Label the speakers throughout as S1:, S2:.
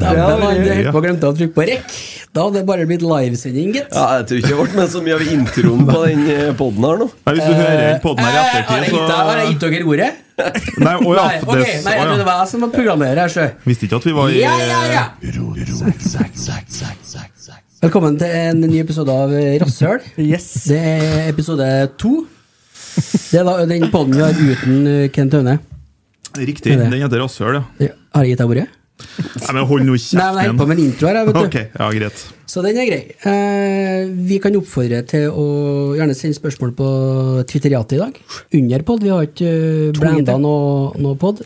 S1: Ja,
S2: ja,
S1: man, det
S2: ja.
S1: holdt på å glemte å trykke på rekk. Da hadde det bare blitt livesending, gitt.
S3: Ja, jeg tror ikke det ble med så mye av introen på den poden her nå.
S2: Nei, hvis du hører podden her i
S1: Eh, Har jeg
S2: ettertid,
S1: gitt deg- har jeg
S2: så
S1: gitt dere ordet?
S2: Nei, å ja.
S1: Nei,
S2: det-
S1: ok, nei, jeg
S2: å, ja.
S1: trodde det var jeg som var programleder her, sjø.
S2: Visste ikke at vi var i
S1: Ja, ja, ja. Velkommen til en ny episode av eh, Rasshøl.
S2: Yes.
S1: Det er episode to. Det er da den podden vi har uten eh, Kent Aune.
S2: Riktig. Den heter Rasshøl, ja.
S1: Ja, Har jeg gitt deg ordet?
S2: Nei, men hold nå
S1: Nei, men jeg holder på
S2: kjeften.
S1: med en intro her. jeg, Vet du.
S2: Ok, ja, greit.
S1: Så den er grei. Eh, vi kan oppfordre til å gjerne sende spørsmål på Twitteriatet i dag. Under pod. Vi har ikke eh, blanda noe, noe pod.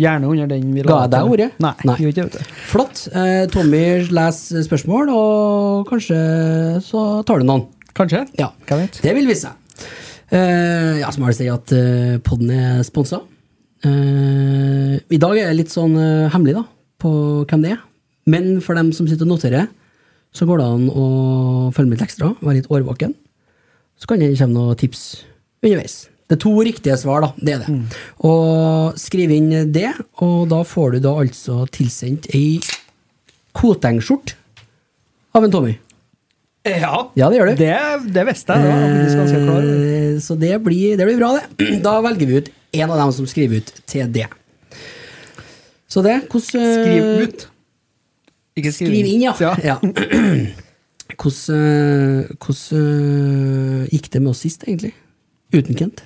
S2: Gjerne under den vi
S1: Ga jeg deg ordet?
S2: Nei,
S1: gjorde
S2: ikke det.
S1: Flott. Eh, Tommy leser spørsmål, og kanskje så tar du noen.
S2: Kanskje.
S1: Ja, Det vil vise seg. Eh, ja, så må jeg si at uh, podden er sponsa. Eh, I dag er det litt sånn eh, hemmelig da, på hvem det er. Men for dem som sitter og noterer, så går det an å følge med litt ekstra, være litt årvåken. Så kan det komme noen tips underveis. Det er to riktige svar, da. Det er det.
S2: Mm.
S1: Og skriv inn det, og da får du da altså tilsendt ei Koteng-skjort av en Tommy.
S2: Ja,
S1: Ja, det gjør du.
S2: det, visste jeg.
S1: Eh, Så det blir, det blir bra, det. Da velger vi ut en av dem som skriver ut til det. Så det hvordan, eh,
S2: Skriv ut. Ikke
S1: Skriv inn, ja. ja. Hvordan, eh, hvordan eh, gikk det med oss sist, egentlig? Uten Kent?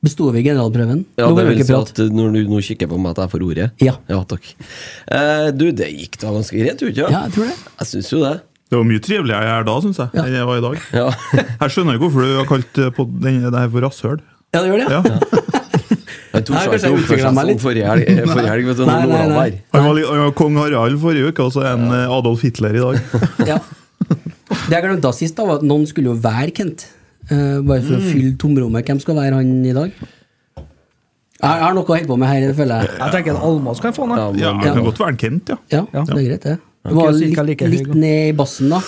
S1: Besto vi generalprøven?
S3: Ja, det
S1: Nå kan vi
S3: vil
S1: ikke
S3: si
S1: prate.
S3: at når du nå kikker på meg at jeg får ordet
S1: Ja.
S3: takk. Eh, du, det gikk da ganske greit, tror du ikke?
S1: Ja, jeg tror det.
S3: Jeg syns jo det.
S2: Det var mye triveligere her da, syns jeg,
S1: Ja.
S2: enn jeg var i dag.
S3: Ja.
S2: Jeg skjønner ikke hvorfor du har kalt eh, på den, det her for rasshøl.
S1: Ja, det gjør det, ja.
S2: Ja.
S3: Jeg tok
S1: Nei,
S3: seg
S1: kanskje
S3: ikke
S1: jeg
S3: oppført
S1: utviklet
S3: seg
S1: meg litt.
S3: sånn forrige helg, eh, forrige helg vet du,
S1: Nei,
S3: når
S1: nei,
S3: Nora var
S1: nei.
S3: her.
S2: Han var, li- han var kong Harald forrige uke, og så er han eh, Adolf Hitler i dag.
S1: ja. Det jeg glemte sist, da, var at noen skulle jo være Kent. Eh, bare for
S3: Mm.
S1: å fylle tomrommet. Hvem skal være han i dag? Jeg har noe å holde på med her, føler jeg.
S4: Jeg tenker en Almås kan få noe.
S3: Ja,
S2: Ja,
S3: men-
S2: men Det kan godt være en Kent, ja.
S1: Ja,
S4: Ja.
S1: det er greit, det. Det var
S4: Ok,
S1: litt,
S4: cirka like høy,
S1: litt
S4: da.
S1: ned i bassen, da.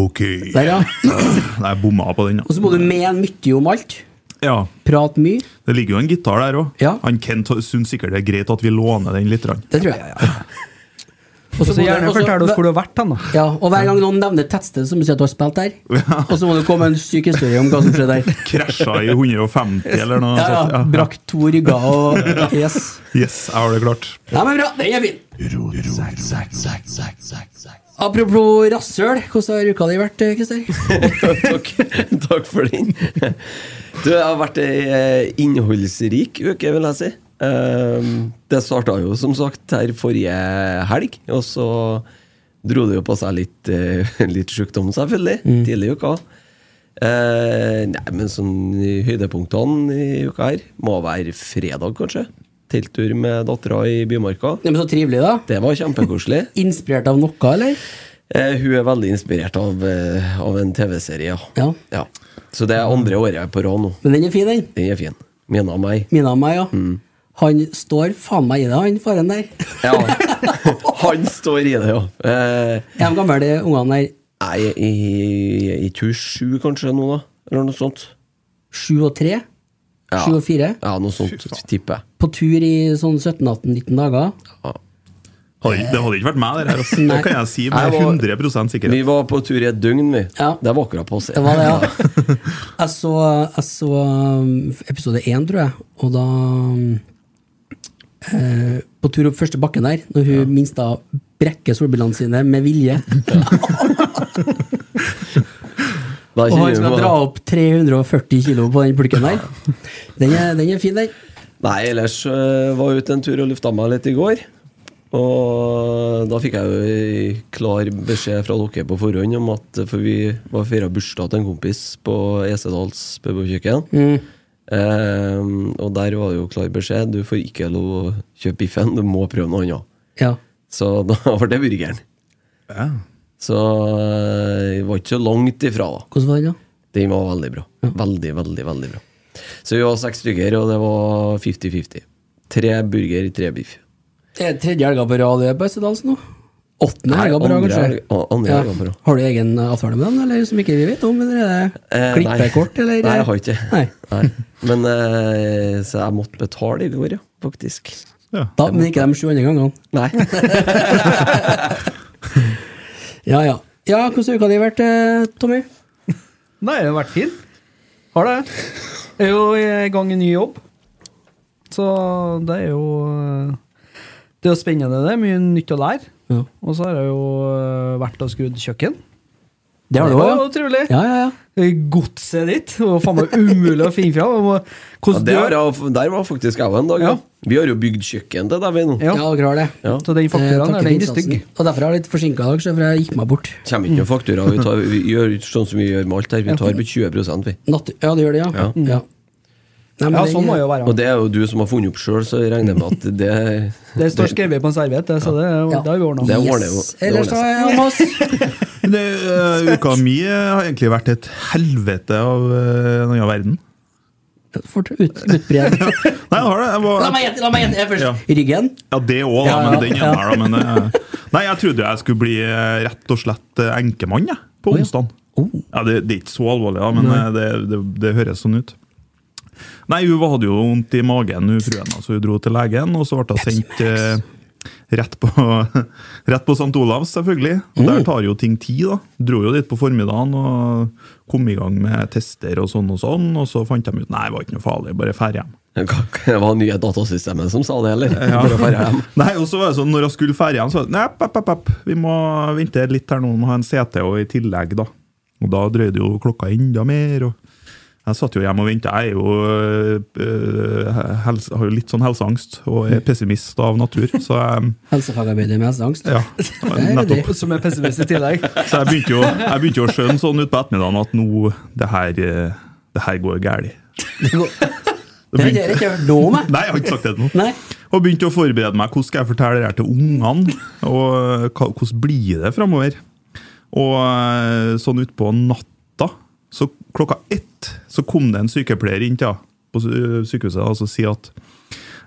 S2: Ok.
S1: Der, ja.
S2: Nei, jeg bomma på den.
S1: Og
S2: ja.
S1: så må du mene mye om alt.
S2: Ja,
S1: Prate mye.
S2: Det ligger jo en gitar der òg.
S1: Ja.
S2: Han Kent syns sikkert det er greit at vi låner den litt. grann.
S1: Det tror jeg. Og
S4: Så
S1: må du-
S4: gjerne
S1: og så-
S4: fortell oss hvor du har vært hen, da.
S1: ja, og hver gang noen nevner et tettsted, så må du si at du har spilt der. Og så må du komme med en syk historie om hva som skjedde der.
S2: Krasja i 150 eller noe.
S1: Ja,
S2: sånt,
S1: ja. Brakk to rygger og Yes.
S2: Yes, jeg har det klart.
S1: Nei, men bra, den er fin. Apropos rasshøl, hvordan har uka di vært, Christer?
S3: takk, takk for den. Du, jeg har vært ei eh, innholdsrik uke, vil jeg si. Ehm, Det starta jo som sagt her forrige helg, og så dro det jo på seg litt, eh, litt sjukdom, selvfølgelig, tidlig i uka. Eh, nei, men sånn i høydepunktene i uka her må være fredag, kanskje. Telttur med dattera i Bymarka.
S1: Det er så trivelig, da.
S3: Det var kjempekoselig.
S1: Inspirert av noe, eller?
S3: Eh, Eh, hun er veldig inspirert av, eh, av en TV-serie, ja.
S1: Ja.
S3: ja. Så det er andre året på rad nå.
S1: Men den er fin, den.
S3: Den er fin. Mina og meg.
S1: Mina og meg, ja.
S4: Mm.
S1: Han står faen meg i det, han faren der.
S3: Ja. Han står i det, ja. Eh,
S1: Er de gamle, de ungene der?
S3: nei, i, i, i tur sju, kanskje, nå, da? Eller noe sånt.
S1: Sju og tre?
S3: Ja.
S1: Sju og fire?
S3: Ja, noe sånt, tipper jeg.
S1: På tur i sånn 17-18-19 dager?
S3: Ja.
S2: Hadde ikke- Det hadde ikke vært meg, det her. altså.
S1: Nei.
S2: Det kan jeg si med
S3: Jeg var-
S2: 100
S3: Vi
S2: sikkerhet.
S3: var på tur i et døgn, vi.
S1: Ja.
S3: Det var akkurat passe.
S1: Det var det, ja. Jeg så, jeg så um, episode én, tror jeg, og da um, eh, På tur opp første bakken der, når hun minst da brekker solbrillene sine med vilje,
S3: Da
S1: og han
S3: kjenner
S1: skal
S3: vi-
S1: dra opp 340 kilo på den pulken der. Den er, den er fin, den.
S3: Nei, ellers øh, var jeg ute en tur og lufta meg litt i går. Og da fikk jeg jo klar beskjed fra dere på forhånd om at eh, For vi var feira bursdag til en kompis på Esedals pub og kjøkken. Ehm, og der var det jo klar beskjed. Du får ikke lov å kjøpe biffen, du må prøve noe annet.
S1: Ja.
S3: Så da ble det burgeren.
S2: Ja.
S3: Så øh, jeg var ikke så langt ifra, da.
S1: Hvordan var den, da?
S3: Den var veldig bra. Veldig, veldig, veldig bra. Så vi var seks stykker, og det var 50-50. Tre burger, tre biff.
S1: Det er tredje helga på rad du er på Østerdalsen nå? Åttende
S3: Nei,
S1: helga på rad,
S3: andre
S1: kanskje?
S3: helg- å, andre helga på rad.
S1: Har du egen avtale med dem, eller som ikke vi vet om? Eller er det
S3: Eh, nei.
S1: klippekort, eller?
S3: Nei, jeg har ikke.
S1: Nei.
S3: Nei. Men eh, Så jeg måtte betale i går, ja. Faktisk.
S2: Ja.
S1: Da, men ikke de sju andre gangene.
S3: Nei.
S1: Ja, ja. Ja, Hvordan har uka di vært, eh, Tommy?
S4: Nei, det har vært fin. Har det. Jeg er jo i gang i ny jobb. Så det er jo eh, Det er jo spennende, det. er Mye nytt å lære.
S1: Ja.
S4: Og så har jeg jo eh, vært og skrudd kjøkken.
S1: Det har du
S4: var jo
S1: òg,
S4: trivelig.
S1: ja. Ja, ja, ja.
S4: Godset ditt. Det var faen meg umulig å finne fram. Jeg må-
S3: Ja,
S4: Hvordan
S3: det var,
S4: dør
S3: jeg- der var faktisk jeg òg en dag.
S4: Ja.
S3: Ja. Vi har jo bygd kjøkken til deg, vi nå.
S4: Ja.
S1: ja dere har det.
S3: Ja.
S4: Så den
S1: Eh,
S4: fakturaen
S1: takk
S4: er
S1: for
S4: den
S1: innsatsen.
S4: stygg.
S1: Og derfor er jeg litt forsinka i dag, så for jeg gikk meg bort.
S3: Kommer ikke noen faktura. Vi, tar, vi gjør sånn som vi gjør med alt her. Vi tar på 20 vi.
S1: Natt ja, det gjør det, ja. Mm.
S3: Ja.
S1: ja. Nei, men
S4: Ja,
S1: den-
S4: sånn må det jo være.
S3: Og det er jo du som har funnet opp sjøl, så jeg regner med at det
S4: Det står skrevet på en serviett, det, så det,
S1: Ja.
S4: det har vi ordna.
S3: Det ordner jo-
S1: Yes.
S3: det
S1: Ellers
S3: ordner
S1: da, eh, Almas.
S2: Men Det, eh, uka mi eh, har egentlig vært et helvete av eh, en annen verden.
S1: Fort ut, utbred.
S2: Nei, jeg har det. Jeg
S1: La
S2: var,
S1: meg gjette, la meg gjette jeg først.
S2: Ja.
S1: Ryggen.
S2: ja, det òg, da.
S1: Ja, ja,
S2: Men
S1: ja.
S2: den ene her, da. Men, eh, nei, jeg trodde jeg skulle bli eh, rett og slett eh, enkemann jeg, på
S1: Å, ja.
S2: onsdag.
S1: Oh.
S2: Ja, det, det er ikke så alvorlig, da, men eh, det, det, det høres sånn ut. Nei, hun hadde jo vondt i magen, hun fruen, så hun dro til legen, og så ble hun sendt eh, rett på, rett på St. Olavs, selvfølgelig. Og
S1: Oh.
S2: Der tar jo ting tid, da. Dro jo dit på formiddagen og kom i gang med tester og sånn og sånn, og så fant de ut nei, det var ikke noe farlig, bare drar hjem.
S3: Det var nye datasystemet som sa det, eller?
S2: Ja.
S3: Bare for hjem.
S2: Nei, og så var det sånn, når jeg skulle ferie igjen, så var det, nei, app, app, app, vi må vente litt her nå, vi må ha en CT og i tillegg da. Og da drøyde jo klokka enda mer, og jeg satt jo hjemme og ventet. Jeg er jo, øh, helse, har jo litt sånn helseangst, og er pessimist av natur, så jeg,
S1: Helsefagarbeider med helseangst.
S2: ja, nettopp.
S4: Som er pessimist i tillegg.
S2: Så jeg begynte jo, jeg begynte jo å skjønne sånn ut på ettermiddagen at nå, det her, eh, det her går gærlig.
S1: Det går- Det har jeg ikke hørt noe om, jeg.
S2: Nei, jeg har ikke sagt det til noen.
S1: Nei.
S2: Og begynte å forberede meg. Hvordan skal jeg fortelle det her til ungene? Og eh, hva- hvordan blir det framover? Og eh, sånn utpå natta, så klokka ett, så kom det en sykepleier inn til henne på sy- sykehuset da, og så sier at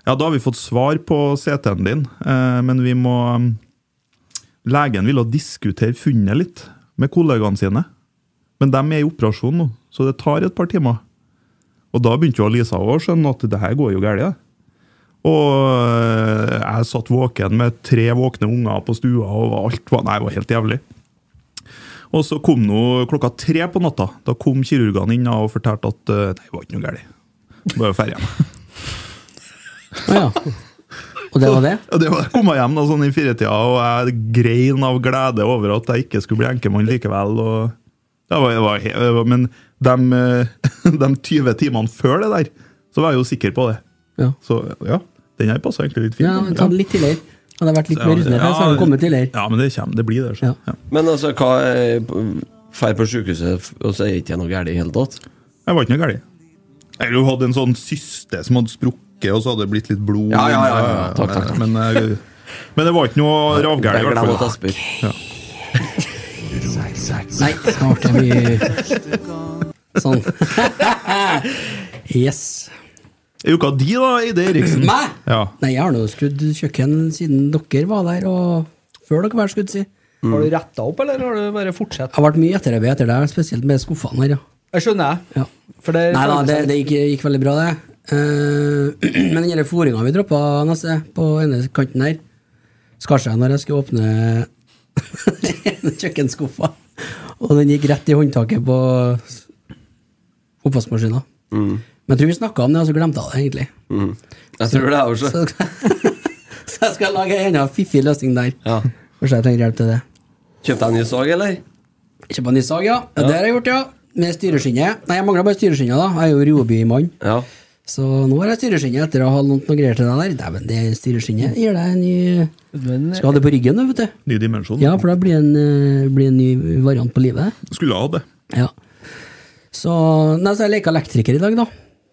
S2: ja, da har vi fått svar på CT-en din, eh, men vi må Legen ville diskutere funnet litt med kollegaene sine, men de er i operasjon nå, så det tar et par timer. Og da begynte jo Lisa å skjønne at det her går jo galt. det. Og eh, jeg satt våken med tre våkne unger på stua, og alt var, nei, det var helt jævlig. Og så kom nå klokka tre på natta. Da kom kirurgene inn og fortalte at eh, nei, det var ikke noe galt. Bare ferdig hjem.
S1: Å ja. Og det var det?
S2: Og det var, jeg kom jeg hjem da, sånn i firetida, og jeg grein av glede over at jeg ikke skulle bli enkemann likevel. Og det var, det var, he- det var, men de, eh, de 20 timene før det der, så var jeg jo sikker på det.
S1: Ja.
S2: Så ja, den her passa egentlig litt fint.
S1: Ja,
S2: da.
S1: ta det litt tidligere. Hadde jeg vært litt
S2: Ja,
S1: mer rutinert, her, så hadde jeg kommet tidligere.
S2: Ja, men det, kommer, det blir det. Så.
S1: Ja.
S2: Ja.
S3: Men altså, hva er Drar på sykehuset, og så er det ikke noe galt i det hele tatt?
S2: Jeg var ikke noe galt. Eller hun hadde en sånn syste som hadde sprukket, og så hadde det blitt litt blod.
S3: Ja, ja, ja, ja. Takk, takk, takk.
S2: Men, eh, men det var ikke noe ravgalt, i
S3: Jeg
S2: hvert
S3: glemmer at jeg
S2: fall.
S3: spør.
S1: Nei, snart er vi Sånn. Yes.
S2: Er uka di, da, Eide Eriksen?
S1: Meg?
S2: Ja.
S1: Nei, jeg har nå skrudd kjøkken siden dere var der, og før dere var skudd, si. Jeg
S4: Har du retta opp, eller har du bare fortsatt?
S1: har vært mye etterarbeid etter deg, spesielt med skuffene her, ja.
S4: Jeg skjønner, jeg.
S1: ja.
S4: For det sånn-
S1: Nei da, det, det gikk, gikk veldig bra, det. Eh, men den fòringa vi droppa neste, på ene kanten her, skar seg når jeg skulle åpne kjøkkenskuffa, og den gikk rett i håndtaket på s- oppvaskmaskina. Men jeg tror vi snakka om det, og så glemte jeg det, egentlig.
S3: Jeg tror det er også.
S1: Så, så jeg skal lage en enda fiffig løsning der.
S3: Ja.
S1: Kanskje jeg trenger hjelp til det.
S3: Kjøpte jeg en ny sag, eller?
S1: Kjøpe ny sag, ja. Det har jeg gjort, ja. Med styreskinnet. Nei, jeg mangler bare styreskinnet, da. Jeg er jo Roby-mann.
S3: Ja.
S1: Så nå har jeg styreskinnet etter å ha lånt noe greier til deg der. Dæven, det styreskinnet gir deg en ny
S4: Men,
S1: Skal ha det på ryggen, du, vet du.
S2: Ny dimensjon.
S1: Ja, for da blir det en, eh, blir en ny variant på livet.
S2: Skulle ha det.
S1: Ja. Så, nei, så jeg leka elektriker i dag, da.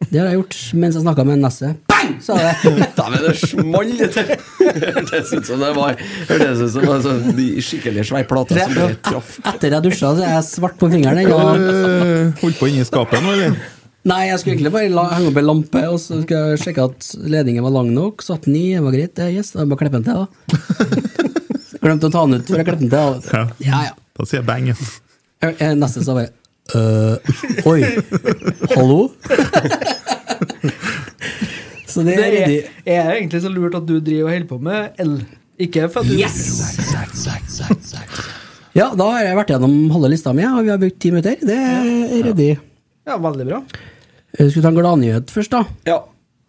S1: Det har jeg gjort mens jeg snakka med Nesset. Bang! Sa det.
S3: Dæven, det small dette! Hørtes ut som det var Hørtes ut som en sånn de skikkelig svær plate som bare traff.
S1: Etter jeg dusja, så er jeg svart på fingeren. jeg, og-
S2: Øh, Holdt på inni skapet nå, eller?
S1: Nei, jeg skulle egentlig bare la, henge opp en lampe, og så skulle jeg sjekke at ledningen var lang nok. Satt den i, det var greit. det, Yes, da er det bare å klippe den til, da. Glemte å ta den ut før jeg klippte den til. da.
S2: Ja.
S1: Ja, ja.
S2: Da sier jeg bang. ja.
S1: Jeg- jeg- Neste sa bare øh, Oi, hallo? så det
S4: det
S1: er
S4: er,
S1: ryddig.
S4: er egentlig så lurt at du driver og holder på med el. Ikke for at du
S1: Yes! Ja, da har jeg vært gjennom halve lista mi, og vi har brukt ti minutter. Det er ryddig.
S4: Ja, veldig bra.
S1: Jeg Skulle ta en gladnyhet først, da.
S3: Ja.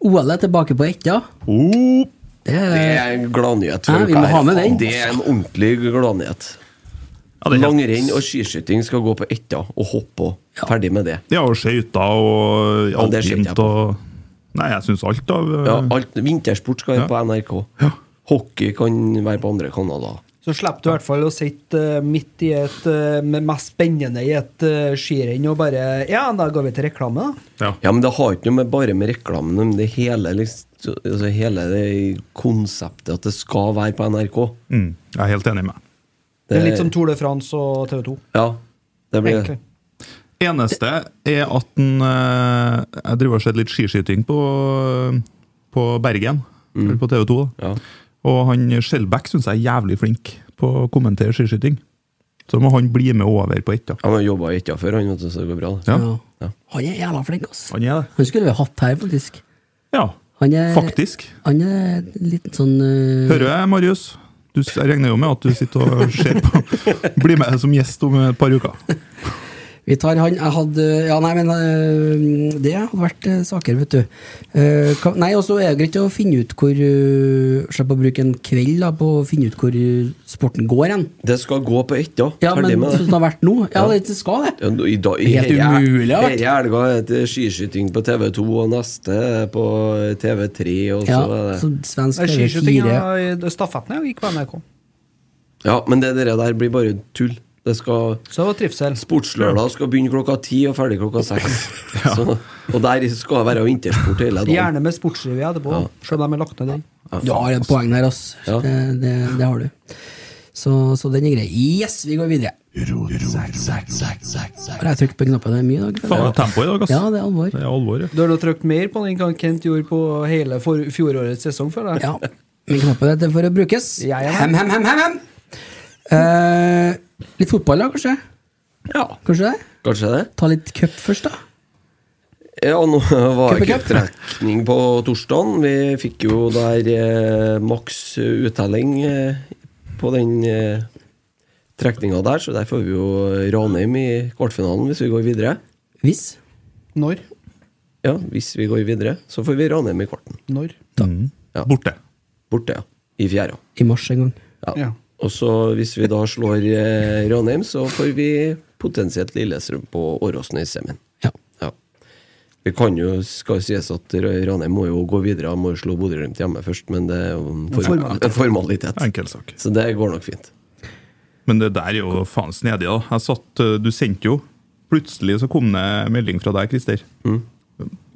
S1: OL er tilbake på Etja.
S2: Oh,
S1: Det
S3: Det
S1: er
S3: er en gladnyhet.
S1: Ja,
S3: for
S1: vi må
S3: dere
S1: ha med
S3: her.
S1: den.
S3: Det er en ordentlig gladnyhet.
S2: ja, det er helt-
S3: Langrenn og skiskyting skal gå på etta og hoppe og ferdig med det.
S2: Ja, og skøyter og
S3: Ja, det skjønte jeg
S2: alpint
S3: på.
S2: og Nei, jeg syns alt av øh,
S3: Ja, alt, vintersport skal være
S2: Ja.
S3: på NRK. Hockey kan være på andre kanaler.
S4: Så slipper du i hvert fall å sitte eh, midt i et eh, med mest spennende i et eh, skirenn og bare Ja, da går vi til reklame, da.
S2: ja.
S3: Ja, men det har ikke noe med bare med reklamen men det hele, liksom, altså hele det konseptet at det skal være på NRK.
S2: Mm, jeg er helt enig med deg.
S4: Det er litt som Tour de France og TV 2.
S3: Ja, det blir
S4: Egentlig.
S2: Eneste er at den, eh, jeg driver og ser litt skiskyting på, på Bergen, eller på TV 2. Da.
S3: Ja.
S2: Og han Skjelbæk syns jeg er jævlig flink på å kommentere skiskyting. Så må han bli med over på ett. da.
S3: Han har jobba i Etja før, han, vet du, så det går bra. det.
S2: Ja.
S1: Ja.
S3: Ja.
S1: Han er jævla flink, ass.
S2: Han er det.
S1: Han skulle vi hatt her, faktisk.
S2: Ja,
S1: Han er,
S2: faktisk.
S1: Han er en liten sånn eh,
S2: Hører jeg, Marius? Du, s- jeg regner jo med at du sitter og ser på. Bli med som gjest om et par uker.
S1: Vi tar han Jeg hadde Ja, nei, men eh, det hadde vært eh, saker, vet du. Eh, hva- nei, og så er det greit å finne ut hvor uh, Slippe å bruke en kveld da, på å finne ut hvor eh, sporten går hen.
S3: Det skal gå på Etja.
S1: Ja, men
S3: ferdig med
S1: sånn som
S3: det.
S1: det har vært nå? Ja,
S3: Ja.
S1: det skal det.
S3: Ja, nå- i dag, i
S1: Helt
S3: her-
S1: umulig, har vært.
S3: Her i helga er det skiskyting på TV2, og neste er på TV3, og så
S1: Ja,
S3: er det
S1: så svensk TV4
S4: Men Skiskytinga
S1: ja.
S4: i stafetten ja, gikk på NRK.
S3: Ja, men det der, der blir bare tull. Det skal
S4: Så det var trivsel.
S3: Sportslørdag skal begynne klokka ti og ferdig klokka seks. Så- Og der skal det være vintersport hele dagen.
S4: Gjerne med sportsrevy etterpå,
S3: Ja.
S4: selv om de har lagt ned den.
S1: Du har et poeng der, ass.
S3: Ja.
S1: Det, det, det har du. Så, så den er grei. Yes, vi går videre. Har jeg trykt på knappen her mye i dag? føler jeg?
S2: Faen, det er tempo i dag, ass.
S1: Ja, det er alvor.
S2: Det er alvor, ja.
S4: Du har nå trykt mer på den gang Kent gjorde på hele for, fjorårets sesong, føler jeg.
S1: Ja. Men knappen er til for å brukes.
S4: Jeg er med.
S1: Hem, hem, hem, hem, hem. Eh, litt fotball, da, kanskje?
S3: Ja,
S1: Kanskje det?
S3: kanskje det.
S1: Ta litt cup først, da.
S3: Ja, nå var
S1: Cup i
S3: det
S1: cup.
S3: cuptrekning på torsdagen. Vi fikk jo der eh, maks uttelling eh, på den eh, trekninga der, så der får vi jo Ranheim i kvartfinalen hvis vi går videre.
S1: Hvis.
S4: Når?
S3: Ja, hvis vi går videre, så får vi Ranheim i kvarten.
S4: Når?
S2: Mm.
S3: Ja.
S2: Borte.
S3: Borte, ja. I fjerde.
S1: I mars en gang.
S4: Ja.
S3: Ja. Og så hvis vi da slår eh, Ranheim, så får vi potensielt Lillestrøm på Åråsen i semien.
S1: Ja.
S3: Ja. Det kan jo skal jo sies at Ra- Ranheim må jo gå videre, han må jo slå Bodø-Glimt hjemme først, men det er jo en, form
S4: Formalitet.
S3: en formalitet.
S2: Enkel sak.
S3: Så det går nok fint.
S2: Men det der er jo faen snedig, da. Jeg satt, eh, du sendte jo Plutselig så kom det en melding fra deg, Christer.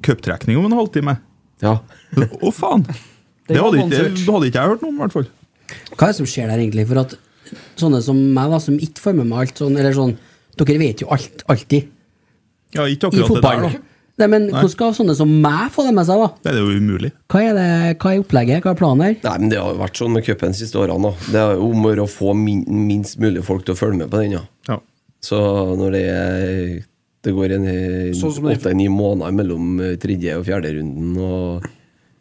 S2: Cuptrekning om en halvtime.
S3: Ja.
S2: Å, faen! Det
S4: var
S2: hadde ikke,
S4: konsert.
S2: det hadde ikke jeg hørt noe om, i hvert fall.
S1: Hva er det som skjer der, egentlig? For at sånne som meg, da, som ikke får med meg alt sånn, eller sånn Dere vet jo alt, alltid,
S2: Ja,
S1: i
S2: ikke akkurat det der,
S1: fotball.
S2: da.
S1: Nei, men hvordan skal sånne som meg få det med seg, da?
S2: Det er jo umulig.
S1: Hva er, det, hva er opplegget? Hva er planen her?
S3: Nei, men Det har jo vært sånn med cupen de siste årene. da. Det er jo om å gjøre å få min, minst mulig folk til å følge med på den. Ja.
S2: Ja.
S3: Så når det, er- det går en
S4: Sånn som det-
S3: åtte-ni måneder mellom eh, tredje og fjerde runden og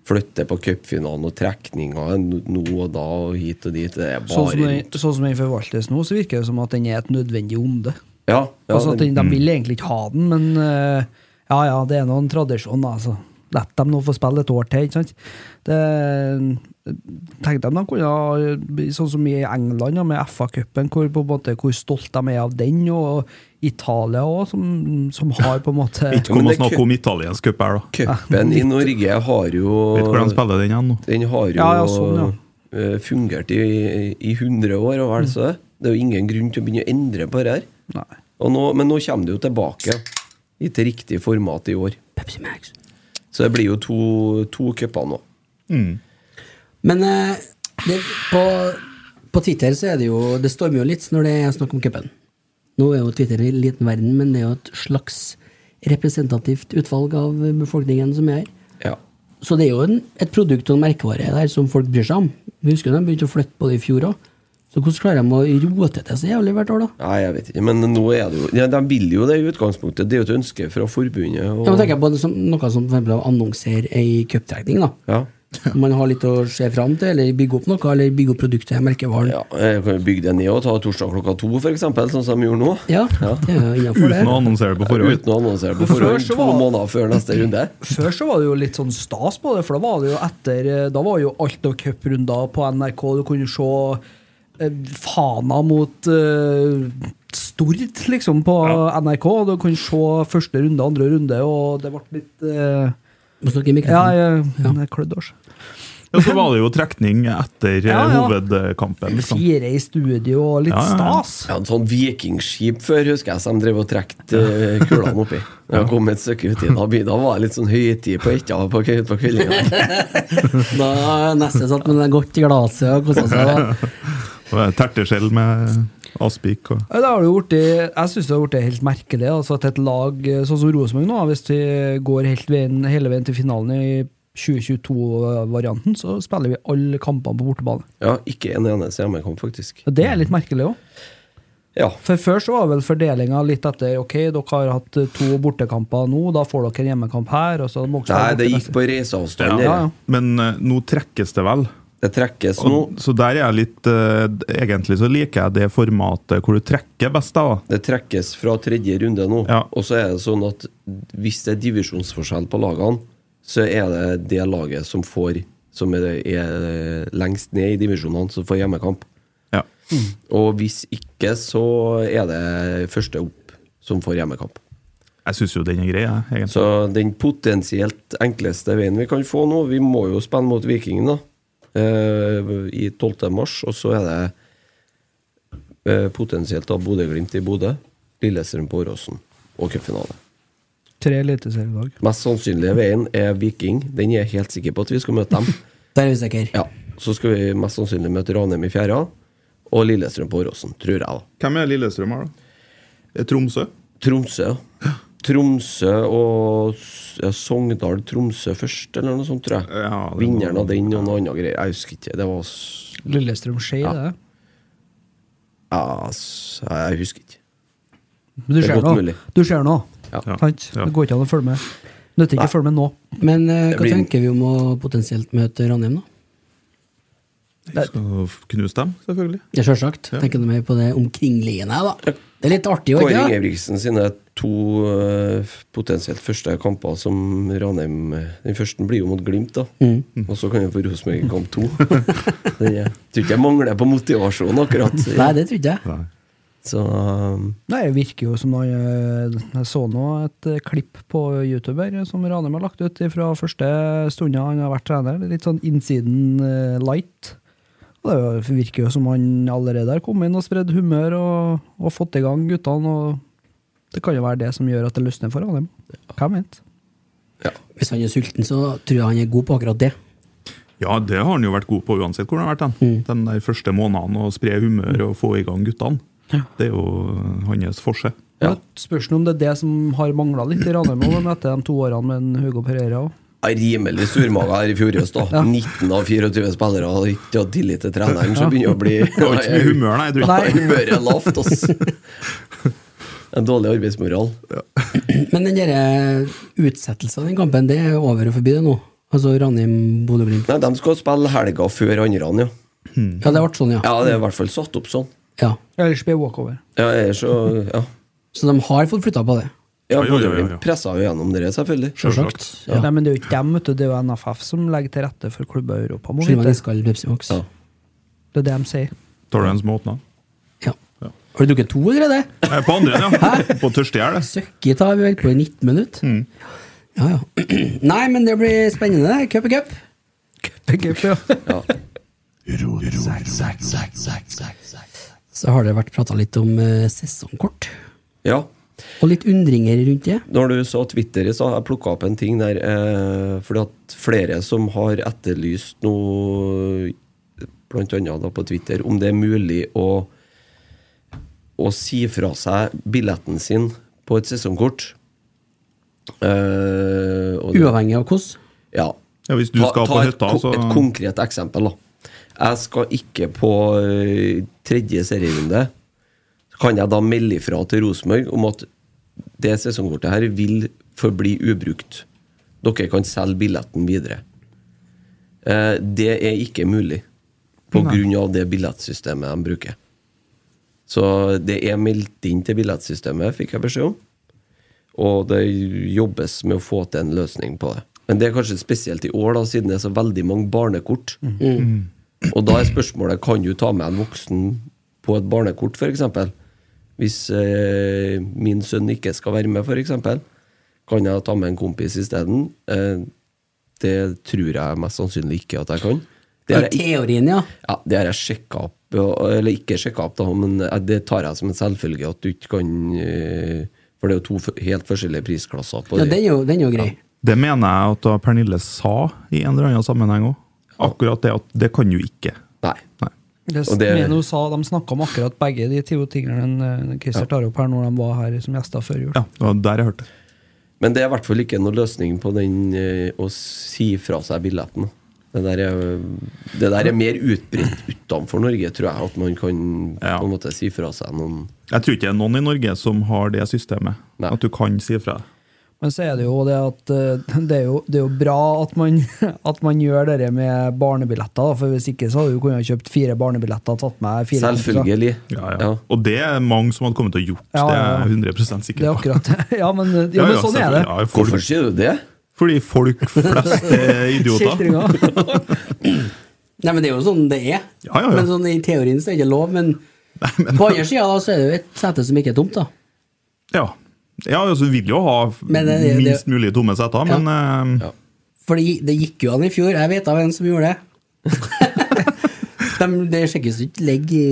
S3: flytter på cupfinalen og trekninger nå og da og hit og dit, det er
S4: Sånn
S3: bare
S4: som, den,
S3: rot.
S4: sånn som den forvaltes nå, så virker det som at den er et nødvendig onde.
S3: Ja, ja,
S4: altså, at
S3: det-
S4: den, de vil egentlig ikke ha den, men eh, ja ja, det er noen tradisjon, altså. La dem nå få spille et år til, ikke sant. Det, tenk dem de kunne ha bli Sånn som i England, ja, med FA-cupen, hvor, på en måte, hvor stolt de er av den, og Italia òg, som, som har på en måte
S2: Ikke
S3: Jo, men
S2: kom og
S3: det er
S2: snakk
S3: kø-
S2: om italiensk cup her, da.
S4: Ah,
S3: Cupen i Norge har jo
S2: Vet du hvor de spiller den igjen nå?
S3: Den har jo
S4: Ja, ja, sånn, ja. Mm.
S3: eh, fungert i, i 100 år, og vel så det. Det er jo ingen grunn til å begynne å endre på det her.
S4: Nei.
S3: Og nå, men nå kommer det jo tilbake i til riktig format i år.
S1: Pepsi Max.
S3: Så det blir jo to, to cuper nå.
S1: Men eh, det, på, på Twitter så er det jo Det stormer jo litt når det er snakk om cupen. Nå er jo Twitter en liten verden, men det er jo et slags representativt utvalg av befolkningen som er her.
S3: Ja.
S1: Så det er jo en, et produkt og en merkevare der som folk bryr seg om. Vi husker de begynte å flytte på det i fjor òg. Så hvordan klarer de å rote til så jævlig hvert år, da?
S3: Nei, jeg vet ikke. Men nå er det jo ja, De vil jo det i utgangspunktet. Det er jo et ønske fra forbundet. Og,
S1: Jeg må tenke på det som, noe som for eksempel annonserer ei cuptrekning, da.
S3: ja.
S1: Man har litt å se fram til, eller bygge opp noe, eller bygge opp produktet, merkevaren.
S3: ja. Jeg kan jo bygge det ned og ta torsdag klokka to, for eksempel, sånn som de gjorde nå.
S1: Ja, det er jo innenfor det.
S2: Mm. Uten å annonsere det på forhånd.
S3: Uten å annonsere på
S4: Men før
S3: forhånd
S4: så
S3: to
S4: var-
S3: måneder før neste runde.
S4: Før så var det jo litt sånn stas på det, for da var det jo etter eh, Da var jo alt av cuprunder på NRK. Du kunne se eh, Fana mot eh, Stord, liksom, på NRK. og Du kunne se første runde, andre runde, og det ble litt eh,
S1: Må snakke i
S4: Ja, eh,
S1: mikrofonen.
S4: jeg, jeg klødde også.
S2: Ja, så var det jo trekning etter eh,
S4: Ja, ja.
S2: hovedkampen. Liksom.
S4: Fire i studio og litt
S2: Ja, ja, ja.
S4: stas.
S3: Ja, en sånn vikingskip før, husker jeg, som drev og trekte eh, kulene oppi. Da kom et stykke uti. Da, by- da var det litt sånn høytid på etta på, kve- på kveldinga.
S1: Da neste satt med det godt i glasset og kosa seg. Da.
S2: Det var Terteskjell med Aspik og
S4: Ja, Det har det jo blitt- jeg syns det har blitt helt merkelig altså at et lag eh, sånn som Rosenborg nå, hvis de går helt veien, hele veien til finalen i 2022-varianten, så spiller vi alle kampene på bortebane.
S3: Ja, ikke en eneste hjemmekamp, faktisk.
S4: Og Det er litt merkelig òg.
S3: Ja.
S4: For før så var vel fordelinga litt etter ok, dere har hatt to bortekamper nå, da får dere en hjemmekamp her. Og så må dere
S3: Nei,
S4: spille
S3: det
S4: borte
S3: gikk
S4: neste-
S3: på reiseavstand.
S4: Ja, ja.
S3: dere.
S2: Men eh, nå trekkes det vel?
S3: Det trekkes nå.
S2: Og, så der er jeg litt eh, Egentlig så liker jeg det formatet hvor du trekker best, da.
S3: Det trekkes fra tredje runde nå.
S2: Ja.
S3: Og så er det sånn at hvis det er divisjonsforskjell på lagene, så er det det laget som får som er, er lengst ned i divisjonene, som får hjemmekamp.
S2: Ja.
S3: Og hvis ikke, så er det første opp som får hjemmekamp.
S2: Jeg syns jo den er grei, jeg. Egentlig.
S3: Så den potensielt enkleste veien vi kan få nå Vi må jo spille mot Vikingen da eh, i 12. mars, og så er det eh, potensielt da Bodø-Glimt i Bodø, Lillestrøm på Åråsen og cupfinale.
S4: Tre eliteserielag.
S3: Mest sannsynlige veien er Viking. Den er jeg helt sikker på at vi skal møte dem.
S1: Der er vi sikre.
S3: Ja, Så skal vi mest sannsynlig møte Ranheim i fjerde og Lillestrøm på Åråsen, tror jeg. da
S2: Hvem er Lillestrøm her, da? Det er Tromsø?
S3: Tromsø, ja. Tromsø og S- ja, Sogndal Tromsø først, eller noe sånt, tror jeg.
S2: Ja, det må-
S3: Vinneren av den og noe annet greier. Jeg husker ikke. Det var s-
S4: Lillestrøm Skei,
S3: Ja.
S4: det.
S3: ja, s- Jeg husker ikke.
S4: Men du
S3: Det er
S4: ser
S3: godt
S4: nå.
S3: mulig.
S4: Du ser nå.
S3: Ja.
S4: Sant?
S2: Ja.
S4: Det går ikke an å følge med. Nytter ikke å følge med nå.
S1: Men eh,
S3: Det
S1: hva
S3: blir-
S1: tenker vi om å potensielt møte Ranheim, da?
S2: Jeg skal knuse dem, selvfølgelig.
S1: Ja, Sjølsagt. Tenker du mer på det omkringliggende, da? Det er litt artig òg,
S3: Kåre
S1: ikke det?
S3: Ingebrigtsen sine to eh, f- potensielt første kamper som Ranheim eh, Den første blir jo mot Glimt, da.
S1: Mm.
S3: Og så kan vi få Rosenborg i kamp to. Den er- Tror ikke jeg mangler på motivasjon,
S1: Nei,
S3: akkurat.
S1: det trodde jeg.
S3: Så um,
S4: Nei, det virker jo som noe Jeg så nå et eh, klipp på YouTube her eh, som Ranheim har lagt ut fra første stunda han har vært trener. Det er Litt sånn innsiden eh, light. Og det er jo- virker jo som han allerede har kommet inn og spredd humør og, og fått i gang guttene. og Det kan jo være det som gjør at det løsner for Ranheim. Hvem vet?
S1: Hvis han er sulten, så tror jeg han er god på akkurat det.
S2: Ja, det har han jo vært god på uansett hvor han har vært. Den, den der første måneden å spre humør og få i gang guttene. Det er jo eh, hans forse.
S3: Ja.
S4: Det Spørs nå om det er det som har mangla litt i Ranheim nå, etter de to årene med en Hugo Pereira òg.
S3: Jeg er Rimelig surmaga her i fjor høst. da. 19 av 24 spillere har ikke hatt tillit til treneren, så begynner det å bli
S2: Det var ikke så mye humør, nei. jeg tror
S3: Nei,
S2: ikke.
S3: humøret er lavt, ass. En dårlig arbeidsmoral.
S1: Men den der eh, utsettelsen av den kampen, det er over og forbi det nå? Altså Ranheim, Bodø-Glimt?
S3: Nei, de skal spille helga før andre, ja.
S1: Ja, det ble sånn, ja.
S3: Ja, det er i hvert fall satt opp sånn.
S1: ja.
S4: Ellers blir det walkover.
S3: Ja, ellers så Ja.
S1: Så de har fått flytta på det.
S3: ja
S2: Ja, ja, ja, ja, ja.
S3: Bodø-Glimt pressa jo gjennom det, selvfølgelig.
S1: Sjølsagt. Ja.
S4: Nei, men det er jo ikke dem, vet du. Det er jo NFF som legger til rette for klubber i Europa. Må
S1: Skyld meg
S4: vite.
S1: en skall Pepsi Max.
S3: Ja.
S4: Det er det de sier.
S2: Tar du en som åpner?
S1: Ja. Har du drukket to eller er det?
S2: Eh, På andre, ja. På tørste er det.
S1: Søkket har vi vel på i 19 minutter. Ja, ja. Nei, men det blir spennende. Cup er cup.
S3: Ja.
S1: Så har det vært prata litt om eh, sesongkort,
S3: ja.
S1: og litt undringer rundt det.
S3: Når du sa Twitter i stad, jeg plukka opp en ting der. Eh, fordi at flere som har etterlyst noe, blant annet da på Twitter, om det er mulig å, å si fra seg billetten sin på et sesongkort. Eh, og det-
S1: Uavhengig av hvordan.
S3: ja.
S2: Ja, hvis du skal på
S3: et,
S2: hytta,
S3: ko-
S2: så-
S3: et konkret eksempel, da. Jeg skal ikke på ø, tredje serierunde. Kan jeg da melde ifra til Rosenborg om at det sesongkortet her vil forbli ubrukt? Dere kan selge billetten videre. Eh, det er ikke mulig pga. det billettsystemet de bruker. Så det er meldt inn til billettsystemet, fikk jeg beskjed om. Og det jobbes med å få til en løsning på det. Men det er kanskje spesielt i år, da, siden det er så veldig mange barnekort. Og da er spørsmålet kan du ta med en voksen på et barnekort, f.eks. Hvis eh, min sønn ikke skal være med, f.eks. Kan jeg ta med en kompis isteden? Eh, det tror jeg mest sannsynlig ikke at jeg kan. Det
S1: Ja,
S3: er jeg
S1: Teorien, ja.
S3: ja, det har jeg sjekka opp, og- eller ikke sjekka opp, da, men eh, det tar jeg som en selvfølge at du ikke kan eh, For det er jo to f- helt forskjellige prisklasser på
S1: ja den,
S3: det.
S1: er jo, den er jo grei.
S2: Det mener jeg at da Pernille sa i en eller annen sammenheng òg. Akkurat det at det kan du ikke.
S3: Nei.
S2: Nei.
S4: Det,
S3: Og det-
S4: mener hun sa, De snakka om akkurat begge de to tingene eh, Christer tar opp her når de var her som gjester før jul.
S2: Ja, det var der jeg hørte det.
S3: Men det er i hvert fall ikke noen løsning på den eh, å si fra seg billetten. Det der, er, det der er mer utbredt utenfor Norge, tror jeg, at man kan
S2: Ja.
S3: på en måte si fra seg noen
S2: Jeg tror ikke det er noen i Norge som har det systemet.
S3: Nei.
S2: At du kan si fra.
S4: Men så er det jo det at eh, det er jo, det er jo bra at man, at man gjør det med barnebilletter, da, for hvis ikke så hadde du kunnet kjøpt fire barnebilletter og tatt med fire.
S3: Selvfølgelig.
S2: Ja, ja. Og det er mange som hadde kommet til å gjort.
S4: Ja, ja, ja.
S2: Det er jeg 100
S4: Det
S2: sikker
S4: er
S2: på.
S4: akkurat det. Ja, men, ja,
S2: Ja,
S4: men
S2: ja,
S4: sånn er det.
S2: selvfølgelig. Ja, folk,
S3: Hvorfor sier du det?
S2: fordi folk flest er idioter.
S4: Skiltringa.
S1: Nei, men Det er jo sånn det er.
S2: Ja, ja, ja.
S1: Men sånn I teorien så er det ikke lov, men, på andre sida da, så er det jo et sete som ikke er tomt. da.
S2: Ja. ja, altså Du vil jo ha
S1: Men
S4: eh,
S1: det- det-
S2: minst mulig tomme seter, men eh,
S3: Ja.
S1: Fordi det gikk jo an i fjor. Jeg vet av en som gjorde det. De, det sjekkes jo ikke legg i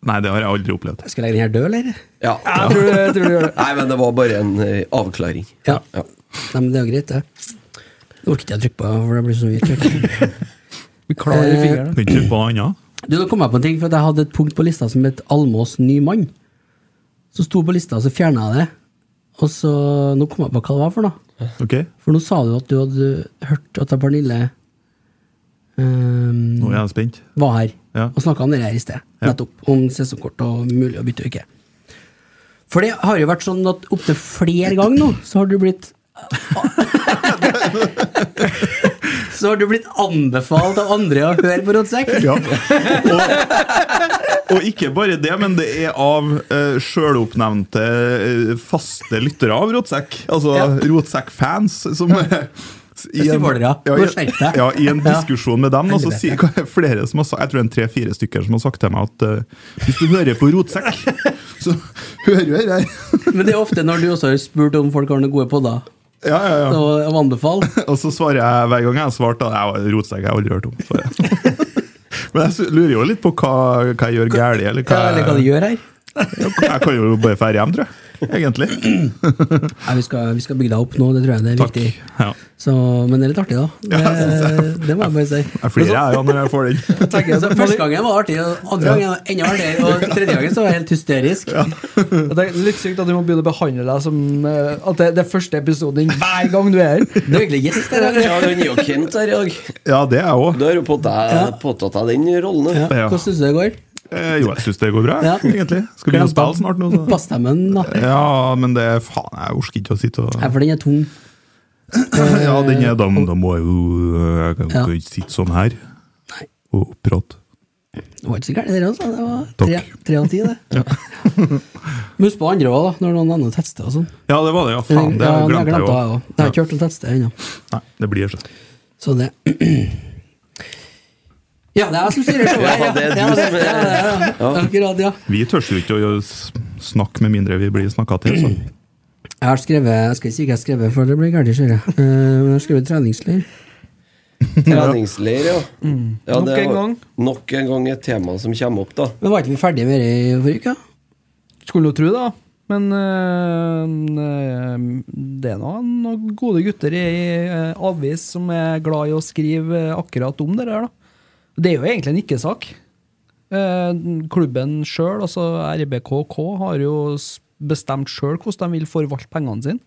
S2: Nei, det har jeg aldri opplevd.
S1: Skal jeg legge den her død, eller?
S3: Ja.
S4: Jeg tror, jeg tror du gjør det.
S3: Nei, men det var bare en eh, avklaring.
S1: Ja.
S3: Ja.
S1: Nei, men det er jo greit, det. Nå orker ikke jeg å trykke på, for det blir så mye trykk.
S4: Vi klarer
S1: Eh,
S4: fingrene.
S2: Kan ikke finne på noe annet.
S1: Du, Nå kom jeg på en ting, for at jeg hadde et punkt på lista som het Almås ny mann. Så sto på lista, så fjerna jeg det. Og så Nå kom jeg på hva det var for noe.
S2: Ok,
S1: For nå sa du at du hadde hørt at Pernille um,
S2: Nå er jeg spent.
S1: var her
S2: Ja.
S1: og snakka om det her i sted.
S2: Ja.
S1: Nettopp. Om sesongkort og mulig å bytte og ikke. For det har jo vært sånn at opptil flere ganger nå, så har du blitt Så har du blitt anbefalt av andre å høre på Rotsekk.
S2: Ja. Og, og ikke bare det, men det er av uh, sjøloppnevnte eh, faste lyttere av Rotsekk. Altså
S1: Ja.
S2: Rotsekk-fans som eh, s- i en-
S1: Stivålere,
S2: ja,
S1: nå
S2: i,
S1: skjerp deg.
S2: ja, I en
S1: Ja.
S2: diskusjon med dem, og så
S1: Helvete.
S2: sier hva- flere som har sagt, jeg tror det er en tre-fire stykker som har sagt til meg at eh, hvis du hører på Rotsekk, så hører du her. her.
S1: Men det er ofte når du også har spurt om folk har noen gode podder,
S2: Ja, ja, ja.
S1: og og anbefale.
S2: Og så svarer jeg hver gang jeg har svart at jeg var rotsekk, jeg har aldri hørt om. svarer jeg. Men jeg s- lurer jo litt på hva, hva jeg gjør galt, eller hva,
S1: Eller hva du gjør her.
S2: Jeg kan jo bare dra hjem, tror jeg. Egentlig.
S1: Nei, vi, skal, vi skal bygge deg opp nå, det tror jeg det er
S2: Takk.
S1: viktig.
S2: Ja.
S1: Så, men det er litt artig, da. Det,
S2: Ja, jeg
S1: det må jeg bare si.
S2: Jeg flirer jeg ja, når jeg får den.
S1: Så Første gangen var artig, og andre gangen var enda artigere, og tredje gangen så var jeg helt hysterisk.
S4: Det er litt sykt at du må begynne å behandle deg som eh, At det, det er første episoden din hver gang du er her.
S1: Det er egentlig gjest, det der.
S3: Ja, den er jo Kent her i dag.
S2: Ja, det er jeg òg.
S3: Du har jo påtatt deg- påtatt deg den rollen.
S1: Ja.
S3: Ja.
S1: Hvordan
S2: Ja.
S1: syns du det går?
S2: Eh, jo, jeg syns det går bra,
S1: Ja.
S2: egentlig. Skal begynne å spille snart nå. Så.
S1: Bassstemmen, da.
S2: Ja, men det er faen, jeg orker ikke å sitte og
S1: Nei, for den er tung.
S2: Ja, den er da, da må jeg jo eh, Jeg kan jo ikke sitte sånn her og prate.
S1: Det var ikke så gærent, det der også. Det var tre-
S2: Takk.
S1: tre av ti, det. Men Husk på andre òg, da, når noen andre tester og sånn.
S2: Ja, det var det, ja. Faen, det
S1: Ja, men
S2: glemte
S1: jeg
S2: jeg jo.
S1: også. Jeg har ikke hørt å teste ennå.
S2: Nei, det blir sånn.
S1: Så det Ja, det er jeg som styrer showet.
S3: Ja, det er du som er-
S1: ja, ja. Akkurat, ja.
S2: Vi tør jo ikke å s- snakke med mindre vi blir snakka til, så
S1: Jeg har skrevet Jeg skal ikke si hva jeg har skrevet, for det blir galt å kjøre. Eh, Men jeg har skrevet treningsleir.
S3: Treningsleir, ja.
S1: Mm.
S3: ja
S4: Nok en
S3: var-
S4: gang.
S3: Nok en gang et tema som kommer opp, da.
S1: Men var ikke vi ferdige med det i forrige uke?
S4: Skulle jo tro det, da. Men øh, øh, det er nå noen gode gutter i øh, avis som er glad i å skrive øh, akkurat om det der, da. Det er jo egentlig en ikke-sak. Eh, klubben sjøl, altså RBKK, har jo s- bestemt sjøl hvordan de vil forvalte pengene sine.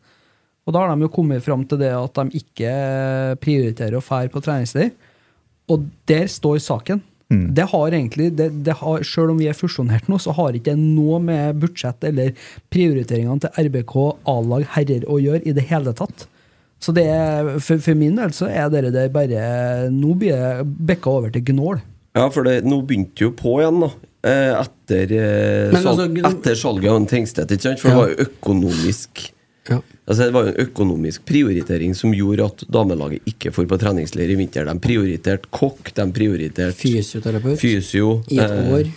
S4: Og da har de jo kommet fram til det at de ikke prioriterer å fære på treningsleir. Og der står saken. Det har egentlig, det, det har, Selv om vi er fusjonert nå, så har ikke det noe med budsjett eller prioriteringene til RBK, A-lag, herrer å gjøre i det hele tatt. Så det er, for, for min del så er dere der bare Nå blir det bekka over til gnål.
S3: Ja, for det, nå begynte jo på igjen, da. Eh, Etter, eh,
S1: Men
S3: salg,
S1: altså, gru-
S3: etter salget av en Tengstedt, ikke sant? For det
S1: Ja.
S3: var jo økonomisk
S1: Ja.
S3: Altså, Det var jo en økonomisk prioritering som gjorde at damelaget ikke får på treningsleir i vinter. De prioriterte kokk, de prioriterte
S1: Fysioterapeut.
S3: fysio,
S1: I et
S3: eh,
S1: år.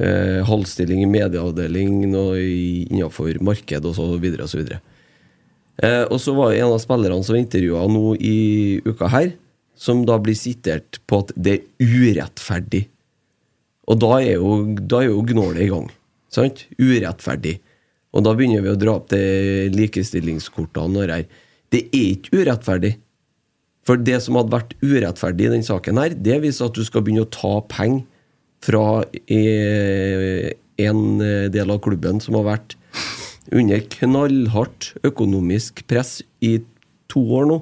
S3: eh, halvstilling i medieavdeling, noe i- innenfor marked og så videre og så videre. Eh, og så var det en av spillerne som intervjua nå i uka her, som da blir sitert på at det er urettferdig. Og da er jo, da er jo gnålet i gang. Sant? Urettferdig. Og da begynner vi å dra opp de likestillingskortene og det her. Det er ikke urettferdig. For det som hadde vært urettferdig i den saken her, det viser at du skal begynne å ta penger fra eh, en eh, del av klubben som har vært under knallhardt økonomisk press i to år nå,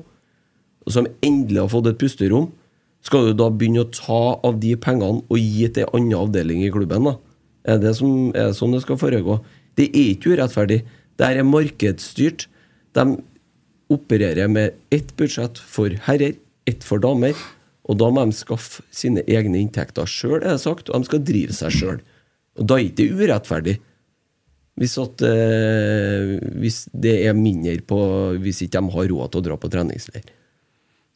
S3: og som endelig har fått et pusterom. Skal du da begynne å ta av de pengene og gi til en annen avdeling i klubben? da? Er det, som, er det sånn det skal foregå? Det er ikke urettferdig. Det her er markedsstyrt. De opererer med ett budsjett for herrer, ett for damer. Og da må de skaffe sine egne inntekter sjøl, er det sagt, og de skal drive seg sjøl. Og da er ikke det urettferdig. Hvis, at, eh, hvis det er mindre på Hvis ikke de har råd til å dra på treningsleir.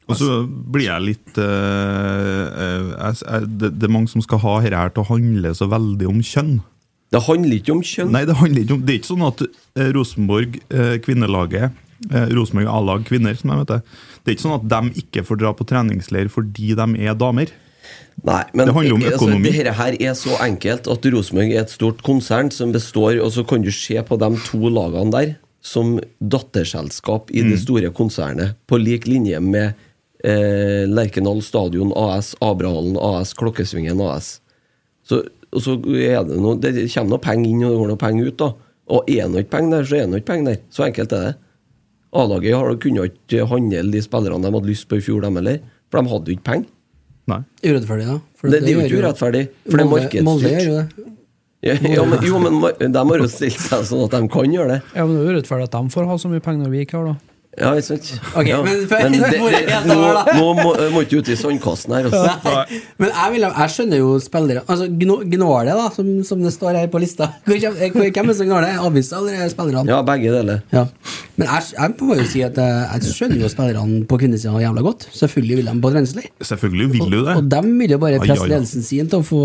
S2: Og så blir jeg litt eh, eh, jeg, jeg, det, det er mange som skal ha dette her til å handle så veldig om kjønn.
S3: Det handler ikke om kjønn.
S2: Nei, det handler ikke om Det er ikke sånn at eh, Rosenborg eh, kvinnelaget eh, Rosenborg A-lag kvinner, som jeg vet det Det er ikke sånn at de ikke får dra på treningsleir fordi de er damer.
S3: Nei, men
S2: Det handler om økonomi.
S3: Altså, dette her er så enkelt at Rosenborg er et stort konsern som består, og så kan du se på de to lagene der som datterselskap i
S2: Mm.
S3: det store konsernet, på lik linje med eh, Lerkendal Stadion AS, Abrahallen AS, Klokkesvingen AS. Så, og så er det noe, det kommer noe penger inn, og det går noe penger ut, da. Og er det ikke penger der, så er det ikke penger der. Så enkelt er det. A-laget har- kunne ikke handle de spillerne de hadde lyst på i fjor, dem heller. For de hadde jo ikke penger.
S2: Nei.
S1: Urettferdig, da. For
S3: Det, det er jo ikke
S1: gjør
S3: urettferdig, for det er
S1: Molde- Molde gjør jo
S3: markedsstyrt.
S1: det.
S3: Ja, ja, men, jo, men mar- de har jo stilt seg sånn at de kan gjøre det.
S4: Ja, men Det er jo urettferdig at de får ha så mye penger når vi ikke har, da.
S3: Ja, ikke sant?
S1: Ok,
S3: ja.
S1: men for-
S3: det,
S1: hvor er
S3: det,
S1: det
S3: nå,
S1: da?
S3: nå må, må ikke ut i sandkassen her. Altså.
S1: Nei, men jeg, vil, jeg skjønner jo spillere Altså gno- Gnålet, da, som, som det står her på lista. Hvor kjem- eh, hvor- Hvem er det som gnåler? Avisa eller er det spillerne?
S3: Ja, begge deler.
S1: Ja. Men jeg, jeg må jo si at eh, jeg skjønner jo spillerne på kvinnesida jævla godt. Selvfølgelig vil de på treningsleir.
S2: Selvfølgelig vil du det.
S1: Og dem vil jo bare
S2: Ai,
S1: presse
S2: ai, ai.
S1: ledelsen sin til å få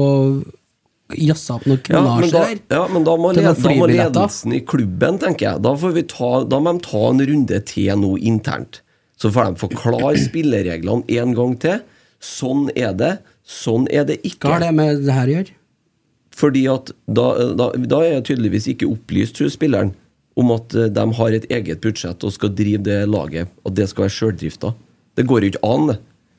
S1: jazza opp noe
S3: Ja, men
S1: kronasje
S3: da,
S1: der.
S3: ja, men da må,
S1: Til
S3: led,
S1: noen
S3: da må
S1: flybilletter.
S3: ledelsen i klubben, tenker jeg. Da, får vi ta, da må de ta en runde til nå internt. Så får de forklare spillereglene en gang til. Sånn er det, sånn er det
S1: Hva
S3: ikke.
S1: har det med det her å gjøre?
S3: Fordi at da, da, da er jeg tydeligvis ikke opplyst hun spilleren om at eh, de har et eget budsjett og skal drive det laget, at det skal være sjøldrifta. Det går jo ikke an, det.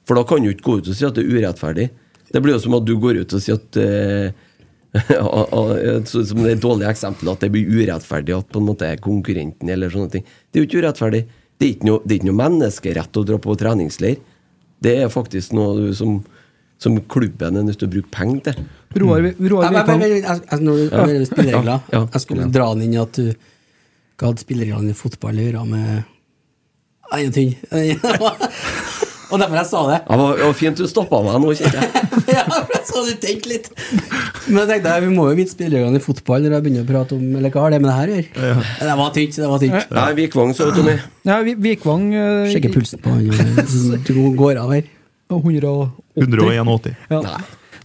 S3: For da kan du ikke gå ut og si at det er urettferdig. Det blir jo som at du går ut og sier at eh, a- a- så- Som det dårlige eksempelet at det blir urettferdig at på en måte er konkurrenten eller sånne ting. Det er jo ikke urettferdig. Det er ikke noe, det er ikke noe menneskerett å dra på treningsleir. Det er faktisk noe du som, som klubben er nødt til å bruke penger til.
S4: Roar, Roar
S1: Jeg, jeg,
S4: Vikan.
S1: jeg, jeg, jeg, når du- når det gjelder spilleregler,
S3: Ja, ja.
S1: jeg skulle dra den inn i at du Hva hadde spillereglene i fotball å gjøre med Ah, Ingenting. Og derfor jeg sa det.
S3: Ja, det var- det var fint du stoppa meg nå, kjente jeg.
S1: ja, for jeg så du tenkte litt. Men jeg tenkte, vi må jo vite spillereglene i fotball når jeg begynner å prate om Eller hva har det med det her å gjøre? Men Det var tynt. det var tynt.
S3: Nei, Vikvang, sa du, Tony.
S4: Ja, Vi- Vikvang eh,
S1: Sjekke pulsen på han som går av her.
S4: 180.
S2: 181.
S4: Ja.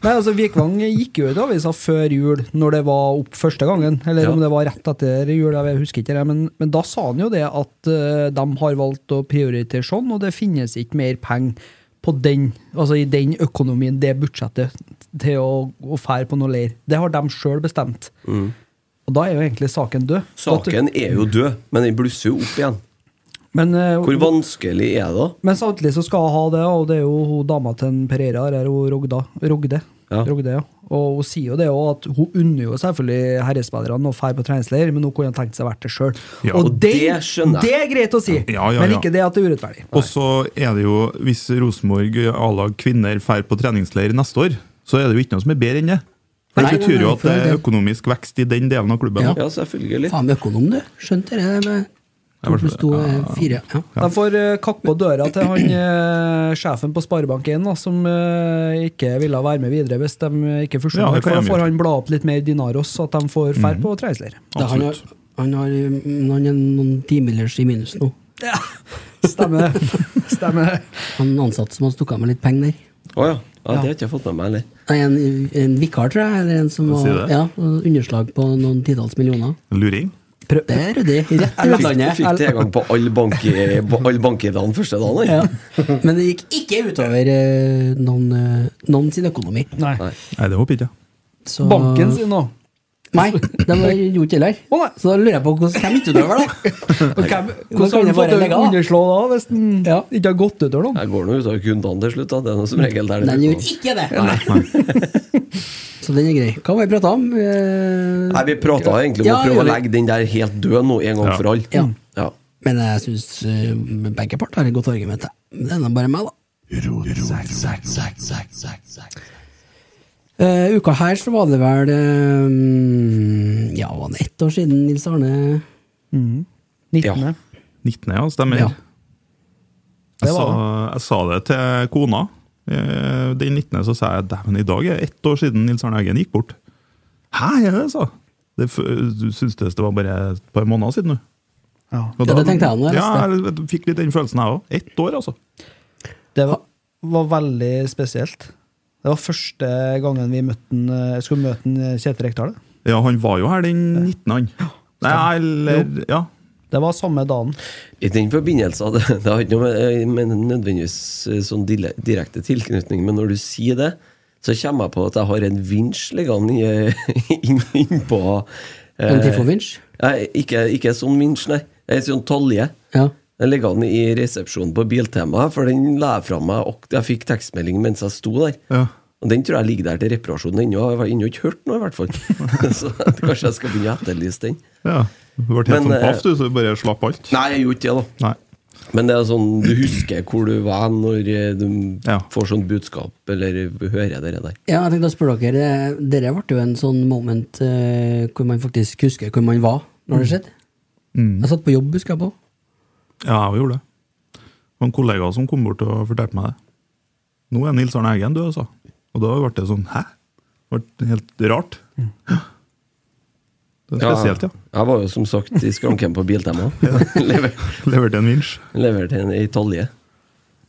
S4: Nei. altså Vikvang gikk jo ut i avisa før jul, når det var opp første gangen. Eller
S3: Ja.
S4: om det var rett etter jul, jeg husker ikke det. Men, men da sa han jo det at eh, de har valgt å prioritere sånn, og det finnes ikke mer penger på den, altså i den økonomien, det budsjettet, til å, å fære på noe leir. Det har de sjøl bestemt. Og da er jo egentlig saken død.
S3: Mm. Saken er jo død, men den blusser jo opp igjen.
S4: Men, eh,
S3: Hvor vanskelig er det da?
S4: Men samtidig så skal hun ha det, og det er jo hun dama til en Pereira, eller hun Rogda, Rogde.
S3: Ja.
S4: Rogde ja. Og hun sier jo det også, at hun unner jo selvfølgelig herrespillerne å dra på treningsleir, men hun kunne ha tenkt seg å være det sjøl.
S2: Ja,
S3: og det skjønner jeg.
S4: Det er greit å si,
S2: Ja, ja,
S4: men
S2: ja.
S4: ikke det at det er urettferdig.
S2: Og så er det jo, hvis Rosenborg à la kvinner drar på treningsleir neste år, så er det jo ikke noe som er bedre enn det. For
S1: Nei,
S2: Det betyr jo
S1: nei,
S2: at det
S1: for
S2: er
S1: det-
S2: økonomisk vekst i den delen av klubben.
S1: Ja.
S2: da.
S3: Ja, selvfølgelig.
S1: Faen økonom, du. Skjønte det med to pluss to er fire. Ja.
S4: De får eh, kakke på døra til han eh, sjefen på Sparebank1, da, som eh, ikke ville være med videre hvis de eh, ikke
S2: Ja,
S4: forsvinner.
S2: det kan
S4: da
S2: de
S4: får
S2: gjøre. Mhm.
S4: han bla opp litt mer dinaros, så at de får dra på treningsleir.
S1: Da Han har,
S2: Absolutt.
S1: han har mm, han er noen timers i minus nå.
S4: Stemmer det. Stemmer det.
S1: Han er ansatt som har stukket av med litt penger der.
S3: Å ja. ja. Det har ikke jeg fått med meg, eller?
S1: Nei, En, en vikar, tror jeg. Eller en som
S2: Hva
S1: var,
S2: sier du?
S1: ja, underslag på noen titalls millioner.
S2: Luring.
S1: Det er ryddig. Rett i
S3: Fikk,
S1: utlandet.
S3: fikk tilgang på all bank i- på all bank i dagen første dagen, eller?
S1: Ja. Men det gikk ikke utover eh, noen, eh, noen sin økonomi.
S4: Nei.
S2: Nei, det håper ikke jeg.
S1: Så,
S4: Banken sin nå.
S1: Nei, de var- gjorde ikke heller.
S4: Å, nei.
S1: Så da lurer jeg på hvordan hvem gikk utover det?
S4: Og
S1: Da
S4: hvem,
S1: kan
S4: hvordan har
S1: jeg
S4: du fått
S1: bare
S4: det
S1: legge av.
S4: underslå da, hvis den
S1: Ja.
S4: ikke har gått utover noen?
S3: Jeg går nå ut av kundene til slutt, da. Det er noe som regel der. det dukker
S1: Den gjorde
S3: opp.
S1: Mm. ikke det! Så den er grei. Hva var det vi prata om? Eh,
S3: Nei, vi prata egentlig om
S1: Ja,
S3: å prøve å
S1: gjorde vi.
S3: legge den der helt død nå, en gang
S2: Ja.
S3: for alle.
S1: Ja.
S3: Ja.
S1: Men jeg syns begge parter har et godt argument. jeg. Men det er nå bare meg, da. Eh, uka her så var det vel eh, Ja, var det ett år siden Nils Arne
S4: 19.
S2: 19. ja, stemmer.
S1: Ja.
S4: Det
S2: Jeg, sa,
S1: Altså-
S4: var
S2: jeg sa det til kona. Eh, Den 19. så sa jeg dæven, i dag er det ett år siden Nils Arne Eggen gikk bort. Hæ, er det, sa jeg. det? f- Du syntes det var bare et par måneder siden, du.
S4: Ja.
S2: Og
S1: Ja, det tenkte jeg nå, jeg
S2: Ja, jeg fikk litt den følelsen, jeg òg. Ett år, altså.
S4: Det var, var veldig spesielt. Det var første gangen vi møtte den, eh, skulle møte den, eh, Kjetil Rekdal.
S2: Ja, han var jo her den 19., han. Nei, eller Ja.
S4: Det var samme dagen.
S3: I den forbindelse det, det har ikke noe med, med nødvendigvis eh, sånn dile- direkte tilknytning, men når du sier det, så kommer jeg på at jeg har en vinsj liggende i- inn- innpå
S1: En
S3: eh,
S1: Tifo-vinsj.
S3: Nei, ikke, ikke sånn vinsj, nei. En sånn tolje.
S1: Ja.
S3: Den ligger an i resepsjonen på Biltema, for den la jeg fra meg. Og jeg fikk tekstmelding mens jeg sto der.
S2: Ja.
S3: Og den tror jeg ligger der til reparasjon ennå. Jeg har ennå ikke hørt noe, i hvert fall. så kanskje jeg skal begynne å etterlyse den.
S2: ja. Du ble helt
S3: Men,
S2: sånn
S3: eh,
S2: paff, du, så du bare slapp alt.
S3: Nei, jeg gjorde ikke det, da.
S2: Nei.
S3: Men det er sånn, du husker hvor du var når eh, du
S2: Ja.
S3: får sånn budskap, eller hører det der.
S1: Ja, jeg tenkte å spørre dere. det- Dere ble jo en sånn moment eh, hvor man faktisk husker hvor man var når
S3: Mm.
S1: det skjedde. Jeg satt på jobb, husker jeg på.
S2: Ja, jeg gjorde det. Det var en kollega som kom bort og fortalte meg det. Nå er Nils Arne Eggen død, altså. Og da ble det sånn Hæ? Det ble helt rart. Det er spesielt, ja.
S3: Jeg var jo som sagt i skranken på Biltema. Lever,
S2: Leverte en vinsj.
S3: leverte en i tolje.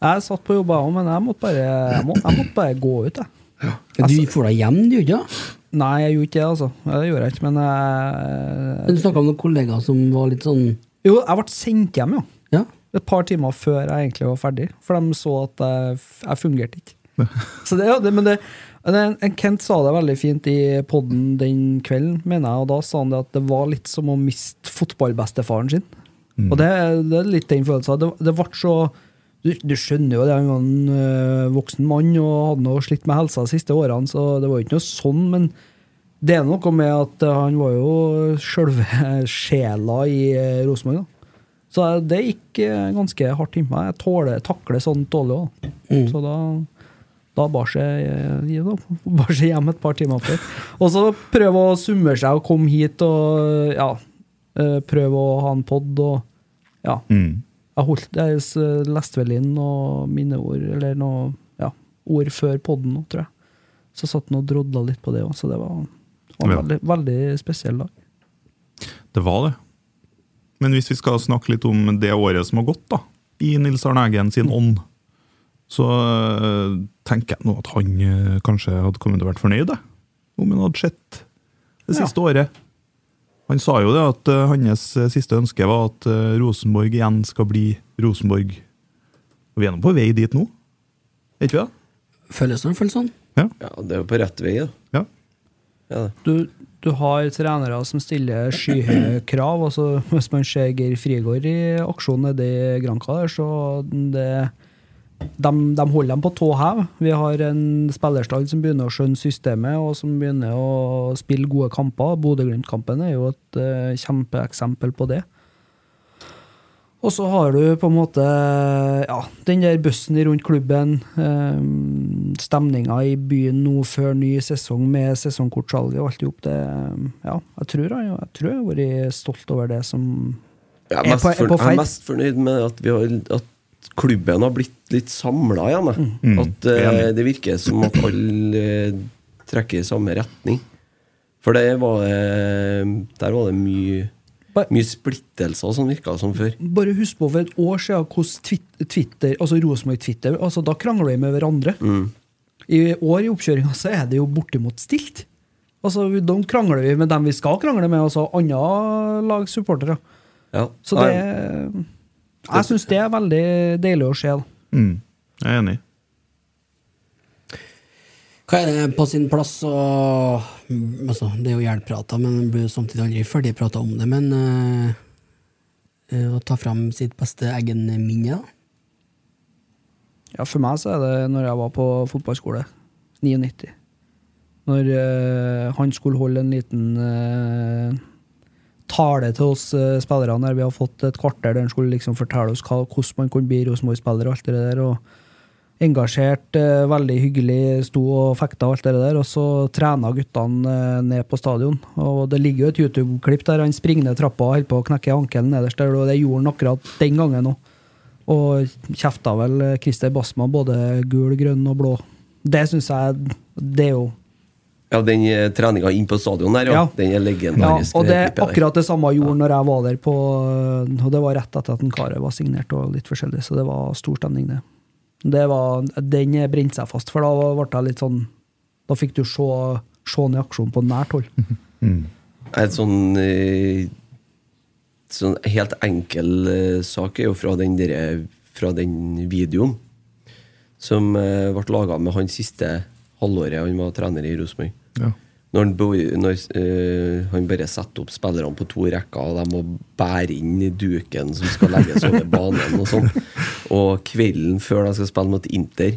S4: Jeg satt på jobb, jeg også, men jeg måtte bare, jeg må, jeg måtte bare gå ut. Jeg.
S3: Altså-
S1: Du får deg hjem, du gjorde ikke det?
S4: Nei, jeg gjorde ikke det, altså. Det gjorde jeg ikke, men jeg,
S1: Men Du snakka om noen kollegaer som var litt sånn
S4: Jo, jeg ble sendt hjem, ja.
S1: Ja.
S4: Et par timer før jeg egentlig var ferdig, for de så at jeg, f- jeg fungerte ikke. Så det, ja, det, men det, Men en- Kent sa det veldig fint i poden den kvelden, mener jeg, og da sa han det at det var litt som å miste fotballbestefaren sin. Og det, det er litt den følelsen. Det, det ble så du, du skjønner jo det, han var en øh, voksen mann og hadde noe slitt med helsa de siste årene, så det var jo ikke noe sånn, men det er noe med at øh, han var jo sjølve sjela i øh, Rosenborg, da. Så det gikk øh, ganske hardt innpå meg. Jeg tåler, takler sånt dårlig òg.
S2: Mm.
S4: Så da da bar seg, eh, da bar seg hjem et par timer før. Og så prøve å summere seg og komme hit og ja, eh, prøve å ha en pod og ja.
S2: Mm.
S4: Jeg, holdt, jeg s- leste vel inn noen minneord eller noe ja, ord før poden nå, tror jeg. Så satt han og drodla litt på det òg, så det var, det var en
S2: Ja.
S4: veldig, veldig spesiell dag.
S2: Det var det. Men hvis vi skal snakke litt om det året som har gått, da, i Nils Arne Eggen sin ånd, så øh, tenker jeg nå at han øh, kanskje hadde kommet til å vært fornøyd, jeg, om han hadde sett det
S4: Ja.
S2: siste året. Han sa jo det at øh, hans øh, siste ønske var at øh, Rosenborg igjen skal bli Rosenborg. Og vi er nå på vei dit nå, er ikke vi det?
S1: Føles sånn, føles sånn.
S3: Ja, det er jo på rett vei, da.
S2: Ja.
S3: Ja, det.
S4: Du, du har trenere som stiller skyhøye krav. altså Hvis man ser Geir Frigård i aksjon nede i Granca, der, så det, de, de holder dem på tå hev. Vi har en spillerstall som begynner å skjønne systemet, og som begynner å spille gode kamper. Bodø-Glimt-kampen er jo et eh, kjempeeksempel på det. Og så har du på en måte ja, den der bussen rundt klubben, eh, stemninga i byen nå før ny sesong med sesongkortsalget og alt i hop. det, Ja, jeg tror jeg, jeg tror jeg har vært stolt over det som
S3: Jeg er,
S4: Er
S3: mest
S4: på- er
S3: fornøyd,
S4: på
S3: jeg
S4: feil.
S3: er mest fornøyd med at, vi har, at klubben har blitt litt samla igjen. jeg.
S4: Mm.
S3: At eh,
S2: Mm. Enig.
S3: det virker som at alle eh, trekker i samme retning. For det var, eh, der var det mye,
S4: Bare-
S3: mye splittelser som virka som før.
S4: Bare husk på for et år siden hvordan Twit- Twitter, altså Rosenborg-Twitter altså Da krangler de med hverandre. I år i oppkjøringa så er det jo bortimot stilt. Altså, vi- De krangler vi med dem vi skal krangle med, altså andre lags supportere.
S3: Ja.
S4: Så det Jeg syns det er veldig deilig å se. da.
S2: Mm. Jeg er enig.
S1: Hva er det på sin plass å mm, altså, Det er jo hjelpprata, men man blir jo samtidig aldri ferdigprata om det. Men eh, eh, å ta fram sitt beste Eggen-minne, da.
S4: Ja, for meg så er det når jeg var på fotballskole. 99. Når eh, han skulle holde en liten eh, tale til oss eh, spillerne der vi har fått et kvarter der han skulle liksom fortelle oss hva, hvordan man kunne bli Rosenborg-spiller og alt det der. og Engasjert, eh, veldig hyggelig, sto og fekta og alt det der. Og så trena guttene eh, ned på stadion. Og det ligger jo et YouTube-klipp der han springer ned trappa og holder på å knekke ankelen nederst der, og det gjorde han akkurat den gangen òg. Og kjefta vel eh, Christer Basma både gul, grønn og blå. Det syns jeg Det er jo
S3: Ja, den eh, treninga inn på stadion der, ja.
S4: Ja.
S3: Den er
S4: ja,
S3: legendarisk. eh,
S4: Og det er
S3: klippet der.
S4: akkurat det samme jeg gjorde når jeg var der på Og det var rett etter at en Kare var signert og litt forskjellig, så det var stor stemning, det. det var, den brente seg fast, for da ble jeg litt sånn Da fikk du se, se den i aksjon på nært hold.
S3: Et sånn eh, Sånn helt enkel eh, sak er jo fra den, der, eh, fra den videoen som eh, ble laga med han siste halvåret han var trener i Rosenborg.
S2: Ja.
S3: Når, han, bo- når eh, han bare setter opp spillerne på to rekker, og de må bære inn i duken som skal legges over banen. Og sånn Og kvelden før de skal spille mot Inter,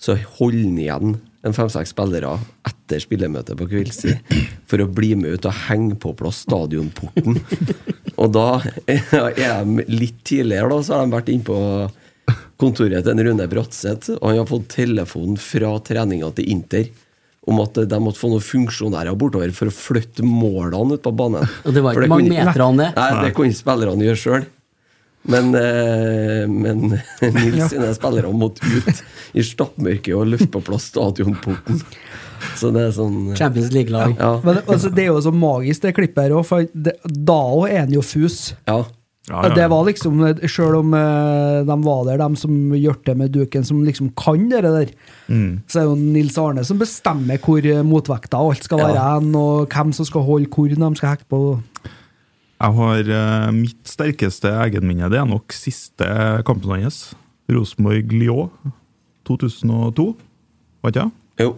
S3: så holder han igjen en fem-seks spillere etter spillemøtet på kveldstid for å bli med ut og henge på plass stadionporten. Og da er de litt tidligere, da, så har de vært inne på kontoret til en Rune Bratseth, og han har fått telefon fra treninga til Inter om at de måtte få noen funksjonærer bortover for å flytte målene ut på banen.
S1: Og det var
S3: For
S1: ikke mange
S3: kunne-
S1: meter han det.
S3: Nei, det kunne spillerne gjøre sjøl. Men, eh, men Nils sine spillere måtte ut i stappmørket og løfte på plass stadionporten. Så det er sånn
S1: Champions League-lag.
S3: Ja.
S4: Men altså, det er jo så magisk, det klippet her òg, for det, da òg er han jo fus.
S3: ja.
S2: Ja, ja, ja.
S4: Det var liksom, Sjøl om eh, de var der, de som gjør det med duken, som liksom kan det der,
S2: Mm.
S4: så er det jo Nils Arne som bestemmer hvor eh, motvekta og alt skal være
S3: Ja.
S4: hen, og hvem som skal holde hvor de skal hekte på.
S2: Jeg har eh, mitt sterkeste egenminne. Det er nok siste kampen hans. Rosenborg-Lyon 2002, var ikke det?
S3: Jo.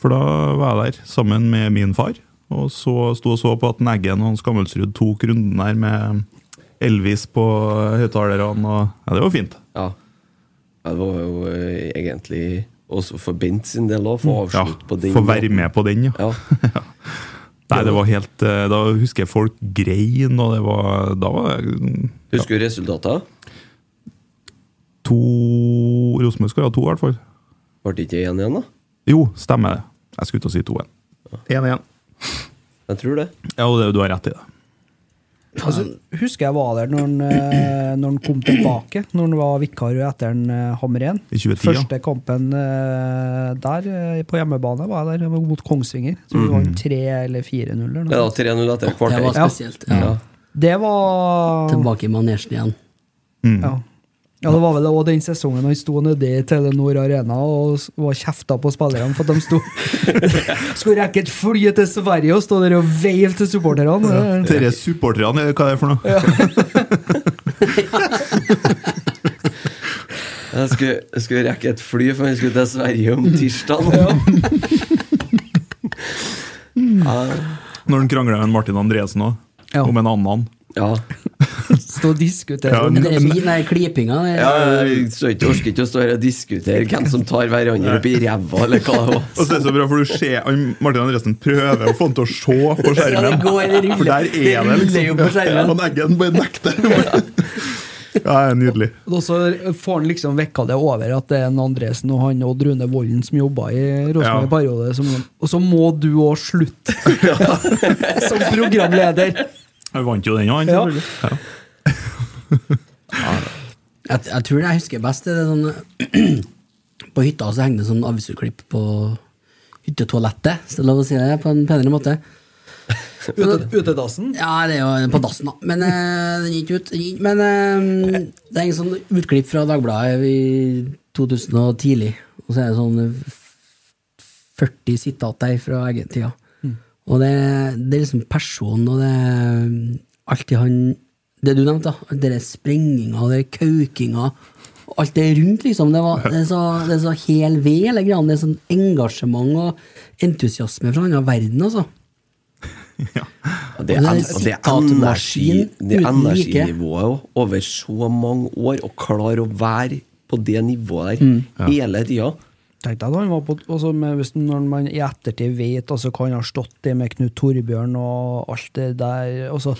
S2: For da var jeg der sammen med min far, og så sto og så på at Neggen og Skammelsrud tok runden her med Elvis på høyttalerne. og- Ja, det var fint.
S3: Ja. Ja, Det var jo eh, egentlig også for Bent sin del òg, få
S2: Mm, Ja,
S3: avslutte på den.
S2: Få være med på den, ja.
S3: Ja.
S2: Nei, det var helt eh, Da husker jeg folk grein, og det var Da var det
S3: Husker du resultatet?
S2: to Rosenborg skåra to, i hvert fall.
S3: Ble det ikke 1-1, da?
S2: Jo, stemmer det. Jeg skulle til å si 2-1. 1-1.
S3: Jeg tror det.
S2: Ja, og det, du har rett i det.
S4: Altså, husker jeg var der når han, eh, når han kom tilbake, når han var vikar etter en eh, Hammer 1.
S2: I 2010, ja.
S4: Første kampen eh, der, eh, på hjemmebane, var jeg der det var mot Kongsvinger. Så
S2: Mm.
S4: vi vant 3 eller 4-0. eller
S3: Ja,
S4: noe.
S3: 3-0 etter et
S1: Det var
S3: kvarter.
S1: spesielt. Ja.
S3: Ja.
S4: Det var
S1: Tilbake i manesjen igjen.
S4: Ja. ja, det var vel også den sesongen han sto nede i Telenor Arena og s- var kjefta på spillerne for at de sto skulle rekke et fly til Sverige og stå der og veive til supporterne.
S2: Dere supporterne, eller hva er det for noe?
S3: Jeg skulle, jeg skulle rekke et fly, for jeg skulle til Sverige om tirsdag.
S2: Når han krangler med Martin Andresen òg,
S4: Ja.
S2: om en annen.
S3: Ja.
S4: Stå og diskutere.
S2: Ja,
S1: Men Det er min nei, klipinga. det
S3: ja
S1: er-
S3: jeg står ikke- orker ikke å stå her og diskutere hvem som tar hverandre opp i ræva, eller hva det
S2: Og så
S3: var.
S2: er det så bra, for du ser han- Martin Andresen prøver å få han til å se på
S1: Ja, det
S2: skjermen.
S1: går, det ruller.
S2: for der er det,
S1: ruller jo
S2: liksom.
S1: på skjermen.
S2: Han Eggen bare nekter. Ja, det er nydelig.
S4: Og så får han liksom vekka det over at det er en Andresen og han Odd Rune Volden som jobba i Rosenborg
S2: Ja.
S4: i periode. som- Og så må du òg slutte! som programleder!
S2: Han vant jo den, han.
S4: Ja.
S2: selvfølgelig. Ja.
S1: Jeg, jeg tror det jeg husker best, det er sånn På hytta så henger det sånn avisutklipp på hyttetoalettet, så det er lov å si det på en penere måte.
S4: Ute- Utedassen.
S1: Ja, det er jo på dassen, da. Men eh, den gikk ut. Den gikk, men eh, det er en sånn utklipp fra Dagbladet i 2000 og tidlig, og så er det sånn f- 40 sitat der fra egen tida.
S4: Mm.
S1: Og det, det er liksom personen og det er alltid han Det du nevnte, da. alt Det der sprenginga og det der kaukinga. og Alt det rundt, liksom. Det, var, det, er så, det er så hel ved, hele greia. Det er sånn engasjement og entusiasme fra en annen verden, altså.
S3: Det er,
S1: Og det er
S3: en- det er energi,
S1: sitatmaskin
S3: det er
S1: uten like.
S3: energinivået også, over så mange år, å klare å være på det nivået
S1: Mm.
S3: der hele tida.
S4: Tenk deg da, han var på, også med, hvis, Når man i ettertid vet altså, hva han har stått i med Knut Torbjørn og alt det der altså,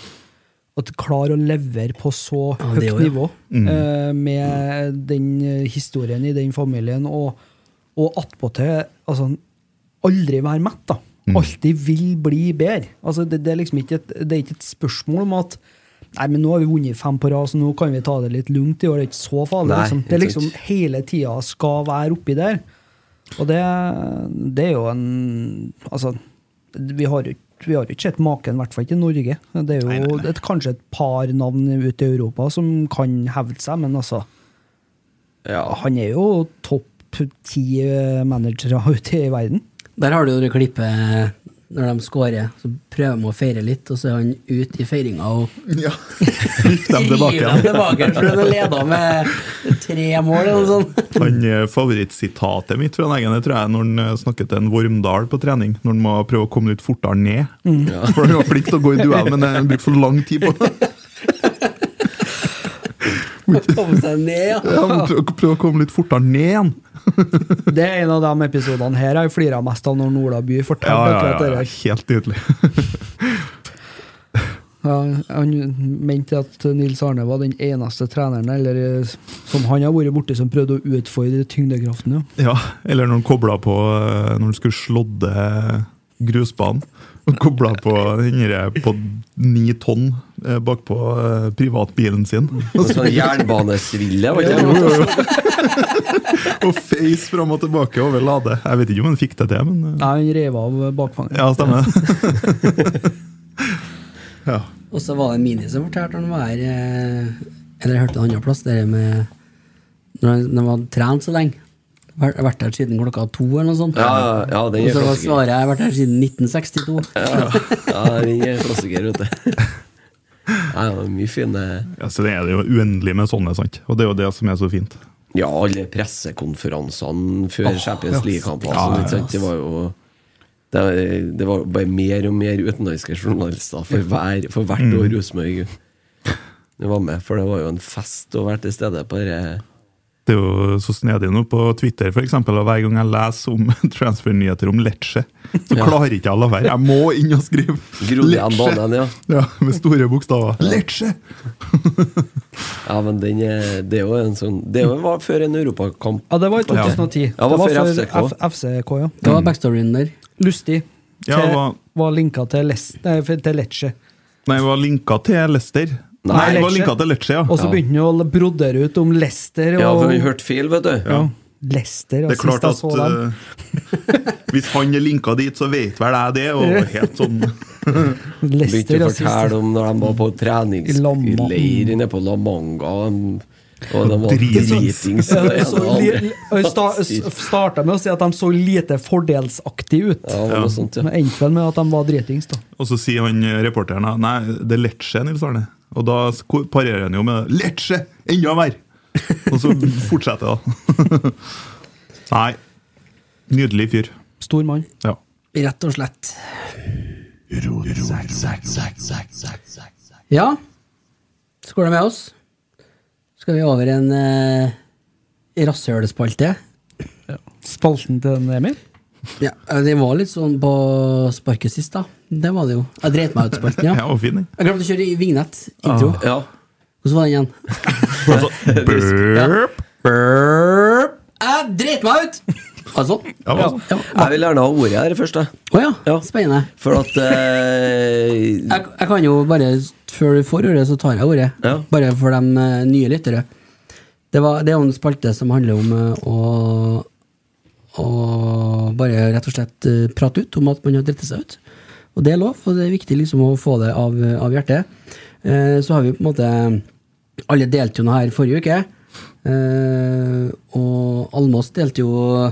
S4: At klare å levere på så
S1: Ja,
S4: høyt
S1: det Mm. også, ja.
S4: nivå eh, med den eh, historien i den familien, og, og attpåtil altså, aldri være mett. da. Alltid vil bli bedre. Altså, det, det, er liksom ikke et, det er ikke et spørsmål om at Nei, men nå har vi vunnet fem på rad, så nå kan vi ta det litt lugnt i år. Det er ikke så farlig.
S3: Nei,
S4: liksom. Det er
S3: ikke
S4: liksom
S3: sant.
S4: hele tida skal være oppi der. Og det, det er jo en Altså, vi har jo ikke- vi har jo ikke sett maken, i hvert fall ikke i Norge. Det er jo Et, kanskje et par navn ute i Europa som kan hevde seg, men altså
S3: Ja,
S4: Han er jo topp ti eh, managere ute i verden.
S1: Der har du jo det klippet når de scorer, så prøver de å feire litt, og så er han ut i feiringa og
S2: Ja. Vift dem tilbake
S1: Gir dem
S2: igjen.
S1: tilbake for han har leda med tre mål eller noe sånt.
S2: Han eh, Favorittsitatet mitt fra Eggen det tror jeg er når han eh, snakker til en Vormdal på trening. Når han må prøve å komme litt fortere ned.
S4: Mm.
S2: For han var flink til å gå i duell, men eh, han brukte for lang tid på det.
S1: Komme seg ned, ja.
S2: Ja, men prøv, prøv å komme litt fortere ned igjen.
S4: Det er en av de episodene her jeg flirer mest av når Ola By forteller
S2: Ja, ja,
S4: akkurat
S2: ja,
S4: det
S2: ja.
S4: der.
S2: Helt nydelig.
S4: Ja, han mente at Nils Arne var den eneste treneren eller, eh, som han har vært borti som prøvde å utfordre tyngdekraften. Ja.
S2: Ja, Eller når han kobla på eh, Når han skulle slådde grusbanen. Og kobla på den der på ni tonn eh, bakpå eh, privatbilen sin.
S3: og sånn jernbanesville, var ikke det?
S2: Og face fram og tilbake over Lade. Jeg vet ikke om han fikk det til, men eh,
S4: Nei, han rev av bakfanget.
S2: Ja, stemmer det. Ja.
S1: Og så var det Mini som fortalte han var her eh, Eller jeg hørte en annen plass, det der med Når han- når han hadde trent så lenge. Vært vært her siden klokka to eller noe sånt.
S3: Ja, ja, ja, den
S1: og
S3: er
S1: så var
S3: klassiker.
S1: svaret jeg har vært her siden 1962.
S3: Ja, den er klassiker, vet du. Nei, det er mye fine
S2: ja, så Det er jo uendelig med sånne, sant? Og det er jo det som er så fint.
S3: Ja, alle pressekonferansene før Champions League-kampene.
S1: ja,
S3: sånn,
S1: ja.
S3: ikke sant? Det var jo Det, det var bare mer og mer utenlandske journalister for, hver, for hvert
S1: Mm.
S3: år Rosenborg var med. For det var jo en fest å være til stede på dette.
S2: Det er jo så snedig nå på Twitter, for eksempel, og hver gang jeg leser om transfernyheter om Lecce, så
S3: Ja.
S2: klarer ikke jeg å la være. Jeg må inn og skrive
S3: Grodde igjen banen, ja.
S2: Ja, med store bokstaver. Lecce!
S3: Ja, men den er, det er jo en sånn Det er jo var før en europakamp.
S4: Ja, det var i 2010.
S3: Ja, det var før FCK.
S4: F- FCK, ja.
S1: Det var backstoryen der.
S4: Lustig
S2: Ja,
S4: til,
S2: det var-
S4: var, linka til, Les, nei, f- til Lecce.
S2: Nei, det var linka til Leicester. Nei, det var
S4: Lecce.
S2: linka til Lecce, ja.
S4: Og så begynte han å brodere ut om Leicester og
S3: Ja, for vi hørte feil, vet du.
S4: Ja. Leicester, ja,
S2: Det er klart
S4: sist
S2: at
S4: jeg så dem.
S2: eh, hvis han er linka dit, så vet vel jeg det. Og helt sånn
S4: Leicester,
S2: eh,
S3: Begynte
S4: ja,
S3: å
S4: sist jeg-
S3: fortelle om når de var på
S4: I Lama-
S3: treningsleir inne på La Manga. de- Og de var
S2: Dritings.
S3: dritings.
S4: Ja,
S3: og
S4: de
S3: det
S4: så
S3: ene og
S4: li-
S3: det andre.
S4: li- sta- s- Starta med å si at de så lite fordelsaktige ut.
S3: Ja, det var noe sånt,
S4: Men
S3: ja.
S4: endte vel med at de var dritings, da.
S2: Og så sier han eh, reporteren da, Nei, det er Lecce, Nils Arne. Og da sko- parerer han jo med Lecce! Enda verre! Og så fortsetter det. da. Nei. Nydelig fyr.
S4: Stor mann.
S2: Ja.
S1: Rett og slett. Ja, så går det med oss. Skal vi over en eh, rasshølspalte?
S4: Spalten til den Emil.
S1: Ja, det var litt sånn på sparket sist, da. Det var det jo. Jeg dreit meg ut i spalten,
S2: Jeg
S1: ja.
S2: var fin, den.
S1: Jeg glemte å kjøre i vignett. Intro.
S3: ja.
S1: Hvordan var den igjen?
S2: Altså, burp.
S1: Burp. Jeg dreit meg ut! Altså.
S2: Ja,
S1: Ja.
S2: altså.
S1: Ja.
S3: Jeg vil gjerne ha ordet her først, jeg.
S1: Å ja.
S3: Ja.
S1: Spennende.
S3: For at eh,
S1: Jeg, jeg kan jo bare, før du får ordet, så tar jeg ordet.
S3: Ja.
S1: Bare for de eh, nye lyttere. Det, var, det er jo en spalte som handler om eh, å, å bare rett og slett eh, prate ut om at man har dritt seg ut. Og det er lov, og det er viktig liksom å få det av, av hjertet. Eh, så har vi på en måte Alle delte jo noe her forrige uke. Eh, og Almås delte jo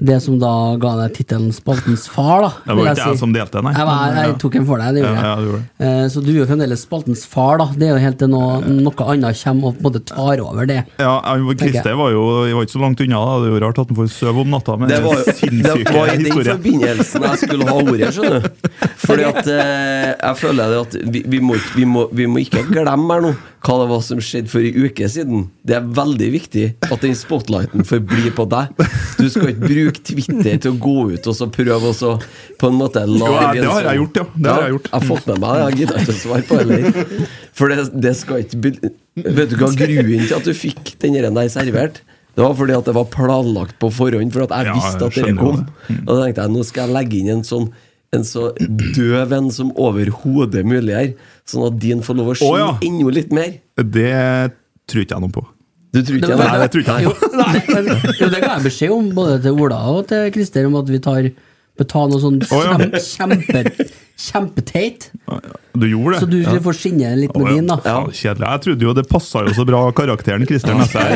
S1: det som da ga deg tittelen Spaltens far, da.
S2: Det var
S1: vil
S2: ikke jeg som delte, nei.
S1: Jeg, var, jeg,
S2: Ja.
S1: tok den for deg, det gjorde
S2: Ja, ja, du
S1: jeg.
S2: gjorde
S1: Eh, Så du er jo fremdeles spaltens far, da. Det er jo helt til noe, noe annet kommer og på en måte tar over det.
S2: Ja, han- Christer var jo jeg var ikke så langt unna. da Det er jo rart at han får sove om natta med
S3: Det var, jo- det var i
S2: sinnssyke
S3: den
S2: historier.
S3: forbindelsen jeg skulle ha ordet, skjønner du. Fordi at eh, jeg føler det at vi, vi, må, ikke- vi, må, vi må ikke glemme her nå hva det var som skjedde for en uke siden. Det er veldig viktig at den spotlighten forblir på deg. Du skal ikke bruke Twitter til å gå ut og så prøve å så på en måte
S2: Jo,
S3: lage
S2: det
S3: en
S2: har jeg
S3: sånn-
S2: gjort, ja. Det har jeg gjort.
S3: Jeg har fått med meg det. Jeg gidder ikke å svare på det heller. For det, det skal ikke be- Vet du hva grunnen til at du fikk den der der servert? Det var fordi at det var planlagt på forhånd, for at jeg
S2: Ja,
S3: visste at dere
S2: jeg skjønner
S3: kom.
S2: det. Mm.
S3: Og da tenkte jeg nå skal jeg legge inn en sånn en så døv en som overhodet mulig her, sånn at din får lov å skinne
S2: ja.
S3: enda litt mer.
S2: Det tror ikke jeg noe på.
S3: Du tror ikke
S1: Det
S3: jeg
S1: var-
S2: Nei, det tror ikke jeg.
S1: Jo, nei, men, jo, det ga jeg beskjed om, både til Ola og til Christer, om at vi tar betaler noe sånn
S2: Å, ja.
S1: kjem- kjempe, kjempeteit.
S2: Du gjorde det.
S1: Så du får skinne litt med
S2: Å, ja.
S1: din, da.
S2: Faen, Kjedelig. Jeg trodde jo det passa jo så bra karakteren Christer Nesse her.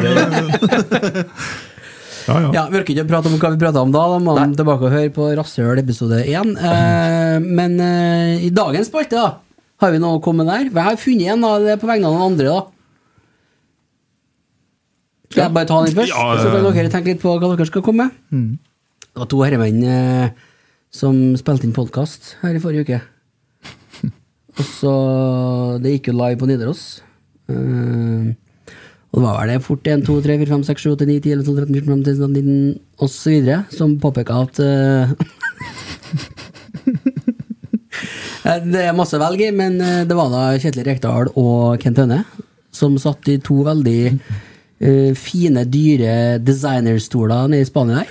S2: Ja, ja.
S1: Ja, Vi orker ikke å prate om hva vi prata om da. Da må man tilbake og høre på Rasshøl episode 1. Eh, men eh, i dagens spalte da, har vi noe å komme med der. For Jeg har funnet en da, det er på vegne av noen andre. da Skal jeg bare ta den først?
S2: Ja,
S1: så kan
S2: eh.
S1: dere tenke litt på hva dere skal komme med. Det var to herremenn eh, som spilte inn podkast her i forrige uke. Og så Det gikk jo live på Nidaros. Eh, og det var vel det fort 1, 2, 3, 4, 5, 6, 7, 8, 9, 10, 11, 12, 13, 14, 15, 16, 17, 19 og så videre, som påpeka at eh, Det er masse å velge i, men eh, det var da Kjetil Rekdal og Kent Høne som satt i to veldig eh, fine, dyre designerstoler nede i Spania her.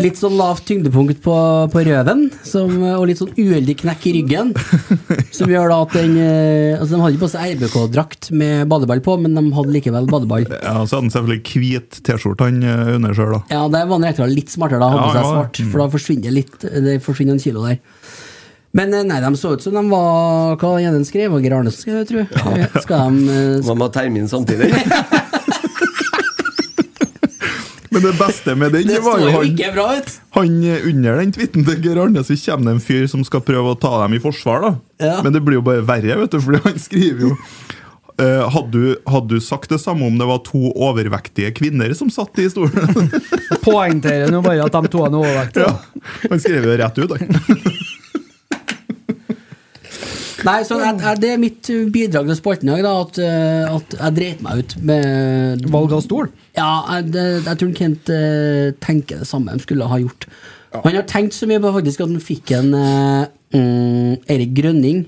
S1: Litt sånn lavt tyngdepunkt på, på røven, som, og litt sånn uheldig knekk i ryggen. Som gjør da at den eh, Altså, de hadde ikke på seg RBK-drakt med badeball på, men de hadde likevel badeball.
S2: ja Så hadde han selvfølgelig hvit T-skjorte han eh, under sjøl, da.
S1: Ja, der var han rett og slett litt smartere, da. Hadde
S2: Ja,
S1: på seg
S2: ja,
S1: svart,
S2: mm.
S1: for da forsvinner litt Det forsvinner en kilo der. Men eh, nei, de så ut som de var Hva var det ene skrev? Var Geir Arnesen, skal jeg tro. Skal de eh,
S3: Man må ha termin samtidig.
S2: Men det beste med den
S1: Det
S2: var
S1: står
S2: jo
S1: jo
S2: han,
S1: ikke bra ut!
S2: han eh, under den tweeten til Geir Arne, så kommer det en fyr som skal prøve å ta dem i forsvar, da.
S1: Ja.
S2: Men det blir jo bare verre, vet du, fordi han skriver jo eh, hadde, du, hadde du sagt det samme om det var to overvektige kvinner som satt i stolen?
S4: Poengterer nå bare at de to er noe overvektige.
S2: ja. Han skrev det rett ut. Han.
S1: Nei, så jeg, jeg, det er mitt bidrag til spalten i dag, da, at, eh, at jeg dreit meg ut med
S4: Valg av stol.
S1: Ja, jeg, det, jeg tror Kent eh, tenker det samme han skulle ha gjort. Han har tenkt så mye på faktisk at han fikk en eh, mm, Erik Grønning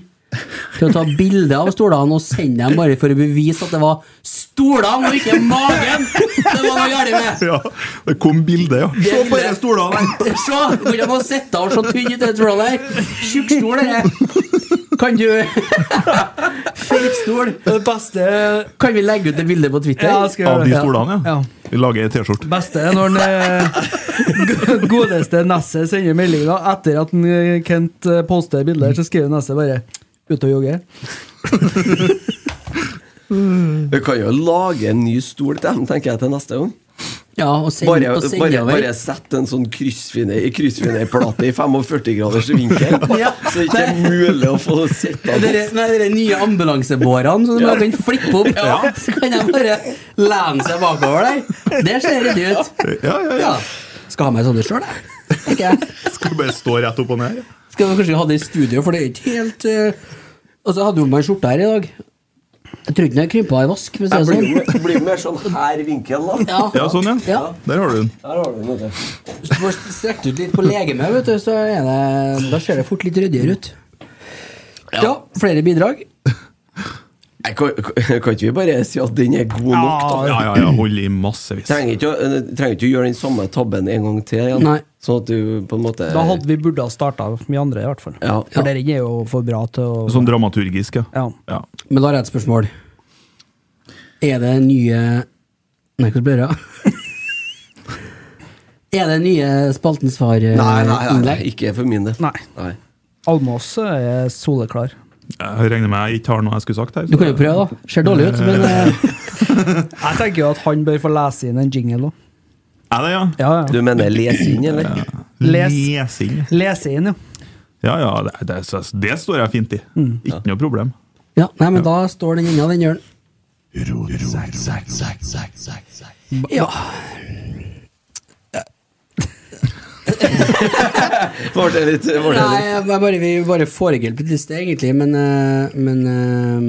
S1: til å ta bilde av stolene og sende dem bare for å bevise at det var stolene og ikke magen! Det var noe galt med!
S2: Ja. Det kom bilde, ja. Se på disse stolene!
S1: Se! Du kunne ha sittet og så tynn ut den stolen der. Tjukk stol, dette. Kan du Feit stol.
S4: Det beste
S1: Kan vi legge ut det bildet på Twitter?
S4: Ja, skal
S2: Av
S4: gjøre
S2: de
S4: det.
S2: stolene, ja.
S4: Ja.
S2: Vi lager ei T-skjorte.
S4: beste er når den, eh, go- godeste Nesset sender melding da, etter at den, eh, Kent eh, poster bilder, så skriver Nesset bare 'ute og jogge'.
S3: Vi kan jo lage en ny stol til dem, tenker jeg, til neste gang.
S1: Ja, og send,
S3: Bare,
S1: og send
S3: bare,
S1: over.
S3: bare sett en sånn kryssfine- kryssfinerplate i 45 graders vinkel,
S1: Ja.
S3: så det ikke er mulig å få sett den.
S1: Og dere- nei, dere nye ambulansebårene som
S3: Ja.
S1: dere kan flippe opp, så kan de bare lene seg bakover der. Det ser ryddig ut.
S2: Ja, ja, ja.
S1: Ja. Skal ha meg sånne sjøl, jeg. tenker jeg.
S2: Skal bare stå rett opp og ned. ja.
S1: Skal vi kanskje ha det i studio, for det er ikke helt eh, Og så hadde jo meg en skjorte her i dag. Jeg tror ikke den har krympa i vask. For å
S3: Det
S1: si
S3: blir,
S1: det sånn.
S3: jo- blir mer sånn her vinkel, da.
S1: Ja.
S2: Ja, sånn, ja.
S1: Ja.
S2: Der har du den.
S3: Der har du den, vet du.
S1: Hvis du får strekt ut litt på legemet, vet du, så er det, da ser det fort litt ryddigere ut. Ja, flere bidrag.
S3: Nei, Kan, kan kan ikke vi bare si at den er god nok, da?
S2: Ja, ja, ja. Hold i massevis.
S3: Trenger ikke, å- eh, trenger ikke å gjøre den samme tabben en gang til igjen.
S1: Nei.
S3: Sånn at du på en måte
S4: Da hadde vi burde ha starta, vi andre i hvert fall.
S3: Ja.
S4: For dere er jo for bra til å
S2: Sånn dramaturgisk, ja.
S4: Ja.
S2: ja.
S1: Men da har jeg et spørsmål. Er det nye Nei, hvordan blir det? er det nye eh, Spalten
S3: Nei, nei, nei, nei,
S1: svar-innlegg?
S3: ikke for min del.
S4: Nei.
S3: Nei.
S4: Almås er soleklar.
S2: Jeg regner med jeg ikke har noe jeg skulle sagt her. så-
S1: Du kan jo prøve, da. Ser dårlig ut, men eh,
S4: Jeg tenker jo at han bør få lese inn en jingle òg.
S2: Er det, ja?
S4: Ja, ja.
S3: Du mener les inn, eller?
S4: Les.
S2: Lesing.
S4: Lese inn, ja.
S2: Ja, ja, det, det, så- det står jeg fint i.
S1: Mm.
S2: Ikke noe problem.
S1: ja, nei, men da står den unna, den gjør den. Ja.
S3: Var det litt, var det
S1: Nei,
S3: litt?
S1: jeg bare, vi bare foregrep litt sted, egentlig, men, eh, men eh,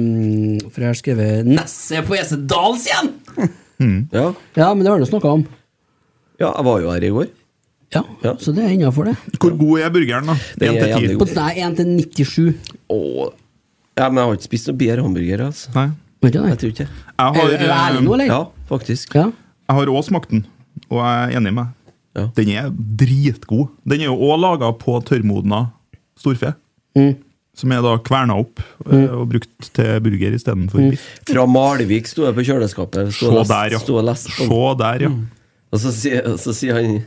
S1: For jeg har skrevet Nesse på Esedals igjen!
S3: Ja.
S1: Ja, men det har du snakka om.
S3: ja, jeg var jo her i går.
S1: Ja,
S3: Ja.
S1: Så det er innafor, det.
S2: Hvor god er burgeren, da?
S3: Den
S2: En
S3: er
S2: til ti?
S3: jævlig
S1: På, nei, 1 til 97.
S3: Åh. Ja, men jeg har ikke spist noe bedre hamburger, altså.
S2: Nei.
S1: Vet du
S3: Jeg
S1: det?
S3: tror ikke
S2: Jeg
S1: Er er du
S2: har,
S1: ærlig nå,
S2: eh,
S1: eller?
S3: Ja, faktisk.
S1: Ja.
S2: jeg har også smakt den, og jeg er enig med
S3: Ja.
S2: deg. Den er dritgod. Den er jo også laga på tørrmodna storfe.
S3: Mm.
S2: Som er da kverna opp eh, og brukt til burger istedenfor biff.
S3: Fra Malvik sto jeg på kjøleskapet. Sto
S2: Se
S3: Mm. og lest- Mm.
S2: der, ja.
S3: Sto og leste på den.
S2: Se der, ja.
S3: Og så sier, og så sier han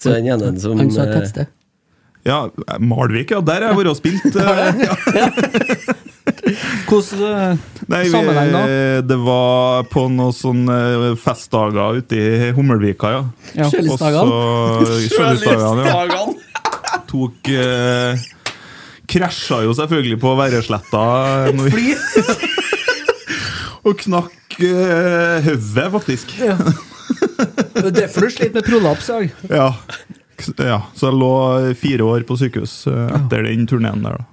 S3: Så er han ene som
S1: Han sa et
S3: eh,
S1: tettsted.
S2: ja. Malvik, ja. Der har jeg vært og spilt. eh, Ja.
S4: Hvordan
S2: Nei,
S4: eh, sammenheng da?
S2: vi, det var på noen sånne eh, festdager ute i Hummelvika, ja.
S4: Ja.
S1: Kjølesdagene.
S2: Og så- Kjølesdagene, ja. Tok eh, Krasja jo selvfølgelig på Værøysletta. når vi- og knakk eh, hodet, faktisk. Ja.
S4: Det er derfor du sliter med prolaps i dag.
S2: Ja. Så jeg lå fire år på sykehus eh, etter den turneen der, da.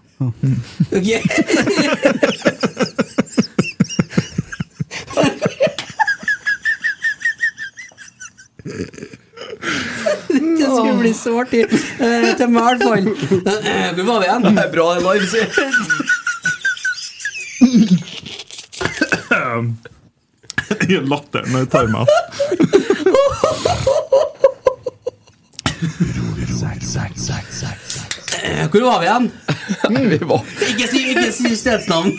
S1: Det skulle bli så artig. Eh, til meg, i hvert fall. Eh, Hvor var vi igjen? Eh,
S3: Det er bra det er live, sier jeg.
S2: Latteren tar meg av.
S1: Eh, Hvor var vi igjen?
S3: Vi var-
S1: Ikke si, ikke si stedsnavn.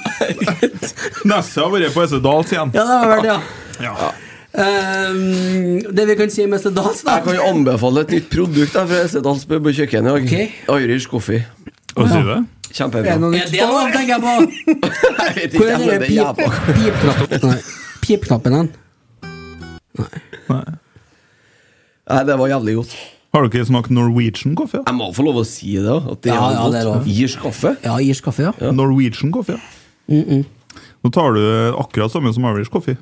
S2: Neste har vært på Esse Dals igjen.
S1: Ja, det har vært, ja.
S2: Ja.
S1: Ehm, det vi kan si om Mester Dals, da
S3: Jeg kan jo anbefale et nytt produkt der fra Esedals på kjøkken i dag.
S1: Ok.
S3: Irish coffee.
S2: Hva sier du? det?
S3: Kjempebra.
S1: Er Eh, det lov, tenker jeg på?
S3: Jeg vet
S1: Hvor
S3: ikke,
S1: er
S3: men
S1: den
S3: det er jævla
S1: pip- pipknappen Nei, Pipknappen den?
S3: Nei, det var jævlig godt.
S2: Har dere smakt Norwegian kaffe?
S3: Jeg må få lov å si det. At det
S1: Ja,
S3: er
S1: ja, det er
S3: godt.
S1: lov.
S3: Irsk kaffe.
S1: Ja, irsk kaffe, ja.
S2: Norwegian kaffe, ja. Nå tar du akkurat samme som Irish Coffee.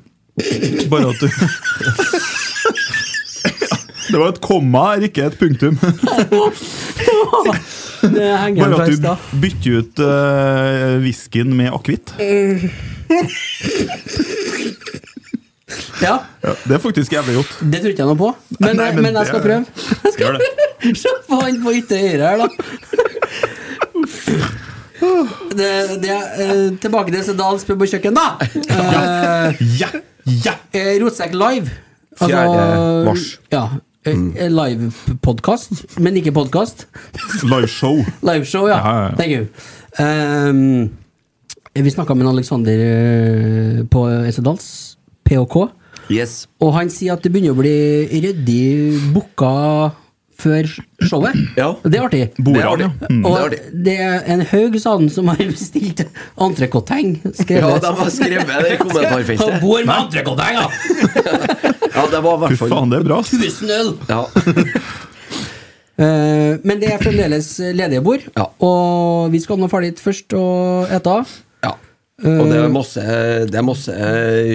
S2: Bare at du Det var et komma her, ikke et punktum.
S1: Det henger
S2: Bare
S1: fra i
S2: at du
S1: stad.
S2: bytter ut uh, whiskyen med akevitt.
S1: Ja,
S2: Ja, det er faktisk jævlig godt.
S1: det tror ikke jeg noe på, men,
S2: Nei,
S1: men,
S2: men
S1: jeg skal
S2: det-
S1: prøve.
S2: Gjør det.
S1: Se på han på ytre høyre her, da. Det, det, eh, tilbake til Sedal spør på kjøkken, da! Eh,
S2: Ja! Ja!
S1: Eh, Rotsekk live. Altså,
S3: Fjerde mars.
S1: Ja. eh,
S2: Mm.
S1: Live-podkast, men ikke podkast.
S2: Liveshow.
S1: Liveshow, ja.
S2: Ja, ja, ja.
S1: Thank you. Ehm, vi snakka med en Alexander eh, på Esedals, PHK,
S3: Yes.
S1: og han sier at det begynner å bli ryddig booka før showet.
S3: Ja.
S1: Det er artig.
S3: Det er
S2: Bordene,
S3: artig.
S2: ja. Mm.
S3: Det er
S1: Og
S3: artig.
S1: det er en haug sånn som har bestilt entrecôteng.
S3: Ja, de har skrevet det i
S1: Han
S3: kommentarfeltet.
S1: bor med entrecôteng, ja!
S3: Ja, det var i
S2: Fy
S3: hvert fall
S2: faen, det er bra. ass.
S1: Tusen øl!
S3: ja.
S1: Eh, Men det er fremdeles ledige bord,
S3: Ja.
S1: og vi skal nå ferdig dit først og ete av.
S3: ja. Og det er masse, det er masse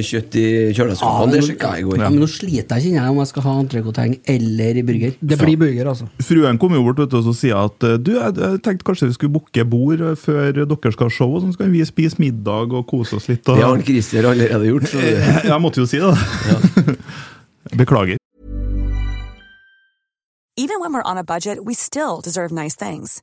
S3: kjøtt i kjøleskapene. Det sjekka jeg i går.
S1: Ja, men nå sliter jeg, kjenner jeg, om jeg skal ha entrecôteng eller burger.
S4: Det blir burger, altså.
S2: Fruen kom jo bort vet du, og så sier jeg at eh, du, jeg, jeg tenkte kanskje vi skulle booke bord eh, før dere skal ha show, og sånn, så kan vi spise middag og kose oss litt. Og...
S3: Det har han Christer allerede gjort. Så det.
S2: Jeg, jeg måtte jo si det, da. Beklager.
S5: Even when we're on a budget, we still deserve nice things.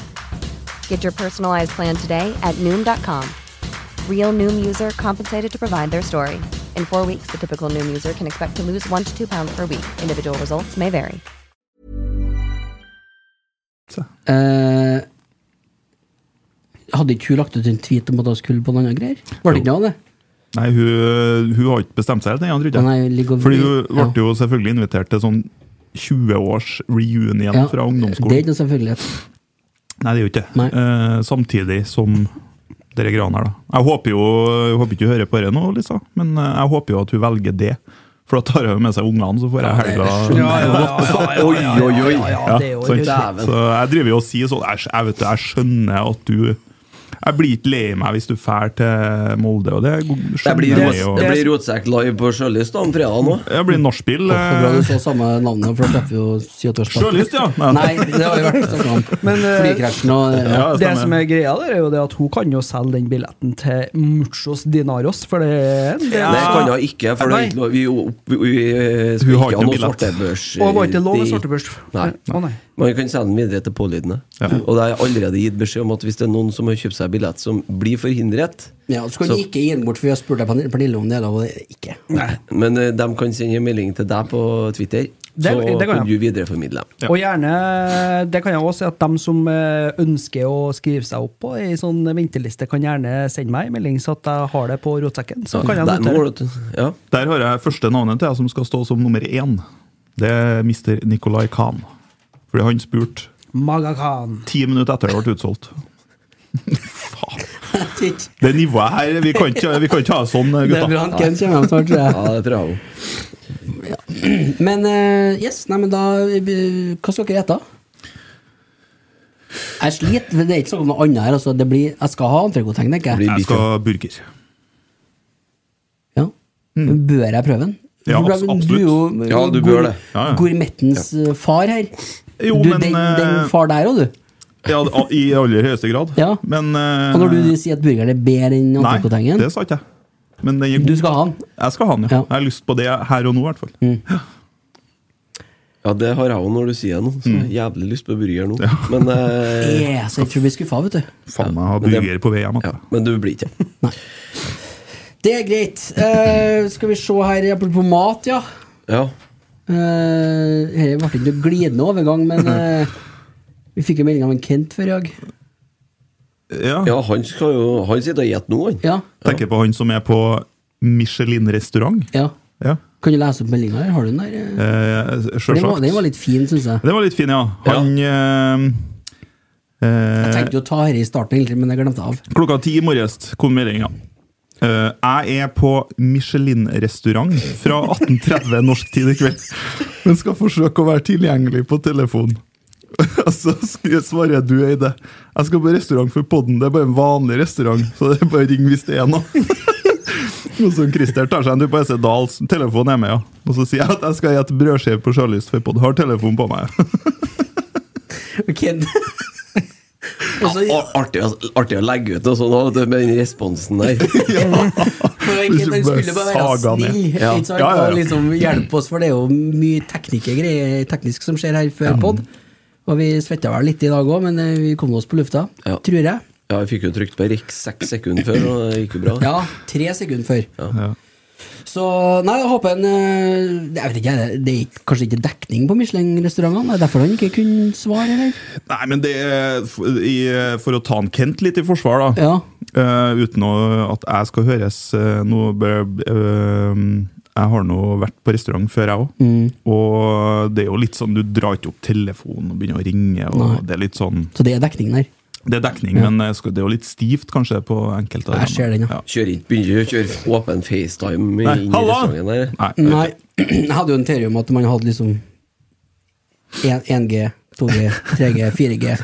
S6: Get your personalized plan today at Noom.com. Real Noom user compensated to provide their story. In four weeks, the typical Noom user can expect to lose one to two pounds per week. Individual results may vary.
S1: Eh, hadde ikke hun lagt ut en tweet om at hun skulle på noen andre greier? Var det ikke noe av det?
S2: Nei, hun, hun har ikke bestemt seg. Den,
S1: Den er jo ligger og-
S2: Fordi hun ble
S1: Ja.
S2: jo selvfølgelig invitert til sånn 20-års reunion
S1: Ja, Det
S2: fra
S1: er
S2: ungdomsskolen.
S1: ikke noe selvfølgelighet.
S2: Nei, det er jo ikke det.
S1: Nei.
S2: Eh, samtidig som dere greiene her, da. Jeg håper jo jeg håper ikke hun hører på det nå, Lisa, men eh, jeg håper jo at hun velger det. For da tar hun jo med seg ungene, så får jeg helga.
S3: Oi, oi, oi!
S4: Ja, det er jo
S2: sant?
S4: ryddig.
S3: Dæven.
S2: Så jeg driver jo og sier sånn jeg, jeg, vet, det, jeg skjønner at du Jeg blir ikke lei meg hvis du drar til Molde, og det skjønner
S3: Det blir,
S2: jeg.
S3: det
S2: Og,
S3: blir Rotsekk live på Sjølyst om fredag nå.
S2: det blir nachspiel.
S1: Så bra du
S2: eh,
S1: så samme navnet, for da slipper vi jo syvårsdag.
S2: Sjølyst, ja. Nei.
S1: Nei, det har vi vært snakka om.
S4: eh,
S1: Flykrasjen og ja.
S2: Ja, det
S4: Det
S2: stemmer.
S4: som er greia, der, er jo det at hun kan jo selge den billetten til muchos dinaros, for det er en del.
S3: Det kan hun ikke, for det er ikke lov. Vi, vi, vi eh, skal
S2: Hun
S3: ikke ha
S2: har ikke noe
S3: noe
S2: billett.
S3: svartebørs.
S4: Og var ikke lov med
S3: i-
S4: svartebørs.
S3: Nei.
S4: Å, nei.
S3: Man kan sende den videre til pålydende. Og det er allerede gitt beskjed om at hvis det er noen som har kjøpt seg billett som blir forhindret
S1: Ja, så kan du
S3: Så-
S1: ikke gi den bort, for jeg spurte Pernille- Pernille om det, eller var det ikke?
S3: Men eh, de kan sende en melding til deg på Twitter,
S4: Det-
S3: så
S4: det kan
S3: kan du
S4: jeg.
S3: videreformidle dem.
S4: Og gjerne, det kan jeg også si, at dem som eh, ønsker å skrive seg opp på ei sånn venteliste, kan gjerne sende meg en melding, så at jeg har det på rotsekken. Så kan jeg
S3: Der må
S4: notere.
S3: du- ja.
S2: Der har jeg første navnet til jeg som skal stå som nummer én. Det er Mr. Nicolai Khan. Fordi han spurte
S4: Magakan.
S2: ti minutter etter det ble utsolgt.
S1: Titt.
S2: Det nivået her Vi kan ikke, vi kan ikke ha sånn,
S1: Det er
S2: gutta.
S1: Brann Ken kommer hjem snart, tror jeg.
S3: ja, det tror jeg også.
S1: Men eh, yes, nei, men da eh, Hva skal dere ete? Jeg sliter. Det er ikke snakk om noe annet her. Altså, det blir, jeg skal ha entrecôte, tenker jeg.
S2: Jeg skal ha burger.
S1: Ja. Men Bør jeg prøve den?
S2: Ja,
S1: Du ble-
S2: abs- absolutt.
S1: Du er jo
S3: Ja, du bør det.
S2: Ja, ja.
S1: gourmettens eh, far her.
S2: Jo,
S1: du,
S2: men,
S1: den,
S2: eh,
S1: den far der òg, du.
S2: Ja, I aller høyeste grad.
S1: Ja.
S2: Men eh,
S1: Og når du sier at burgeren er bedre enn
S2: Nei,
S1: entrecôte-tengen
S2: det sa ikke jeg. Men den er
S1: Du
S2: god.
S1: skal ha den.
S2: Jeg skal ha den, ja.
S1: Ja. Mm.
S2: Jeg har lyst på det her og nå, i hvert fall.
S3: Ja, det har jeg òg når du sier det nå. Så jeg har jævlig lyst på burger nå. Men, eh,
S1: Eh, så jeg tror jeg blir skuffa, vet du.
S2: Faen, jeg har
S3: men det-
S2: burger på vei hjem.
S3: ja,
S2: altså.
S3: men du blir ikke det.
S1: Det er greit. Eh, skal vi se her, apropos mat, ja.
S3: Ja.
S1: Uh, her ble ikke noe glidende overgang, men eh, vi fikk jo melding av en Kent før i dag.
S2: Ja.
S3: ja, han skal jo Han sitter og gjetter nå, han.
S1: Ja,
S2: Tenker på han som er på Michelin-restaurant.
S1: ja.
S2: Ja.
S1: Kan du lese opp meldinga her? Har du den der? eh?
S2: Eh,
S1: For den, var,
S2: Sjølsagt.
S1: den var litt fin, syns jeg.
S2: Den var litt fin, ja. Han eh, eh,
S1: Jeg tenkte jo å ta dette i starten, egentlig, men jeg glemte av.
S2: Klokka ti i morges kom meldinga. Eh, jeg er på Michelin-restaurant fra 18.30 norsk tid i kveld, men skal forsøke å være tilgjengelig på telefon. Og så sk- svarer jeg, du, Eide. Jeg skal på restaurant for podden. Det er bare en vanlig restaurant, så det er bare ring hvis det er noe. Og så Christer tar seg en tur på SC Dahls. Telefonen er med, ja. Og så sier jeg at jeg skal gjette brødskive på Charlies for podd. Har telefonen på meg.
S1: Kent. Og så-
S3: Å, Artig, å- artig å legge ut og sånn da, vet du, med den responsen der.
S1: for en Kent, han skulle bare være
S2: Saga ned.
S1: snill
S3: Ja.
S1: ikke sant?
S2: Ja, ja, ja.
S1: og liksom hjelpe oss, for det er jo mye tekniske greier teknisk som skjer her før pod. Og vi svetta vel litt i dag òg, men eh, vi kom oss på lufta,
S3: Ja.
S1: tror jeg.
S3: Ja, jeg fikk jo trykt på RIK seks sekunder før, og det gikk jo bra.
S1: Ja, tre sekunder før. Så nei, jeg håper en eh, Jeg vet ikke, jeg, det er ikke- kanskje ikke dekning på Michelin-restaurantene? Det er derfor han ikke kunne svare, eller?
S2: Nei, men det er f- i, For å ta han Kent litt i forsvar, da.
S1: Ja.
S2: Eh, uten å, at jeg skal høres eh, noe bør- eh, Jeg har nå vært på restaurant før, jeg òg.
S1: Mm.
S2: Og det er jo litt sånn, du drar ikke opp telefonen og begynner å ringe. Og det er litt sånn,
S1: Så det er dekning der.
S2: det er dekning, men eh, skal- det er jo litt stivt kanskje på enkelte. av
S1: Jeg
S2: dem.
S1: ser den, ja.
S3: Kjør ikke, begynner ikke å kjøre åpen FaceTime
S2: Nei,
S3: inn i
S2: hallo!
S3: restauranten der.
S2: Nei, jeg
S1: Nei,
S2: vet ikke.
S1: jeg hadde jo en teori om at man hadde liksom 1G, 2G, 3G, 4G.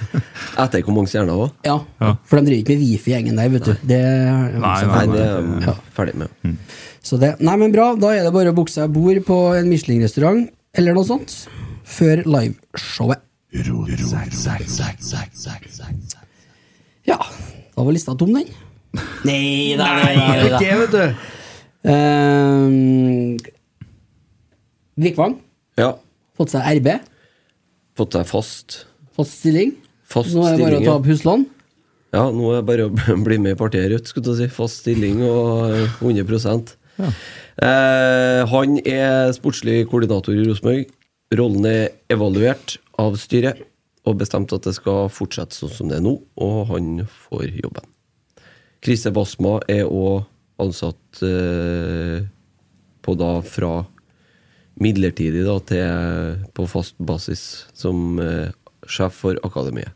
S3: Etter hvor mange stjerner òg?
S1: Ja,
S2: Ja.
S1: for de driver ikke med Wifi-gjengen der, vet du. Det har jeg
S2: Nei,
S1: også
S3: Nei, det
S1: fått med.
S3: er jeg
S1: Ja.
S3: ferdig med.
S1: Så det, nei, men bra. Da er det bare å bukse seg bord på en Michelin-restaurant eller noe sånt før liveshowet. Ja, da var lista tom, den. Nei da, nei da.
S4: vet du.
S1: Ehm, Vikvang,
S3: Ja.
S1: fått seg RB,
S3: Fått deg fast.
S1: fått stilling.
S3: Fast
S1: Nå er det bare
S3: stilling,
S1: å
S3: ja.
S1: ta opp huslån.
S3: Ja, nå er det bare å b- bli med i partiet Rødt, skulle jeg til å si. Fast stilling og eh, 100 eh, Han er sportslig koordinator i Rosenborg. Rollen er evaluert av styret og bestemt at det skal fortsette sånn som det er nå, og han får jobben. Krise Basma er òg ansatt eh, på da fra midlertidig da til på fast basis som eh, sjef for akademiet.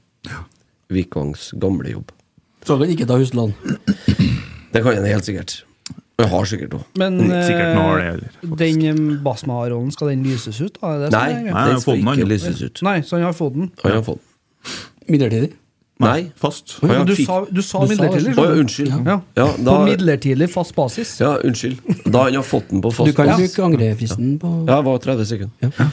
S3: Vikvangs gamle jobb.
S1: Så kan ikke ta huslån.
S3: Det kan han helt sikkert. Og jeg har sikkert noe.
S4: Men
S2: Sikkert noe har det, eller,
S4: eh, den eh, Basma-rollen, skal den lyses ut? da? Er det
S3: Nei,
S4: som
S2: nei,
S4: er greia?
S2: jeg har
S3: den
S2: fått
S3: skal
S2: den,
S3: ikke
S2: han, jo.
S3: lyses ut.
S4: nei, så han har fått den.
S3: Han har fått den.
S1: Midlertidig.
S3: Nei.
S2: Fast.
S3: Å, ja,
S4: Men du,
S3: fikk-
S4: sa, du
S1: Du
S4: sa
S1: sa
S3: Å,
S1: det.
S4: midlertidig?
S3: ja,
S4: skjønner du?
S3: unnskyld.
S4: Ja.
S3: Ja,
S4: På
S3: da,
S4: midlertidig, fast basis?
S3: ja, unnskyld. Da han har fått den på
S1: Du
S3: fast
S1: kan
S3: basis.
S1: bruke angrefristen på
S3: Ja, det var 30 sekunder.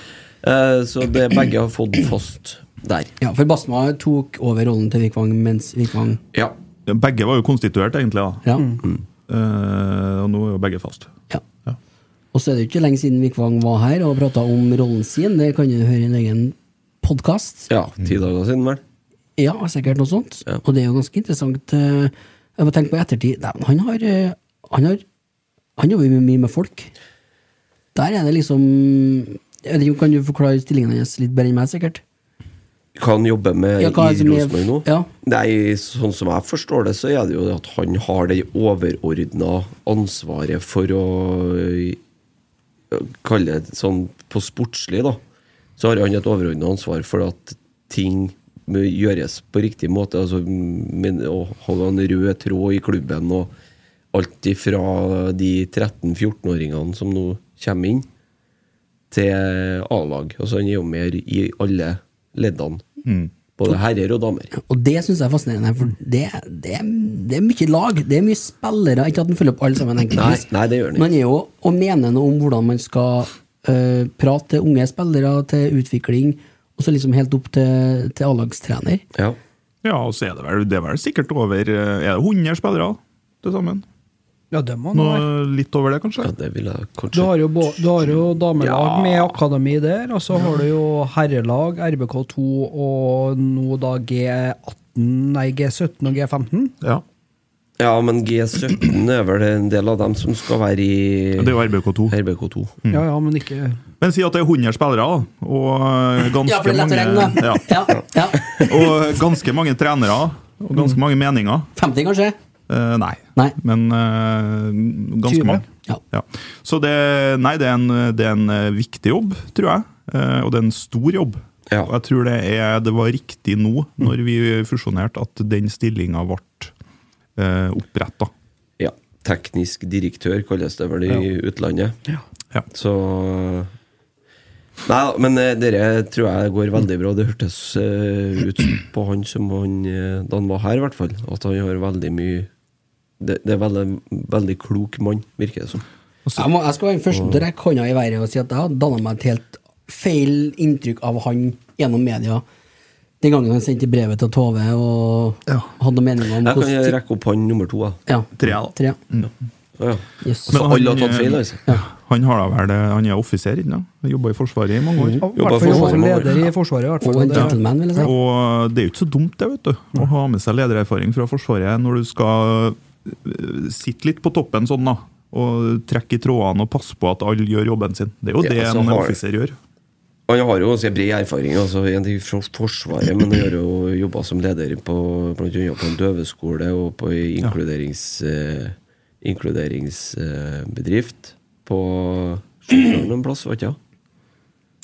S3: Eh, Så det, begge har fått den fast der.
S1: Ja, for Basma tok over rollen til Vikvang mens Vikvang
S3: Ja.
S2: Begge var jo konstituert, egentlig. da
S1: Ja.
S3: Mm.
S2: Eh, Og nå er jo begge fast.
S1: ja. Og så er det jo ikke lenge siden Vikvang var her og prata om rollen sin. Det kan du høre i en egen podkast.
S3: ja ti dager siden, vel.
S1: Ja, sikkert noe sånt.
S3: Ja.
S1: Og det er jo ganske interessant. eh, Jeg må tenke på i ettertid Nei, men han har eh, Han har Han jobber jo mye med folk. Der er det liksom jeg vet ikke, Kan du forklare stillingen hans litt bedre enn meg, sikkert?
S3: Kan jobbe med
S1: Ja, hva er det
S3: i
S1: som er-
S3: Rosenborg nå.
S1: ja.
S3: Nei, sånn som jeg forstår det, så er det jo det at han har det overordna ansvaret for å øh, Kalle det sånn på sportslig, da. Så har han et overordna ansvar for at ting må gjøres på riktig måte. Altså men, å holde en rød tråd i klubben og alt ifra de 13-14-åringene som nå kommer inn til A-lag. Altså han er jo med i alle leddene. Både herrer og damer.
S1: Og det syns jeg er fascinerende, for det, det, det er mye lag, det er mye spillere. Ikke at han følger opp alle sammen, enkeltvis.
S3: Nei, nei, det gjør han ikke.
S1: Men han er jo og mener noe om hvordan man skal eh, prate til unge spillere, til utvikling, og så liksom helt opp til, til A-lagstrener.
S3: Ja.
S2: Ja, og så er det vel, det er vel sikkert over eh, Er det 100 spillere til sammen?
S4: Ja, det må nå
S2: Noe
S4: være.
S2: litt over det, kanskje?
S3: ja, det vil jeg
S4: Du
S3: kanskje
S4: har jo, bå- du har jo damelag med akademi der, og så har du jo herrelag, RBK2 og nå da G18, nei G17 og G15.
S2: Ja.
S3: Ja, men G17 er vel en del av dem som skal være i
S2: Det er jo RBK2.
S3: RBK2.
S4: Ja, ja, men ikke
S2: Men si at det er 100 spillere, da, og eh, ganske
S1: Ja, for det er lett å regne,
S2: mange
S1: da.
S2: ja,
S1: Ja, ja.
S2: Og ganske mange trenere, og ganske mange meninger.
S1: 50, kanskje?
S2: Eh, nei.
S1: Nei.
S2: Men eh, ganske
S4: 20.
S2: mange.
S1: Ja.
S2: Ja. Så det, nei, det, er en, det er en eh, viktig jobb, tror jeg. Eh, og det er en stor jobb.
S3: Ja.
S2: Og jeg tror det, er, det var riktig nå, når vi fusjonerte, at den stillinga ble uh, oppretta.
S3: Ja. Teknisk direktør kalles det vel i utlandet.
S2: Ja.
S3: Så Nei, men eh, dere tror jeg går veldig bra. Det hørtes eh, ut på han som han eh, da han var her, i hvert fall. At han har veldig mye Det, det er veldig, veldig klok mann, virker det som.
S1: Jeg, må, jeg skal være den første til å rekke hånda i været og si at jeg har danna meg et helt feil inntrykk av han gjennom media. Den gangen han sendte brevet til Tove og hadde noen meninger
S3: Jeg
S1: om
S3: kan
S1: hvordan
S3: rekke opp han nummer to. Ja.
S1: ja.
S2: Tre, da.
S1: Tre.
S3: Ja.
S1: Yes.
S3: Så
S2: Men han,
S3: alle har tatt feil,
S2: eh,
S3: altså?
S2: Han, har da vel, eh, han er offiser ennå. Jobba i Forsvaret i mange år.
S1: Mm.
S4: I hvert fall
S3: forsvaret
S4: jo
S3: må
S4: leder
S3: være-
S4: i Forsvaret, i hvert
S1: Og en
S4: fall.
S1: gentleman, vil jeg si.
S2: Og det er jo ikke så dumt det, vet du. Å ha med seg ledererfaring fra Forsvaret når du skal øh, sitte litt på toppen sånn, da. Og trekke i trådene og passe på at alle gjør jobben sin. Det er jo
S3: Ja,
S2: det
S1: altså,
S3: så
S2: en
S3: har-
S2: offiser gjør.
S3: Han har jo ganske bred erfaring altså, en ting fra Forsvaret, men han har jo jobba som leder på blant annet på en døveskole og på ei inkluderings, eh, inkluderingsbedrift på Stjørdal en plass, vet ikke jeg.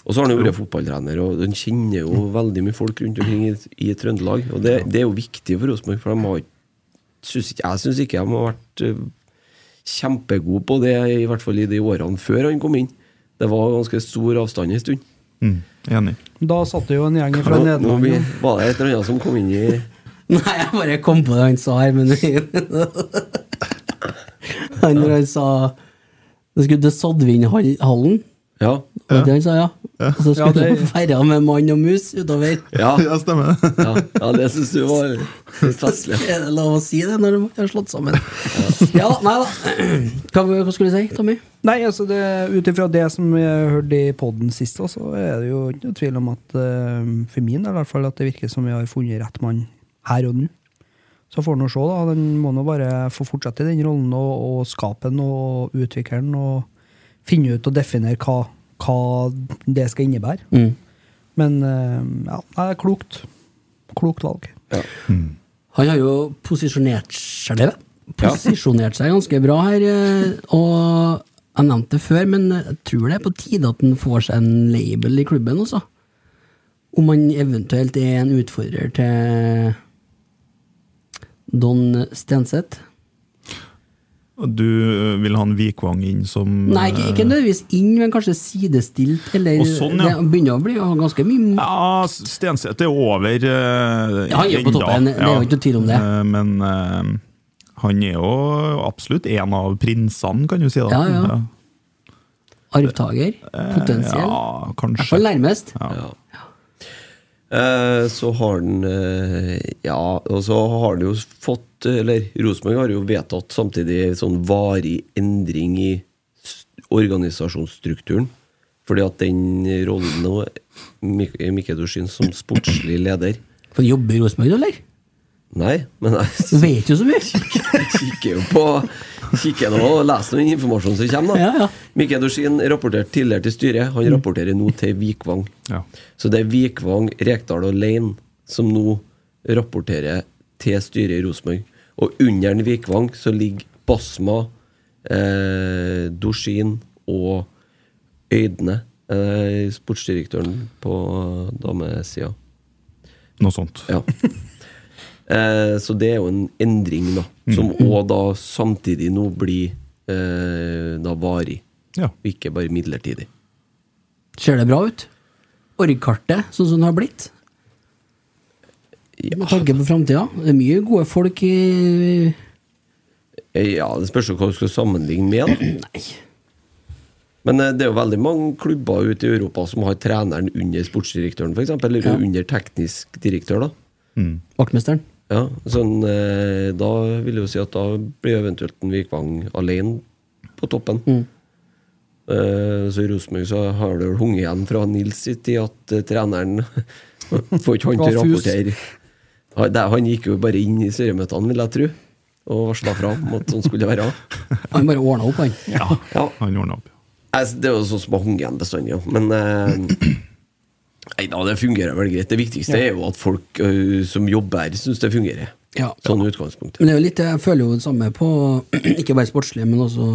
S3: Og så har han jo vært fotballtrener, og han kjenner jo veldig mye folk rundt omkring i, i Trøndelag. Og det, det er jo viktig for Rosenborg, for de har synes ikke, jeg syns ikke de har vært eh, kjempegode på det, i hvert fall i de årene før han kom inn. Det var ganske stor avstand en stund.
S2: Mm, enig.
S4: Da satt det jo en gjeng fra
S3: Nå, nå
S4: Nederland.
S3: vi,
S4: ja.
S3: var det et eller annet som kom inn i
S1: Nei, jeg bare kom på det han sa her, men Han når han sa Det skulle til Sodvinhallen.
S3: Ja.
S1: Det var det han sa, ja. Og så
S4: Ja,
S1: skulle
S4: det-
S1: de feire med mann og mus utover.
S3: Ja,
S2: Ja, stemmer det.
S3: ja, ja det syns du var litt festlig.
S1: Er det lov å si det når de har slått sammen? Ja da, nei da. Hva, hva skulle du si, Tommy?
S4: Nei, altså det, ut ifra det som jeg hørte i poden sist, også, så er det jo ikke noe tvil om at eh, for min del i hvert fall, at det virker som vi har funnet rett mann her og nå. Så får han jo se, da. Den må nå bare få fortsette i den rollen og, og skape den og utvikle den og finne ut og definere hva, hva det skal innebære. Men eh, ja, det er klokt. Klokt valg.
S1: Han har jo posisjonert seg, posisjonert seg ganske bra her. eh, Og jeg nevnte det før, men jeg tror det er på tide at han får seg en label i klubben også. Om han eventuelt er en utfordrer til Don Stenseth.
S2: Og Du øh, vil ha en Vikvang inn som
S1: Nei, ikke, ikke
S2: øh,
S1: nødvendigvis inn, men kanskje sidestilt, eller
S2: Og sånn, ja.
S1: Det begynner å bli å ha ganske mye
S2: Ja, Stenseth er over øh,
S1: Ja, han er jo på
S2: enda.
S1: toppen, det er jo ikke noe tvil om det.
S2: Øh, Men øh, han er jo absolutt en av prinsene, kan du si. da
S1: Ja, ja. arvtaker. Potensiell.
S2: Eh, Ja,
S1: I hvert fall
S2: kanskje.
S1: nærmest.
S3: Ja. Eh, Så har den eh, Ja, og så har den jo fått Eller Rosenborg har jo vedtatt samtidig sånn varig endring i s- organisasjonsstrukturen. Fordi at den rollen nå Mik- Mikkel Dorsin som sportslig leder
S1: For jobber i Rosenborg, eller?
S3: Nei, men jeg
S1: Du vet jo så mye!
S3: kikker jo på Kikker nå og leser den informasjonen som kommer. da
S1: Ja, ja.
S3: Mikke Dorsin rapporterte tidligere til styret, han rapporterer nå til Vikvang.
S2: Ja.
S3: Så det er Vikvang, Rekdal og Lein som nå rapporterer til styret i Rosenborg. Og under den Vikvang så ligger Basma, eh, Dorsin og Øydne, eh, sportsdirektøren på damesida.
S2: Noe sånt.
S3: Ja. Eh, så det er jo en endring, da. Som òg da samtidig nå blir eh, da varig,
S2: Ja.
S3: ikke bare midlertidig.
S1: Ser det bra ut? Org-kartet, sånn som det har blitt? Med tanke på framtida. Det er mye gode folk i
S3: Eh, Ja, det spørs jo hva du skal sammenligne med. da.
S1: Nei.
S3: Men eh, det er jo veldig mange klubber ute i Europa som har treneren under sportsdirektøren, f.eks. Eller
S1: Ja.
S3: under teknisk direktør, da.
S1: Vaktmesteren.
S3: Ja, sånn, eh, da vil jeg jo si at da blir eventuelt en Vikvang alene på toppen. Eh, så i Rosenborg så har det vel hunget igjen fra Nils i tid at eh, treneren får ikke han til å
S4: Var fus.
S3: rapportere. Han, det- han gikk jo bare inn i styremøtene, vil jeg tro, og varsla fra om at sånn skulle det være.
S1: Han bare ordna opp, han.
S2: Ja,
S3: Ja.
S2: han ordna opp.
S3: Altså, det er jo sånn som har hunget igjen bestandig, ja. men eh, Nei da, det fungerer vel greit. Det viktigste er jo at folk eh, som jobber her, syns det fungerer.
S1: Ja.
S3: Sånn i utgangspunktet.
S1: Men det er jo litt, jeg føler jo det samme på ikke bare sportslig, men også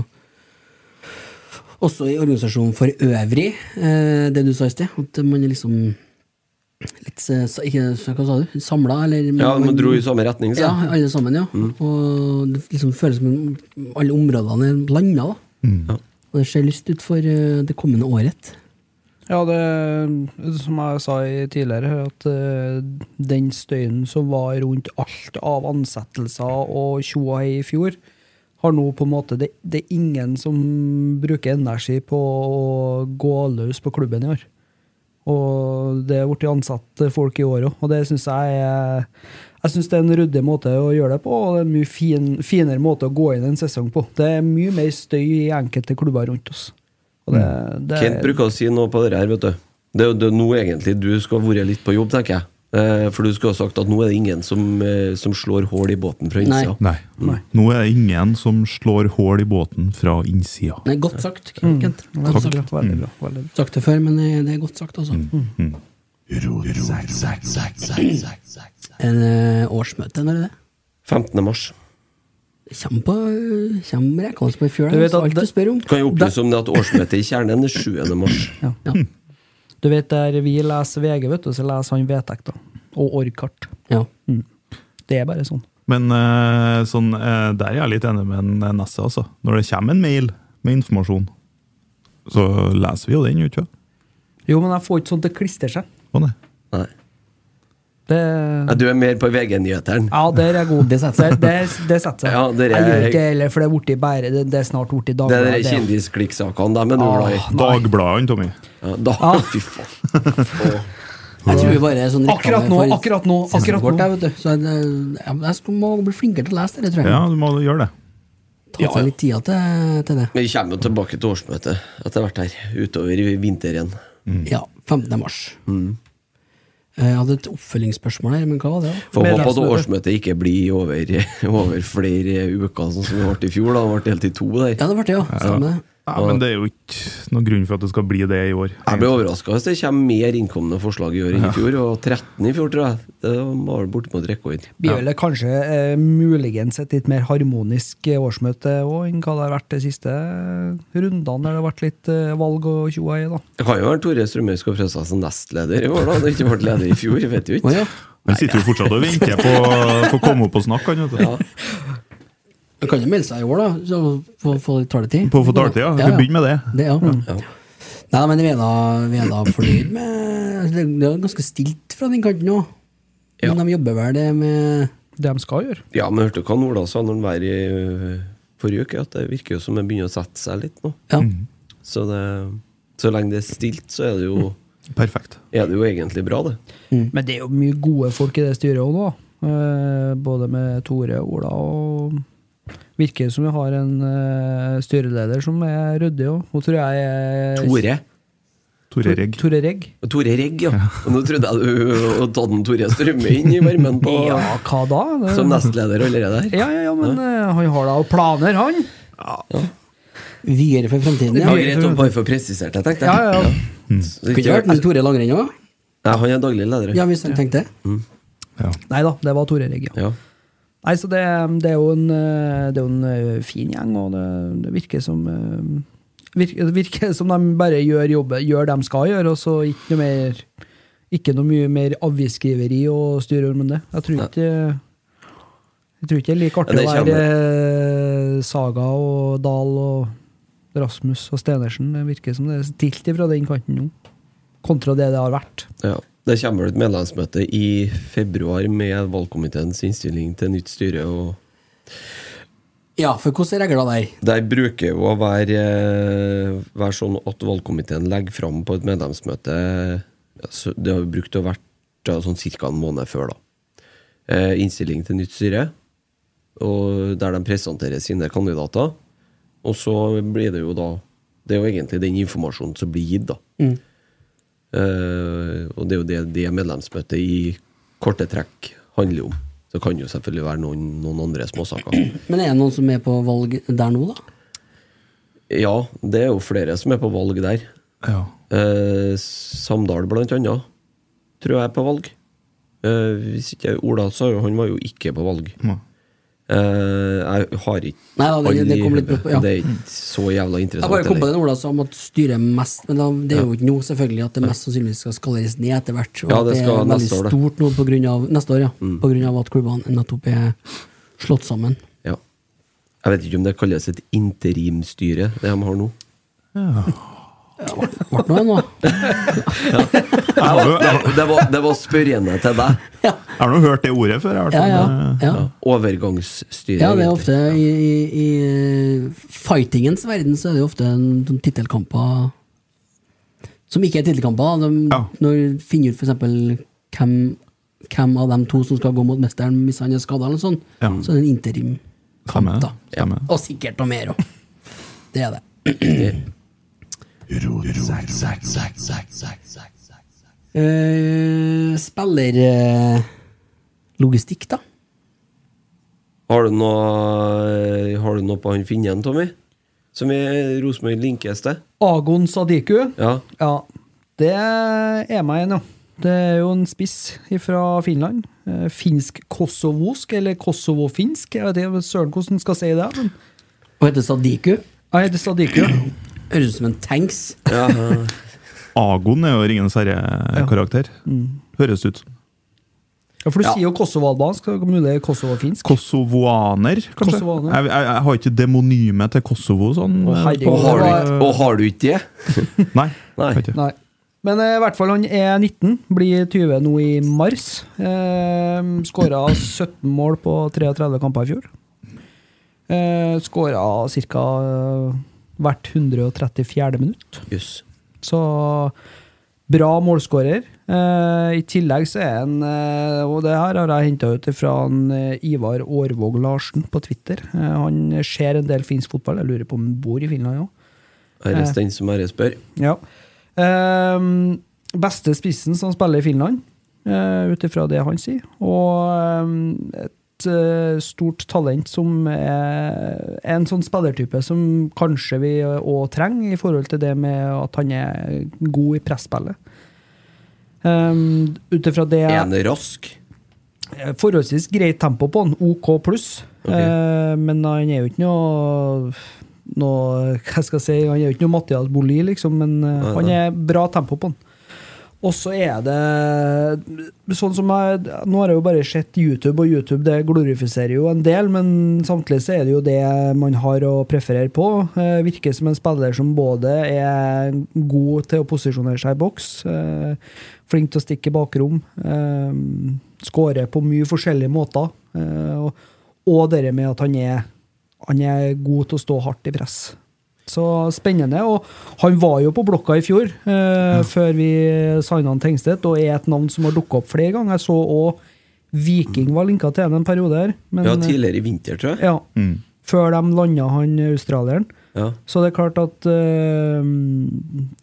S1: også i organisasjonen for øvrig, eh, det du sa i sted. At man er liksom litt eh, sa- ikke, Hva sa du? Samla, eller
S3: Ja, man dro i samme retning, sa
S1: Ja,
S3: jeg.
S1: alle sammen, ja. Og det liksom føles som om alle områdene er blanda, da. Og det ser lyst ut for eh, det kommende året.
S4: Ja, det som jeg sa i tidligere, at eh, den støyen som var rundt alt av ansettelser og tjo og hei i fjor, har nå på en måte det, det er ingen som bruker energi på å gå løs på klubben i år. Og det er blitt ansatt folk i år òg, og det syns jeg er jeg synes det er en ryddig måte å gjøre det på, og det er en mye fin, finere måte å gå inn en sesong på. Det er mye mer støy i enkelte klubber rundt oss. Og det, det
S3: Kent bruker å si noe på det her, vet du. Det er jo det er nå egentlig du skal ha vært litt på jobb, tenker jeg. Eh, For du skulle ha sagt at nå er det ingen som, eh, som slår hull i båten fra
S1: Nei.
S3: innsida.
S2: Nei. Nå er det ingen som slår hull i båten fra innsida.
S1: Nei, godt sagt,
S4: Mm.
S1: Kent. Godt
S4: Veldig
S1: sagt.
S4: bra,
S3: Mm.
S4: veldig bra, veldig bra.
S1: sagt det før, men eh, det er godt sagt, altså. En eh, årsmøte, når er det?
S3: 15. mars.
S1: Det Kommer på eh, Kommer rekene på i fjøla.
S4: Du vet
S1: Det er
S4: at
S1: alt du
S4: det-
S1: spør om.
S3: Kan jeg opplyse om det at årsmøtet i Kjernen er 7. mars.
S4: Du vet der vi leser VG, vet du, så leser han vedtekter og org-kart.
S1: Ja.
S4: Det er bare sånn.
S2: Men eh, sånn, eh, der er jeg litt enig med en, eh, Nesse, altså. Når det kommer en mail med informasjon, så leser vi jo den, gjør vi ikke det?
S4: Jo, men jeg får ikke sånn til å klistre seg.
S2: Å, nei.
S3: Nei.
S4: Det,
S3: Nei, Du er mer på VG-nyhetene.
S4: ja, der er jeg god. Det setter seg. Det, det setter seg.
S3: Ja, der er-
S4: jeg gjør ikke det heller, for det er, borti bære, det, det er snart borti
S3: Det er de
S4: Dagbladet. det.
S3: kjendisklikksakene, dem er du glad
S2: Ah.
S3: i.
S2: Dagbladet, Tommy.
S3: Ja, Da,
S4: Ah.
S3: fy faen. Åh.
S1: Jeg tror vi bare er sånn
S4: Akkurat nå, akkurat nå, akkurat nå.
S1: Jeg, vet du. Så jeg, jeg, jeg skal- må bli flinkere til å lese det, tror jeg.
S2: Ja, du må gjøre det.
S1: Ta seg litt tida til, til det.
S3: Men vi kommer jo tilbake til årsmøtet etter hvert her, utover i vinteren.
S2: Mm.
S1: Ja, 15. mars. Eh, Jeg hadde et oppfølgingsspørsmål her, men hva var det? da?
S3: Får håpe at
S4: Medlemsmøte.
S3: årsmøtet ikke blir over, over flere uker, sånn som det ble i fjor. da, Det ble delt i to der.
S1: Ja, det ble det, ja. Stemmer det.
S2: Ja, men det er jo ikke noen grunn for at det skal bli det i år.
S3: Jeg blir overraska hvis det kommer mer innkomne forslag i år enn i fjor. Og 13 i fjor, tror jeg. Det var vel bortimot rekord.
S4: Blir vel det kanskje eh, muligens et litt mer harmonisk eh, årsmøte òg, enn hva det har vært de siste rundene, der det har vært litt eh, valg og tjoa i, da.
S3: Det kan jo være Tore Strømøy skal prøve seg som nestleder i år, da. Det ikke ble leder i fjor, jeg vet jo
S1: Å
S3: ikke.
S1: ja.
S2: Han sitter jo fortsatt og venter på på å komme opp og snakke, han, vet du.
S1: Du kan jo melde seg i år, da. Så få, få litt taletid.
S2: På å få taletid, ja. Vi kan begynne med det.
S1: Det, ja. Nei, men vi er da, vi er da fornøyd med altså, Det det er ganske stilt fra den kanten òg. Men de jobber vel det med
S4: Det de skal gjøre.
S3: Ja, men hørte du hva Ola sa når han var i ø, forrige uke? At det virker jo som det begynner å sette seg litt nå.
S1: Ja.
S2: Mm.
S3: Så, det, så lenge det er stilt, så er det jo,
S2: Perfekt.
S3: er det jo egentlig bra, det.
S4: Men det er jo mye gode folk i det styret òg nå. Eh, Både med Tore og Ola. og Virker som vi har en eh, styreleder som er ryddig òg. Hun tror jeg er
S3: Tore.
S2: Tore Regg.
S4: Tore Regg.
S3: Tore Regg, ja. Og nå trodde jeg du ø, hadde tatt en Tore Strømøy inn i varmen på
S4: Ja, hva da? Det-
S3: Som nestleder allerede her.
S4: Ja, ja, ja, men eh, han har da planer, han.
S1: videre for fremtiden.
S3: Det
S1: Ja.
S3: var greit å bare få presisert det, tenkte
S4: Ja,
S3: jeg.
S4: ja, ja.
S3: Så
S1: Kunne
S3: ikke
S1: ikke vært med Tore Langrenn òg?
S3: Nei, han er daglig leder.
S1: Ja, hvis han tenkte det.
S4: Nei da, det var Tore Regg, ja.
S3: Ja.
S4: Nei, så det, det, er jo en, eh, det er jo en eh, fin gjeng, og det, det virker som eh, virker, Det virker som de bare gjør jobben gjør de skal gjøre, og så ikke noe mer ikke noe mye mer avisskriveri og styre med det. Jeg tror ikke jeg tror ikke det er like
S3: Ja,
S4: artig
S3: det
S4: å
S3: kommer.
S4: være eh, Saga og Dahl og Rasmus og Stenersen. Det virker som det er stilt ifra den kanten nå. kontra det det har vært.
S3: Ja. Det kommer vel et medlemsmøte i februar med valgkomiteens innstilling til nytt styre. og
S1: Ja, for hvordan er reglene der?
S3: Der bruker jo å være, eh, være sånn at valgkomiteen legger fram på et medlemsmøte ja, så Det har jo brukt å vært ja, sånn ca. en måned før, da. Eh, Innstilling til nytt styre, og der de presenterer sine kandidater. Og så blir det jo da Det er jo egentlig den informasjonen som blir gitt, da. Eh, og det er jo det, det medlemsmøtet i korte trekk handler om. Så kan det jo selvfølgelig være noen, noen andre småsaker.
S1: Men er det noen som er på valg der nå, da?
S3: Ja, det er jo flere som er på valg der.
S2: Ja.
S3: Eh, Samdal, blant annet, tror jeg er på valg. Eh, hvis ikke jeg- Ola sa jo han var jo ikke på valg.
S2: Mm.
S3: Eh, jeg har ikke
S1: Nei, da, det-
S3: alle
S1: det
S3: i
S1: kom litt brått på, ja.
S3: hodet. Det er ikke så jævla
S1: Jeg
S3: interessant.
S1: bare kom på
S3: heller.
S1: den ordet som at styret mest Men da, det er jo ikke nå, selvfølgelig, at det mest sannsynligvis skal skaleres ned etter hvert. Og
S3: Ja,
S1: at
S3: det
S1: det,
S3: skal
S1: er veldig
S3: neste år, det. Mm.
S1: stort nå på grunn av, neste år, ja. På grunn av at klubbene nettopp er slått sammen.
S3: ja. Jeg vet ikke om det kalles et interimstyre, det de har nå.
S1: Ble det noe, da?
S2: Jeg har jo jeg
S3: Det var, det var spørrende til deg.
S2: jeg har nå hørt det ordet før. Jeg,
S1: Ja,
S2: har
S1: ja, ja.
S3: Overgangsstyre.
S1: Ja, det er
S3: egentlig.
S1: ofte i, i, i fightingens verden så er det jo ofte en- sånn tittelkamper som ikke er tittelkamper. De,
S2: Ja.
S1: Når du finner ut for eksempel hvem, hvem av de to som skal gå mot mesteren hvis han er skada, eller noe sånt,
S2: Ja.
S1: så er det en interimkamp,
S2: Stemmer det.
S1: da.
S2: Stemmer det.
S1: Og sikkert noe mer òg. Det er det. Uh, Spillerlogistikk, eh, da.
S3: Har du noe, har du noe på han Finnen, Tommy? Som er Rosenborg linkes til?
S4: Agon Sadiku.
S3: Ja.
S4: Ja, det er meg igjen, ja. Det er jo en spiss fra Finland. Eh, Finsk-kosovosk, eller kosovo-finsk. Jeg vet ikke søren hvordan en skal si det. Men
S1: Og heter Sadiku.
S4: jeg heter Sadiku.
S1: Høres ut som en tanks.
S3: ja.
S2: Agon er jo Ringenes herre-karakter. Høres ut som.
S4: Ja, for du sier jo kosovo-albansk, så mulig det er kosovo-finsk.
S2: Kosovoaner, kanskje?
S4: Kosovoaner.
S2: Jeg, jeg, jeg har ikke demonymet til Kosovo sånn.
S4: Å, herregud.
S2: på-
S3: Og har, du, og har du ikke det?
S2: Nei.
S3: Nei.
S2: har ikke.
S4: Nei. Men eh, i hvert fall han er 19, blir 20 nå i mars. Eh, Skåra 17 mål på 33 kamper i fjor. Eh, Skåra ca. hvert 134. minutt.
S3: Jøss.
S4: Så bra målskårer. Eh, I tillegg så er han eh, Og det her har jeg henta ut fra en, eh, Ivar Aarvåg Larsen på Twitter. Eh, han ser en del finsk fotball. Jeg lurer på om han bor i Finland òg.
S3: Æres den som æres bør.
S4: Ja. Ehm, beste spissen som spiller i Finland, uh, ut ifra det han sier. Og ehm, et eh, stort talent som er, er en sånn spillertype som kanskje vi òg trenger, i forhold til det med at han er god i presspillet. Um, ut ifra det
S3: Er han rask?
S4: Eh, forholdsvis greit tempo på han, OK pluss.
S3: Ok.
S4: Eh, men han er jo ikke noe noe, hva skal jeg si, Han er jo ikke noe Mathias Boli, liksom, men eh,
S3: Nei,
S4: han
S3: nei.
S4: er bra tempo på han. Og så er det sånn som jeg, Nå har jeg jo bare sett YouTube, og YouTube det glorifiserer jo en del, men samtidig så er det jo det man har å preferere på. Eh, virker som en spiller som både er god til å posisjonere seg i boks, eh, flink til å stikke i bakrom, eh, skårer på mye forskjellige måter, eh, og, og det med at han er, han er god til å stå hardt i press. Så spennende. Og han var jo på blokka i fjor, eh, før vi signa han Tengstedt, og er et navn som har dukka opp flere ganger. Jeg så òg Viking var linka til han en periode her. Men, eh,
S3: ja, tidligere i vinter, tror jeg.
S4: ja, Før de landa han australieren.
S3: Ja.
S4: Så det er klart at eh,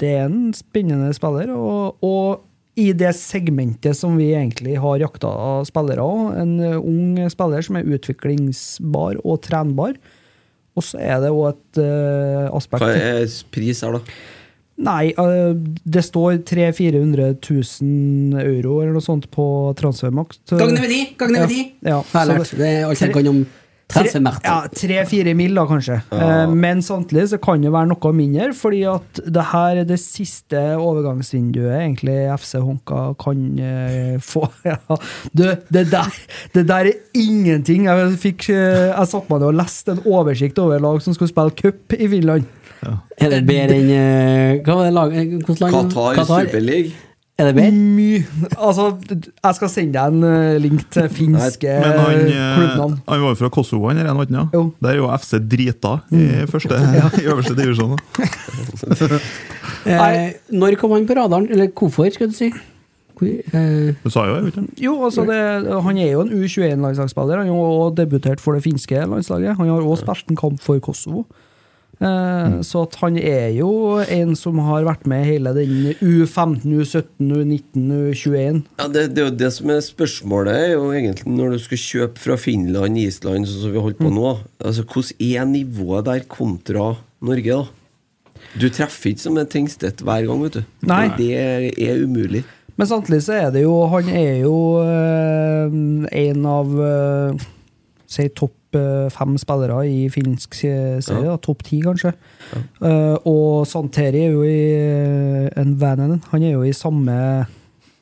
S4: det er en spennende spiller, og, og i det segmentet som vi egentlig har jakta av spillere òg, en eh, ung spiller som er utviklingsbar og trenbar. Og så er det òg et eh, aspekt
S3: Hva er pris her, da?
S4: Nei, eh, det står 300 000-400 000 euro eller noe sånt på transfermakt. eh.
S1: Gagne med de! Gagne med de!
S4: Ja, ja.
S1: Har jeg lært.
S4: Så det-
S1: Det er alt jeg
S4: tre-
S1: kan om transfermarkedet.
S4: Ja, tre-fire mil, da, kanskje. Eh, Men samtidig så kan det være noe mindre, fordi at det her er det siste overgangsvinduet egentlig FC Honka kan eh, få. Ja. Du, det der, det der er ingenting. Jeg, fikk, eh, jeg satt meg ned og leste en oversikt over lag som skulle spille cup i Finland.
S1: Er det bedre enn eh, Hva var det laget? Hvilket land?
S3: Qatar, Super League.
S1: Er det bedre?
S4: Mye. Altså, jeg skal sende deg en eh, link til finske
S2: Men han, eh,
S4: klubbnavn.
S2: han var jo fra Kosovo, han der, han var ikke
S4: Jo.
S2: det? Der er jo FC drita i, første, i øverste divisjon. da.
S1: Eh, når kom han på radaren? Eller hvorfor, skal du si? Hvor, eh,
S2: Du sa jo det, vet du.
S4: Jo, altså det, Han er jo en U21-landslagsspiller. Han har også debutert for det finske landslaget. Han har også spilt en kamp for Kosovo. Eh, så at han er jo en som har vært med hele den U15, U17, U19, U21.
S3: Ja, det, det er jo det som er spørsmålet, er jo egentlig når du skal kjøpe fra Finland, Island, sånn som vi holder på
S4: Mm.
S3: nå. Altså, Hvordan er nivået der kontra Norge, da? Du treffer ikke som en Tengstedt hver gang, vet du.
S4: Nei.
S3: Det er umulig.
S4: Men samtidig så er det jo Han er jo eh, en av eh, Si topp eh, fem spillere i finsk se- serie. da. Topp ti, kanskje. Eh, og Santeri er jo i eh, en Vananen. Han er jo i samme,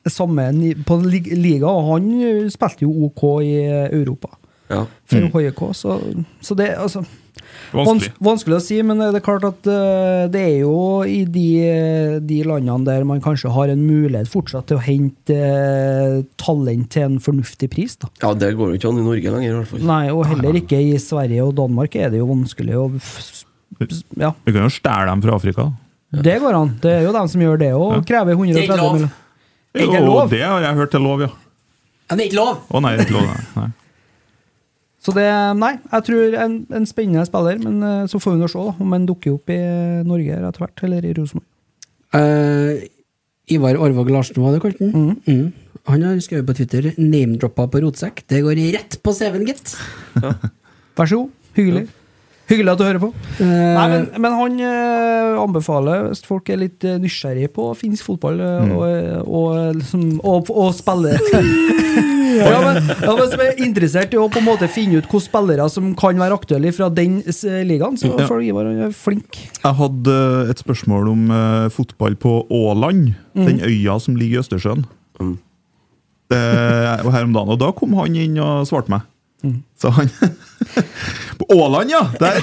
S4: samme ni- på li- liga, og han eh, spilte jo OK i eh, Europa.
S3: Ja.
S4: For HJK, så, så det altså,
S2: Vanskelig.
S4: vans- vanskelig å si, men det er klart at eh, det er jo i de, de landene der man kanskje har en mulighet fortsatt til å hente eh, talent til en fornuftig pris. da.
S3: ja, det går jo ikke an i Norge lenger, i hvert fall.
S4: Nei, Og heller ikke i Sverige og Danmark er det jo vanskelig å f- Ja,
S2: Vi kan jo stjele dem fra Afrika. da.
S4: det går an. Det er jo dem som gjør det, og krever 130
S1: lov.
S4: millioner.
S1: Er det
S2: Jo,
S1: lov?
S2: det har jeg hørt til lov, ja.
S1: ja, det er ikke lov!
S2: Å nei, det er ikke lov. nei. Nei.
S4: Så det, nei, jeg tror en, en spennende spiller, men eh, så får vi nå se da, om han dukker opp i Norge her etter hvert, eller i Rosenborg.
S1: Eh, Ivar Orvåg Larsen, var det kalt den? Mm. Han har skrevet på Twitter 'name-droppa på rotsekk'. Det går rett på CV-en, gitt!
S4: Vær så god. Hyggelig. Hyggelig at du hører på. Nei, men, men han eh, anbefaler, hvis folk er litt eh, nysgjerrig på finsk fotball eh, og, og, liksom, og, og spille ja, men, ja, men som er interessert i å på en måte finne ut hvilke spillere som kan være aktuelle fra den s- ligaen, så
S2: Ja.
S4: får Ivar han er flink.
S2: Jeg hadde et spørsmål om eh, fotball på Åland,
S1: Mm.
S2: den øya som ligger i Østersjøen. Eh, og her om dagen, og da kom han inn og svarte meg.
S1: Mm.
S2: Så han På Åland, ja! Der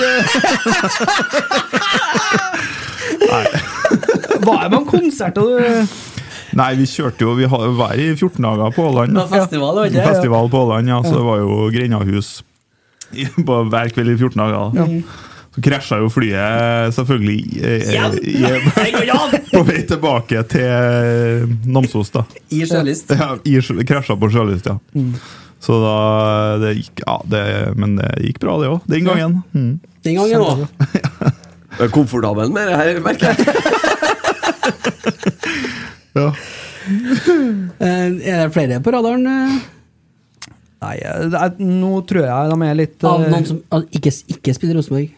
S2: eh,
S4: Hva er med konserter du
S2: Nei, vi kjørte jo Vi har jo vært i 14 dager på Åland. da.
S1: festival, var
S2: En festival på Åland, ja. Så det var jo Grendahus i- på hver kveld i 14 dager. da. Så krasja jo flyet selvfølgelig eh,
S1: Hjem!
S4: Eh,
S2: i- på vei tilbake til eh, Namsos, da.
S1: I sjølyst.
S2: Ja, i sjø- krasja på sjølyst, ja.
S4: Mm.
S2: Så da det gikk, ja, det, Men det gikk bra, det òg. Den gangen. Mm.
S1: Den gangen òg.
S3: Jeg er komfortabel med det her, merker jeg.
S2: Ja.
S1: Eh, er det flere på radaren? eh,
S4: Nei, eh, det er- nå tror jeg de er litt
S1: av
S4: eh,
S1: noen som av- ikke, ikke spiller Rosenborg?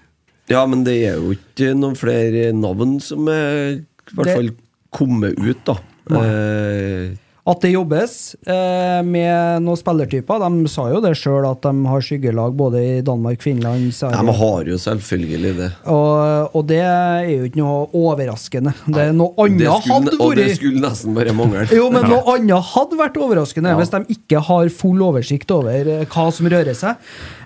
S3: Ja, men det er jo ikke noen flere navn som er i hvert
S4: Det-
S3: fall kommet ut, da. Eh,
S4: At det jobbes eh, med noen spillertyper. De sa jo det sjøl, at de har skyggelag både i Danmark, Finland,
S3: Nei, man
S4: Sverige.
S3: har jo selvfølgelig det.
S4: Og, og det er jo ikke noe overraskende. Det er noe
S3: Det
S4: annet
S3: skulle,
S4: hadde
S3: og det
S4: vært
S3: skulle nesten bare mangle.
S4: jo, men noe annet hadde vært overraskende
S3: Ja.
S4: hvis de ikke har full oversikt over eh, hva som rører seg.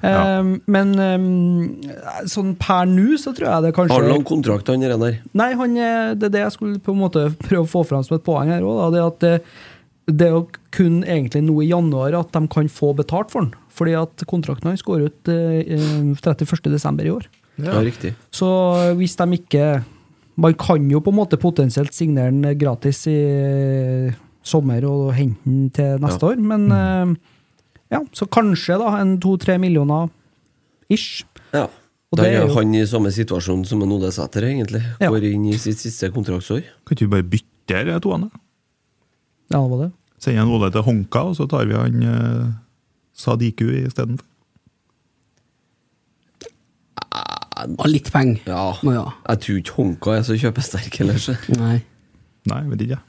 S4: Eh,
S2: Ja.
S4: Men eh, sånn per nå så tror jeg det kanskje
S3: Har han lang kontrakt, han der?
S4: Nei, han, eh, det er det jeg skulle på en måte prøve å få fram som et poeng her òg. Det at eh, det er jo kun egentlig nå i januar at de kan få betalt for den. Fordi at kontrakten hans går ut eh, 31.12. i år.
S3: Ja. riktig.
S4: Så hvis de ikke Man kan jo på en måte potensielt signere den gratis i eh, sommer og hente den til neste år, men eh, ja, så kanskje da en to-tre millioner ish.
S3: Ja.
S4: Og
S3: Da
S4: det er
S3: er
S4: jo-
S3: han i samme situasjon som en Ole Sæter, egentlig.
S4: Ja.
S3: Går inn i sitt siste kontraktsår.
S2: Kan ikke vi bare bytte de toene?
S4: Ja, det var det.
S2: Sende en Ole til Honka, og så tar vi han eh, Sadiku istedenfor.
S1: Og litt penger.
S3: Ja.
S1: Må jo ha.
S3: Jeg tror ikke Honka er så kjøpesterk ellers. eh.
S1: Nei.
S2: Nei, vet ikke. jeg.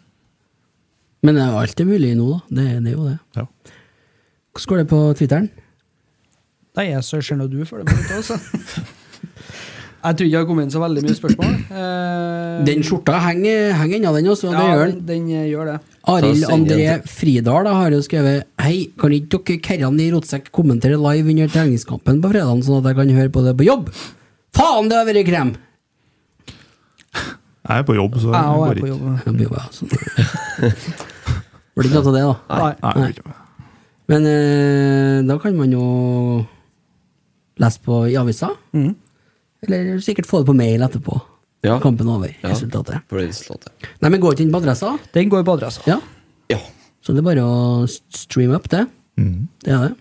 S1: Men det er jo alt er mulig nå, da. Det, er- det er jo det.
S2: Ja.
S1: Hvordan går det på Twitteren?
S4: Nei, jeg ser nå du følger med litt også. Jeg tror ikke det har kommet inn så veldig mye spørsmål. Eh,
S1: Den skjorta henger henger ennå, den også. Det
S4: ja,
S1: gjør
S4: den.
S1: den.
S4: Den eh, gjør det.
S1: Arild
S3: Ta og send
S1: André
S3: den
S1: Fridal da, har jo skrevet Hei, kan ikke dere kerrene i Rotsekk kommentere live under treningskampen på fredagen, sånn at jeg kan høre på det på jobb? Faen, det har vært krem!
S2: Jeg er på jobb, så det
S4: Jeg òg er
S2: går ikke.
S4: på jobb.
S1: Det blir jo bare sånn. Blir ikke noe av det, da.
S4: Nei.
S2: Nei,
S1: Nei.
S2: jeg vet ikke.
S1: Men eh, da kan man jo lese på i avisa.
S4: Mm.
S1: Eller sikkert få det på mail etterpå.
S3: Ja.
S1: Kampen over.
S3: Ja.
S1: Resultatet.
S3: For det resultatet.
S1: Nei, men gå ikke inn på adressa.
S4: Den går på adressa.
S1: Ja.
S3: Ja.
S1: Så det er bare å streame opp det.
S2: Mm.
S1: Det er det.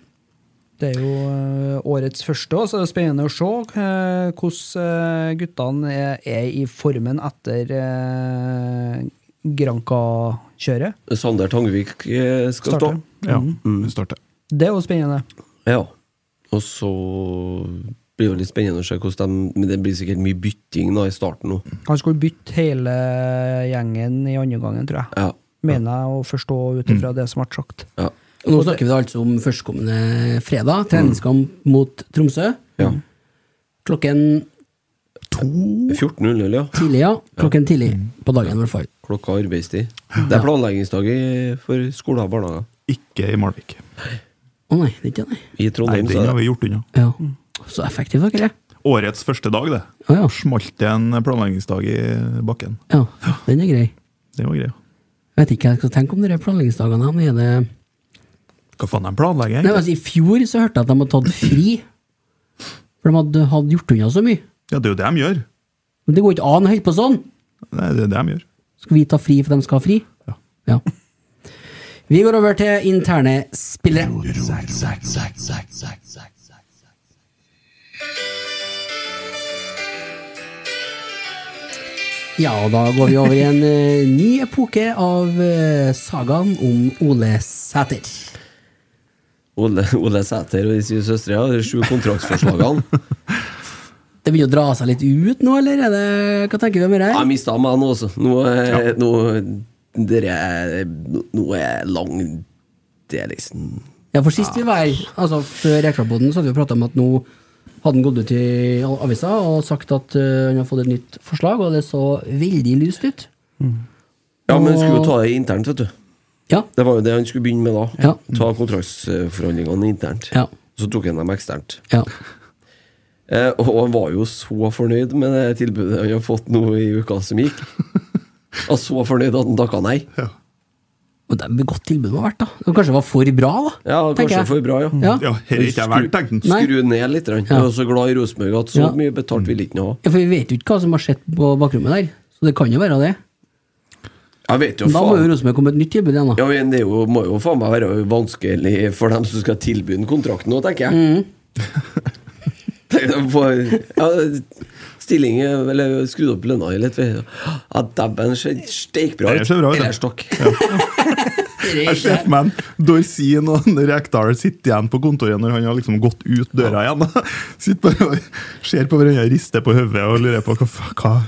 S4: Det er jo eh, årets første, og så er det spennende å se eh, hvordan eh, guttene er- er i formen etter eh, Granca-kjøret.
S3: Sander Tangvik eh, skal
S4: Starter.
S3: stå.
S2: Ja,
S4: Mm.
S2: vi starter.
S4: Det er jo spennende.
S3: Ja. Og så blir det litt spennende å se hvordan de Men det blir sikkert mye bytting da i starten nå.
S4: Han skulle bytte hele gjengen i andre gangen, tror jeg.
S3: Ja. Mm.
S4: Mener jeg å forstå ut ifra det som ble sagt.
S3: Ja.
S1: Og nå snakker vi da altså om førstkommende fredag. Treningskamp mot Tromsø.
S3: ja.
S1: Klokken
S3: 14.00, ja.
S1: tidlig, ja. Klokken tidlig på dagen, i hvert fall.
S3: Klokka er arbeidstid. Det er planleggingsdag i- for skoler og barnehager.
S2: Ikke i Malvik.
S1: Å nei, det er ikke det, nei.
S3: I
S2: Nei,
S3: Trondheim,
S2: den
S3: så
S2: har
S3: er det.
S2: vi gjort unna.
S1: Ja. Så effektiv dere er.
S2: Årets første dag, det.
S1: Å ja.
S2: Smalt det en planleggingsdag i bakken.
S1: ja. Den er grei.
S2: Det var greia.
S1: Jeg vet ikke hva jeg skal tenke om de der planleggingsdagene. men Er det...
S2: Hva faen de
S1: Nei,
S2: planlegger,
S1: men
S2: egentlig?
S1: altså, I fjor så hørte jeg at de hadde tatt fri. For de hadde, hadde gjort unna så mye.
S2: Ja, det er jo det de gjør.
S1: Men det går ikke an å holde på sånn!
S2: Nei, det er det de gjør.
S1: Skal vi ta fri for de skal ha fri?
S2: Ja.
S1: Ja. Vi går over til interne spillere. Ja, og da går vi over i en eh, ny epoke av uh, sagaen om Ole Sæter.
S3: Ole, Ole Sæter og de syv søstre, ja. De sju kontraktsforslagene.
S1: Det begynner å dra seg litt ut nå, eller? Er det, hva tenker vi om det her?
S3: Jeg mista meg nå, altså. Nå, er- nå, dere er- nå er jeg lang Det er liksom
S1: Ja, for sist vi var her, altså før Reklamepodden, så hadde vi prata om at nå hadde han gått ut i avisa og sagt at øh, han har fått et nytt forslag, og det så veldig lyst ut.
S3: Ja, men skulle jo ta det internt, vet du.
S1: Ja.
S3: Det var jo det han skulle begynne med da.
S1: Ja.
S3: Ta kontraktsforhandlingene internt.
S1: Ja.
S3: Så tok han dem eksternt.
S1: ja.
S3: Eh, og han var jo så fornøyd med det tilbudet han har fått nå i uka som gikk. Han var så fornøyd at han takka nei.
S1: Og det er et godt tilbud det har vært, da. Det kanskje var for bra, da.
S3: Ja,
S1: tenker
S3: kanskje
S1: jeg.
S3: for bra, ja.
S1: Ja.
S2: Ja, her er ikke jeg verdt, tenkte han.
S1: Nei.
S3: Skru ned litt. Han
S1: Ja.
S3: var så glad i Rosenborg at så
S1: Ja.
S3: mye betalt ville han ikke ha.
S1: Ja, for vi vet jo ikke hva som har skjedd på bakrommet der, så det kan jo være det.
S3: Jeg vet jo
S1: Men da må jo
S3: faen
S1: Rosenborg komme med et nytt tilbud igjen, da.
S3: ja, men Det er jo, må jo faen meg være vanskelig for dem som skal tilby den kontrakten nå, tenker
S1: Mm.
S3: jeg. Tenk deg på- ja, stilling Eller skrudd opp lønna di litt. vi. Ja, Dæven, ser steikbra
S2: Det ser bra ut, ja.
S3: Eller stokk.
S2: Jeg ser for meg en Dorsin og en Rekdal sitter igjen på kontoret når han har liksom gått ut døra igjen. Sitter bare og ser på hverandre, rister på hodet og lurer på hva, fa- hva,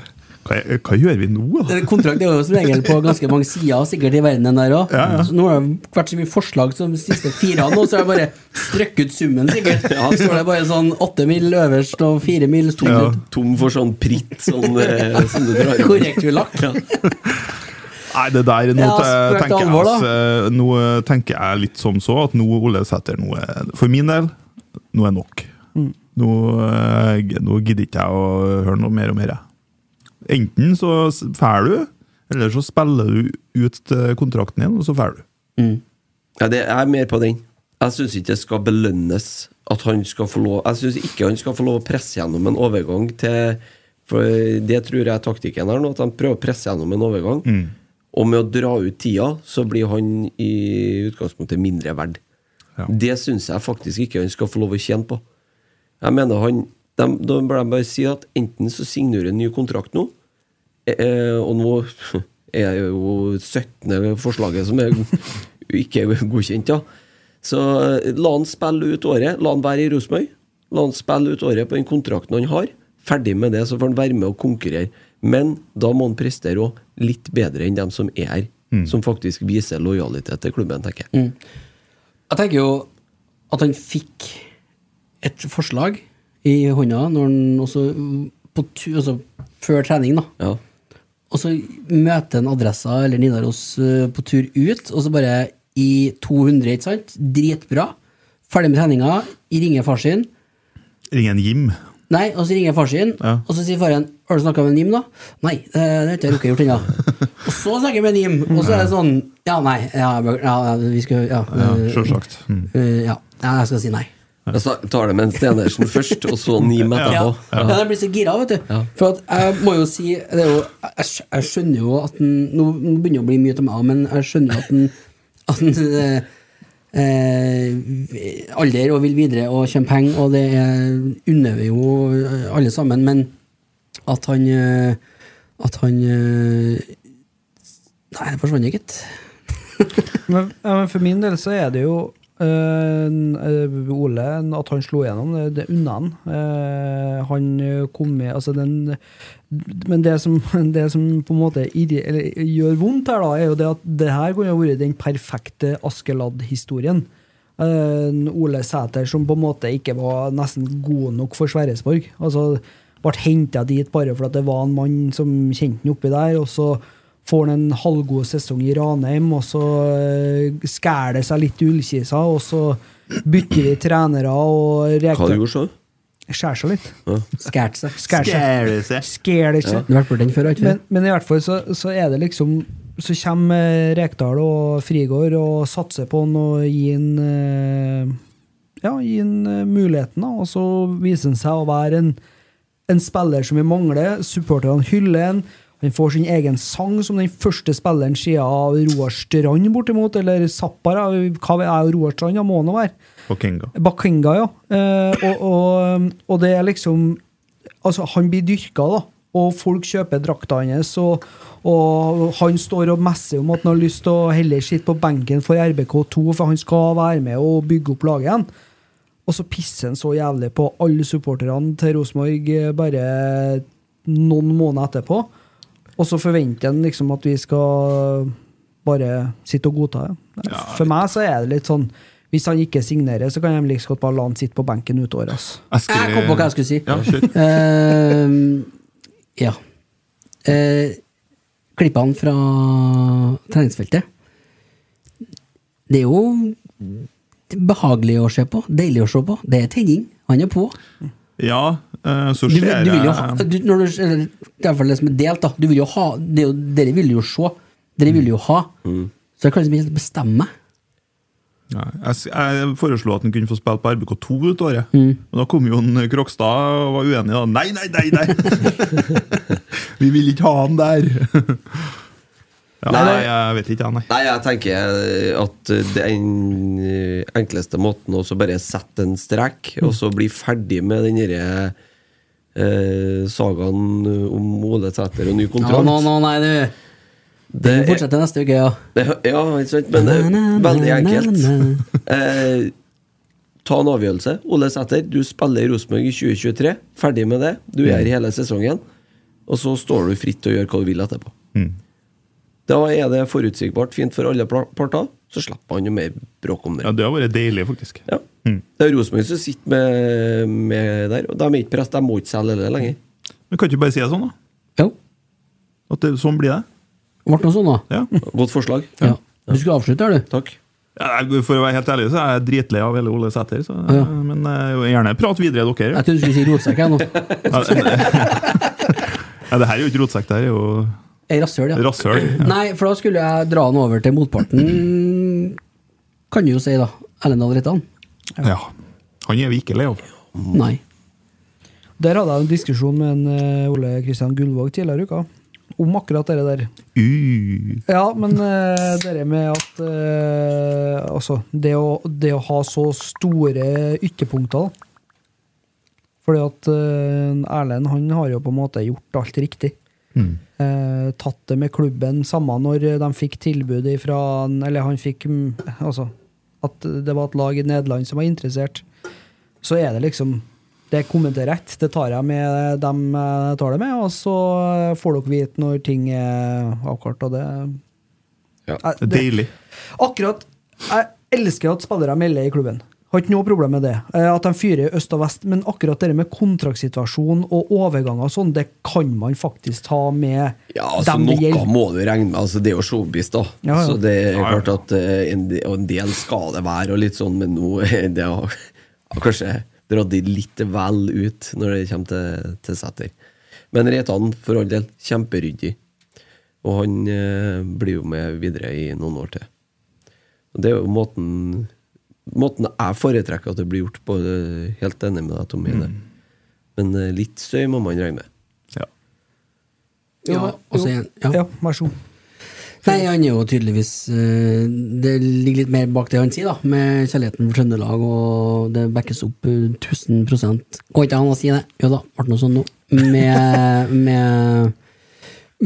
S2: hva, hva gjør vi nå? da?
S1: Den Eh, Kontrakt er jo som regel på ganske mange sider, sikkert i verden den der òg.
S2: Ja, ja.
S1: Nå har det vært så mye forslag som de siste fire nå, så har jeg bare strøkket ut summen, sikkert. Så står det bare sånn åtte mil øverst og fire mil stort.
S2: Ja.
S3: Tom for sånn pritt sånn, eh, som du drar i.
S1: Korrekt ulakk.
S3: Ja.
S2: Nei, det der nå,
S1: Ja,
S2: te-
S1: sprøkt
S2: tenker jeg,
S1: alvor, da.
S2: altså, nå eh, tenker jeg litt som så at nå Ole Sæter nå er, For min del, nå er nok.
S1: Mm.
S2: Nå, eh, g- nå gidder ikke jeg å høre noe mer om dette. Enten så s- fær du, eller så spiller du ut eh, kontrakten din, og så fær du.
S3: Ja, det jeg er mer på den. Jeg syns ikke det skal belønnes at han skal få lov Jeg syns ikke han skal få lov å presse gjennom en overgang til For det tror jeg er taktikken her nå, at han prøver å presse gjennom en overgang. Og med å dra ut tida, så blir han i utgangspunktet mindre verd.
S2: Ja.
S3: Det syns jeg faktisk ikke han skal få lov å tjene på. Jeg mener han de, Da bør de bare si at enten så signerer han en ny kontrakt nå, eh, og nå er jo 17. forslaget som er ikke er godkjent, ja. Så eh, la han spille ut året. La han være i Rosenborg. La han spille ut året på den kontrakten han har. Ferdig med det, så får han være med og konkurrere. Men da må han prestere òg litt bedre enn dem som er her. Som faktisk viser lojalitet til klubben, tenker jeg.
S1: Jeg tenker jo at han fikk et forslag i hånda når han også på tu, altså før trening, da.
S3: Ja.
S1: Og så møter han adressa eller Nidaros eh, på tur ut, og så bare i 200, ikke sant? Dritbra. Ferdig med treninga, ringer far sin.
S2: Ring en Jim.
S1: Nei, og så ringer far sin,
S2: Ja.
S1: og så sier faren Har du snakka med Nim, da? Nei, eh, det har ikke jeg rukket gjort ennå. Og så snakker jeg med Nim, og så er det sånn Ja, nei, ja, bøker, ja vi skal Ja.
S2: Ja,
S1: eh,
S2: Sjølsagt. Mm.
S1: eh, ja. ja jeg skal si nei.
S3: Jeg sa- tar det med en Stenersen først, og så Nim etterpå.
S1: Ja, ja. jeg blir så gira, vet du. For at jeg må jo si det er jo, jeg, skj- jeg skjønner jo at den, Nå nå begynner det å bli mye til meg, men jeg skjønner jo at den, at den eh, eh, alder og vil videre og tjene penger, og det er- unner vi jo eh, alle sammen, men at han eh, At han eh, Nei, det forsvant ikke.
S4: Men, ja, men for min del så er det jo eh, en, eh, Ole, en- at han slo gjennom, det, det unna han. Eh, han eh, kom med altså den, Men det som, det som på en måte irri- eller, gjør vondt her, da, er jo det at det her kunne ha vært den perfekte Askeladd-historien. Eh, Ole Sæter som på en måte ikke var nesten god nok for Sverresborg. Altså, ble henta dit bare for at det var en mann som kjente han oppi der, og så får han en halvgod sesong i Ranheim, og så eh, skærer det seg litt i ullkisa, og så bytter vi trenere og
S3: Hva du
S4: reker
S3: gjorde så?
S4: Skjærer seg litt.
S1: Skært seg.
S4: Skærer seg. Skærer seg.
S1: Du har vært borti den før, har du ikke
S4: Men, men i hvert fall så, så er det liksom Så kommer eh, Rekdal og Frigård og satser på han og gir han eh, Ja, gir han eh, muligheten, da. Og så viser han seg å være en, en spiller som vi mangler. Supporterne hyller han. Han får sin egen sang som den første spilleren siden av Roar Strand, bortimot. Eller Zappara. Hva er Roar Strand? Han må nå være.
S2: På Kenga.
S4: Bakenga, ja. Eh, og, og, og det er liksom Altså, han blir dyrka, da. Og folk kjøper drakta hans, og, og han står og messer om at han har lyst til å heller sitte på benken for RBK2, for han skal være med og bygge opp laget igjen. Og så pisser han så jævlig på alle supporterne til Rosenborg eh, bare noen måneder etterpå. Og så forventer han liksom at vi skal bare sitte og godta det. For meg så er det litt sånn Hvis han ikke signerer, så kan jeg like så godt bare la han sitte på benken ut året. ass.
S2: Jeg, skrev-
S1: Jeg kom på hva jeg skulle si.
S2: Ja, kjør.
S1: Eh, ja. Eh, klippene fra treningsfeltet Det er jo behagelig å se på. Deilig å se på. Det er tenning. Han er på.
S2: Ja, eh, så
S1: Du,
S2: ser
S1: vil-
S2: jeg
S1: du vil jo ha, du, når du, eller, det er i hvert fall det som er delt, da. Du vil jo ha, det er jo, dere vil jo se. Dere vil jo ha.
S2: Mm.
S1: Så jeg kan liksom ikke bestemme.
S2: Nei, jeg, s- jeg foreslo at han kunne få spille på RBK2 ut året. Men da kom jo en Krokstad og var uenig. da Nei, nei, nei! nei Vi vil ikke ha han der! ja, nei,
S3: Nei.
S2: jeg vet ikke, jeg, nei.
S3: Nei, jeg tenker eh, at den eh, enkleste måten å så bare sette en strek,
S1: Mm.
S3: og så bli ferdig med den derre eh, sagaen om Ole Sæter og ny kontrakt.
S1: Ja, nå, nå, nei, du.
S3: Det
S1: Vi
S3: er-
S1: fortsetter neste uke, ja.
S3: det- ja, ikke sant? Men det er veldig enkelt. Eh, ta en avgjørelse. Ole Sæter, du spiller i Rosenborg i 2023. Ferdig med det. Du er her hele sesongen. Og så står du fritt til å gjøre hva du vil etterpå. Da er det forutsigbart fint for alle pla- parter. Så slipper han jo mer bråk om det.
S2: Ja, det har vært deilig, faktisk.
S3: Ja. Det er Rosenborg som sitter med, med der, og de er ikke press, de må ikke selge det lenger.
S2: Men Kan du ikke bare si det sånn, da?
S1: Jo.
S2: At det, sånn blir det?
S1: Ble det noe sånn, da?
S2: Ja.
S3: Godt forslag.
S1: Ja. Du skulle avslutte, her, du.
S3: Takk.
S2: Ja, jeg- For å være helt ærlig, så er jeg dritlei av hele Ole Sæter. Så, Men eh, gjerne prat videre, dere.
S1: Jeg trodde du skulle si rotsekk. jeg, nå.
S2: Ja, det her er jo ikke rotsekk, det her er jo
S1: Jeg rasshøl, ja.
S2: rasshøl. Ja.
S1: Nei, for da skulle jeg dra den over til motparten, kan du jo si, da. Ellendal Rettan.
S2: Ja. Han er vi ikke lei av.
S3: Mm.
S1: Nei.
S4: Der hadde jeg en diskusjon med en eh, Ole Kristian Gullvåg tidligere i uka om akkurat det der.
S2: Uh.
S4: Ja, men eh, det der med at eh, Altså, det å, det å ha så store ytterpunkter da. Fordi at eh, Erlend han har jo på en måte gjort alt riktig. Eh, tatt det med klubben, samme når de fikk tilbud fra Eller han fikk mm, Altså, at det var et lag i Nederland som var interessert. Så er det liksom Det er kommet til rett. Det tar jeg med dem jeg tar det med, og så får dere vite når ting er avklart, og det
S3: Ja.
S4: Eh,
S2: Det er Deilig.
S4: Akkurat Jeg elsker at spillere melder i klubben. Har ikke noe problem med det. Eh, At de fyrer i øst og vest. Men akkurat det med kontraktsituasjon og overganger og sånn, det kan man faktisk ta med
S3: Ja, altså
S4: dem det
S3: Noe
S4: gjelder.
S3: må du regne med. altså Det er jo showbiz, da.
S4: Ja, ja.
S3: Så det er
S2: Ja, ja.
S3: klart at eh, en, de- og en del skal det være, og litt sånn, men nå er det har har kanskje dratt det litt vel ut når det kommer til, til Sæter. Men Reitan, for all del, kjemperyddig. Og han eh, blir jo med videre i noen år til. Og det er jo måten Måten jeg foretrekker at det blir gjort på. eh, Helt enig med deg, Tom Hine.
S2: Mm.
S3: Men eh, litt støy må man regne med.
S2: Ja.
S1: Ja, og så
S4: jo.
S1: en- ja.
S4: Ja, vær så god.
S1: Nei, han er jo tydeligvis eh, Det ligger litt mer bak det han sier, da, med kjærligheten for Trøndelag, og det backes opp eh, 1000 Går ikke an å si det? Jo da, ble det noe sånn nå. Med, med,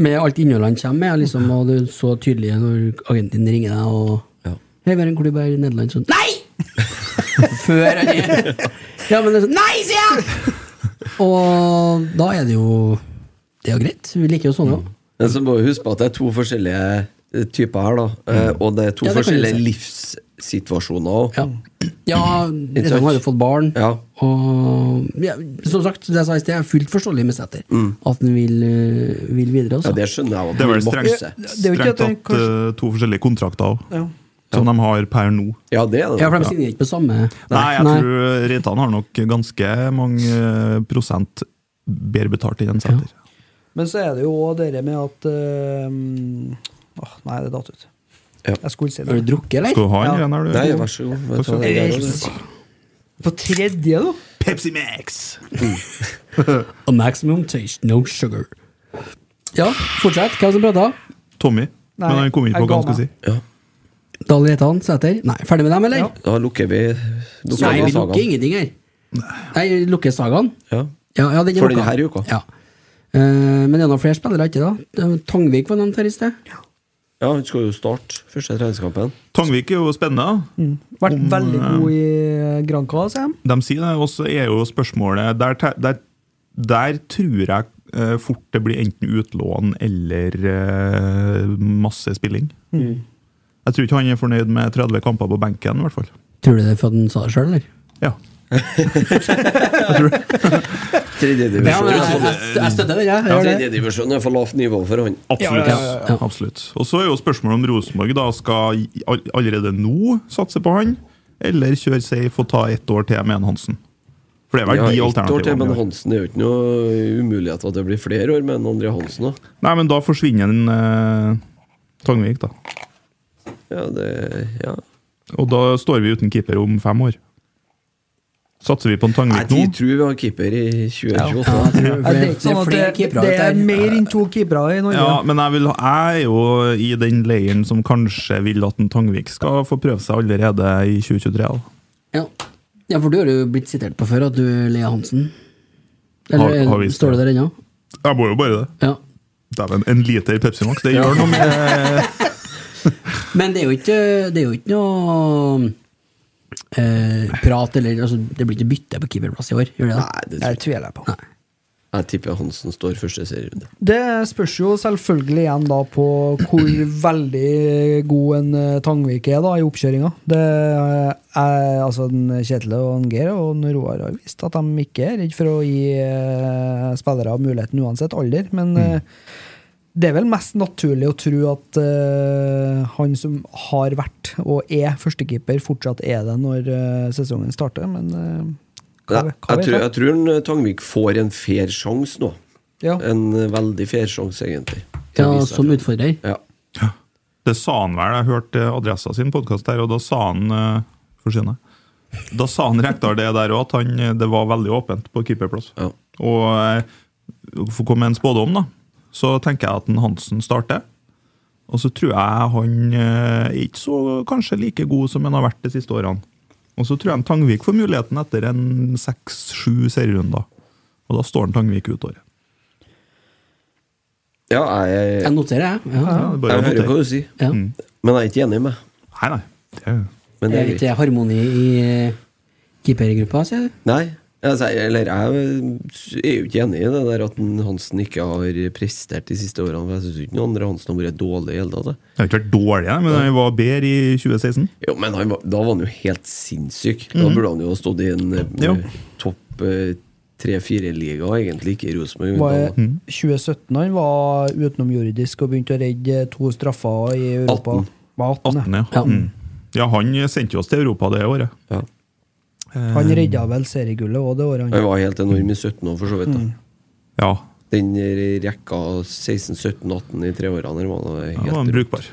S1: med alt innholdet han kommer med, liksom, og det er så tydelig når agenten ringer deg og
S3: Ja.
S1: Hei, vi har en klubb her i Nederland sånn Nei! Før han er Ja, men det er sånn Nei, sier jeg! Og da er det jo Det er jo greit. Vi liker jo sånn, sånne òg.
S3: Men så må vi huske på at det er to forskjellige eh, typer her, da. Eh,
S2: Mm.
S3: Og det er to
S1: Ja, det kan du
S3: forskjellige
S1: si.
S3: livssituasjoner òg.
S1: Ja, ja Reitan har jo fått barn.
S3: Ja.
S1: Og ja, som sagt, det jeg sa i sted, jeg er fullt forståelig med Sæter. At han vil, øh, vil videre. Også.
S3: Mm. Ja, det skjønner jeg. at
S2: Det er vel
S3: man
S2: strengt,
S3: makser.
S4: er jo ikke
S2: strengt
S4: at det
S2: tatt
S4: kanskje-
S2: eh, to forskjellige kontrakter også,
S4: Ja.
S2: som de har per nå.
S3: Ja, det er det.
S1: ja, for de signerer ikke på samme
S2: Nei, jeg tror eh, Reitan har nok ganske mange eh, prosent bedre betalt enn Sæter.
S4: Men så er det jo òg det med at eh, åh, Nei, det datt ut.
S3: Ja.
S4: Jeg skulle si
S1: Har
S4: det.
S1: du drukket, eller?
S2: Skal du ha en
S4: Ja.
S2: igjen, er du?
S3: Nei, vær så god. Jeg tar det der også.
S4: På tredje, da?
S2: Pepsi Max!
S1: A maximum taste, no sugar. Ja, fortsett. Hvem som prata?
S2: Tommy.
S4: Nei,
S2: Men han kom inn på
S4: jeg
S2: hva
S4: ga
S2: han skulle si.
S4: meg.
S1: Dahl Reitan, Sæter. Nei, ferdig med dem, eller?
S4: Ja.
S3: Da lukker vi lukker
S1: Nei,
S3: vi
S1: vi lukker
S3: sagaen.
S1: ingenting her. Nei, lukker sagaen?
S3: Ja.
S1: Ja, ja, den er
S3: For
S1: lukka.
S3: denne uka.
S1: Ja. Eh, men det er noen flere spillere, ikke da? Tangvik var nevnt her i sted.
S3: ja, han skal jo starte første treningskampen.
S2: Tangvik er jo spennende. da.
S4: Vært veldig god i Granca, sier de.
S2: De sier det, og så er jo spørsmålet Der, te- der, der tror jeg eh, fort det blir enten utlån eller eh, masse spilling.
S1: Mm.
S2: Jeg tror ikke han er fornøyd med 30 kamper på benken, i hvert fall.
S1: Tror du det er fordi han sa det sjøl, eller?
S2: Ja.
S1: Ja, men
S3: Tredjedivisjon
S1: jeg, jeg, jeg støtter det, jeg. jeg. gjør det.
S3: er for lavt nivå for han.
S2: Absolutt.
S1: Ja, ja, ja.
S2: Absolutt. Og så er jo spørsmålet om Rosenborg da skal i- all- allerede nå satse på han, eller kjøre safe og ta ett år til med en Hansen. For det er vel
S3: Ja,
S2: de
S3: ett år til, men
S2: alternativene. vi har.
S3: Hansen det er jo ikke noe umulighet for at det blir flere år med en André Hansen òg.
S2: Nei, men da forsvinner en eh, Tangvik, da.
S3: Ja, det ja.
S2: Og da står vi uten keeper om fem år. Satser vi på en
S3: Nei,
S2: Tangvik
S3: de
S2: nå?
S3: tror vi har keeper i
S1: Ja,
S3: 2028.
S1: jeg tror, for
S4: Ja, det
S1: det,
S4: er ikke sånn
S1: er
S4: at
S1: flere
S4: det,
S1: keepere
S4: det
S1: ute
S4: er
S1: her.
S4: mer enn to keepere i Norge.
S2: Ja, men jeg, vil, jeg er jo i den leiren som kanskje vil at en Tangvik skal få prøve seg allerede i 2023. da.
S1: Ja. ja, for du har jo blitt sitert på før at du er Lea Hansen.
S2: Har-
S1: Eller
S2: har visst
S1: står du
S2: det.
S1: der ennå?
S2: Jeg må jo bare det.
S1: Ja.
S2: Dæven, en liter Pepsi Max, det gjør noe med
S1: Men det er jo ikke, det er jo ikke noe eh, prat eller altså, Det blir ikke bytte på keeperplass i år, gjør det det?
S3: Nei, det tror jeg.
S4: Jeg tviler jeg på.
S3: jeg tipper Hansen står første serierunde.
S4: Det spørs jo selvfølgelig igjen da på hvor veldig god en eh, Tangvik er da i oppkjøringa. Det er altså en Kjetil og en Geir og en Roar har vist at de ikke er redd for å gi eh, spillere muligheten uansett alder, men
S3: Mm.
S4: eh, det er vel mest naturlig å tro at eh, han som har vært og er førstekeeper, fortsatt er det når eh, sesongen starter, men eh,
S3: Nei,
S4: hva, hva
S3: jeg,
S4: vet
S3: tror,
S4: jeg?
S3: jeg tror en, eh, Tangvik får en fair sjanse nå.
S4: Ja.
S3: En eh, veldig fair sjanse, egentlig.
S1: Ja,
S3: til å vise seg
S1: som
S3: frem.
S1: utfordrer.
S3: Ja.
S2: Det sa han vel, jeg hørte Adressa sin podkast der, og da sa han eh, Forsyn deg. Da sa han Rekdal det der òg, at han, eh, det var veldig åpent på keeperplass.
S3: Ja.
S2: Og eh, for å komme med en spådom, da, så tenker jeg at en Hansen starter. Og så tror jeg han eh, er ikke så kanskje like god som han har vært de siste årene. Og så tror jeg en Tangvik får muligheten etter en seks-sju serierunder. Og da står en Tangvik ut året.
S3: ja, jeg,
S1: Jeg noterer, jeg. Ja.
S2: Ja, det er bare
S3: jeg
S2: å
S3: hører hva
S2: notere.
S3: du sier,
S1: Ja.
S3: men jeg er ikke enig med
S2: Nei, nei. Det er
S3: men det
S1: Det er
S3: er greit.
S1: ikke harmoni i eh, keepergruppa, sier du?
S3: Nei, altså, jeg- eller jeg er jo ikke enig i det der at en Hansen ikke har prestert de siste årene. For jeg syns ikke noen andre Hansen har vært dårlig i hele tatt. jeg.
S2: Jeg har ikke vært dårlig, jeg, men han var bedre i 2016.
S3: Jo, men han, var- da var han jo helt sinnssyk. Da
S4: Mhm.
S3: burde han jo ha stått i en eh,
S2: Ja.
S3: topp tre-fire-liga, egentlig, ikke i Rosenborg.
S4: Var
S3: men da-
S4: 2017 han var utenomjordisk og begynte å redde to straffer i Europa.
S3: 18.
S4: Var 18,
S2: 18, ja.
S1: Ja.
S2: Mm. ja, han sendte jo oss til Europa det året.
S3: Ja.
S4: Han redda vel seriegullet òg det året.
S3: Han
S4: han Mhm.
S3: var helt enorm i 17 år, for så vidt. da
S2: Ja.
S3: Den rekka 16, 17, 18 i treårene. her var det
S2: Ja,
S3: helt
S2: var han
S3: rått.
S2: brukbar.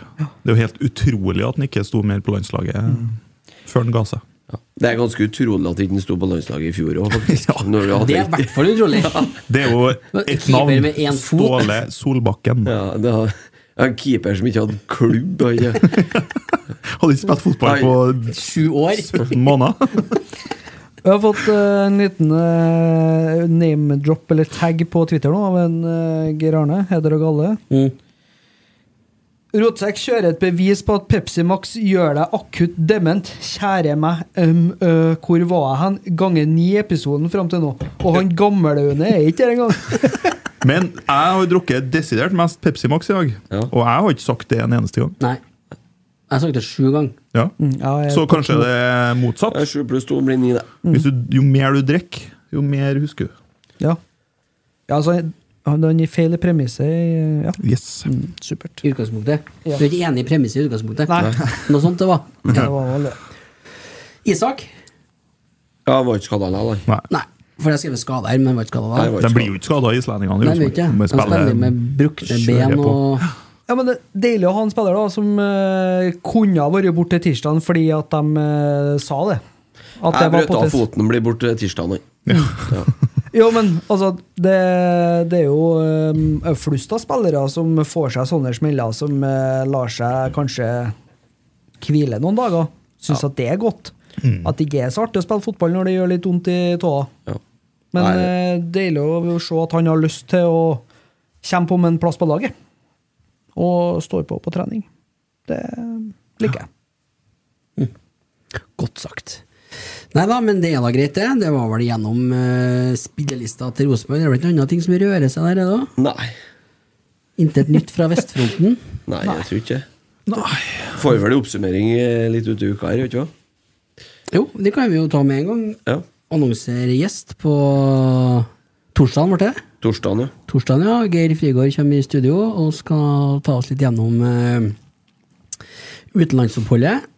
S2: Det er jo helt utrolig at han ikke sto mer på landslaget
S1: Mm.
S2: før han ga seg.
S3: Ja. Det er ganske utrolig at ikke den sto på landslaget i fjor òg, faktisk. Når vi hadde-
S1: Det er i hvert fall utrolig.
S2: Det er jo
S1: Men
S2: ett
S1: keeper
S2: navn.
S1: med én fot.
S2: Ståle Solbakken.
S3: ja, det har, ja, en keeper som ikke hadde klubb. Han, ja.
S2: Hadde ikke spilt fotball på
S1: Sju år.
S2: en måned.
S4: Jeg har fått eh, en liten eh, name-drop eller tag på Twitter nå av en eh, Geir Arne. Heder og galle.
S1: Mm.
S4: Rotsekk kjører et bevis på at Pepsi Max gjør deg akutt dement. Kjære meg, øm, ø, hvor var jeg hen? Ganger ni i episoden fram til nå. Og han gamleune er ikke her engang.
S2: Men jeg har drukket desidert mest Pepsi Max i dag,
S3: Ja.
S2: og jeg har ikke sagt det en eneste gang.
S1: Nei. Jeg har sagt det sju ganger.
S2: Ja.
S1: Mm,
S4: ja, jeg-
S2: Så kanskje det er motsatt.
S3: Ja, Sju pluss to blir ni, det.
S2: Hvis du, jo mer du drikker, jo mer husker du.
S4: Ja. ja altså, han, han gir feil premisse. i- Ja,
S2: Yes.
S1: Mm.
S4: supert.
S1: I utgangspunktet.
S4: Ja.
S1: Du er ikke enig i premisset i utgangspunktet?
S4: Nei.
S1: Noe sånt det var.
S4: Ja, det var vel det.
S1: Isak?
S3: Ja, han var ikke skada, da.
S2: Nei.
S1: Nei. For jeg har skrevet skade her, men jeg var ikke skada
S3: Nei,
S1: da.
S3: var
S2: De
S3: ikke
S2: blir jo ikke skada, islendingene. i
S1: Nei, jeg vet
S2: Rosenborg.
S1: ikke.
S2: De
S1: Han spiller med brukne
S2: kjører
S1: ben
S2: på.
S1: og
S4: Ja, men det er Deilig å ha en spiller da som eh, kunne ha vært borte tirsdag fordi at de eh, sa det. At
S3: Jeg brøt av
S4: potens-
S3: foten, blir borte tirsdag.
S4: Jo, men altså Det, det er jo um, flust av spillere som får seg sånne smeller, som eh, lar seg kanskje hvile noen dager. Syns at det er godt. At det ikke er så artig å spille fotball når det gjør litt vondt i tåa.
S3: Ja.
S4: Men
S3: Nei.
S4: eh, deilig å se at han har lyst til å kjempe om en plass på laget. Og står på på trening. Det liker jeg.
S1: Godt sagt. Nei da, men det er da greit, det. Det var vel gjennom eh, spillelista til Rosenborg. Det er vel ikke noen andre ting som rører seg der, er det da?
S3: Nei.
S1: Intet nytt fra vestfronten?
S3: Nei, jeg tror ikke det. Får vel en oppsummering eh, litt ut i uka her, gjør vi ikke det?
S1: Jo, det kan vi jo ta med en gang.
S3: Ja.
S1: Annonser gjest på torsdagen, ble det?
S3: Torsdagen, ja.
S1: Torsdagen, ja. Geir Frigård kommer i studio og skal ta oss litt gjennom eh, utenlandsoppholdet.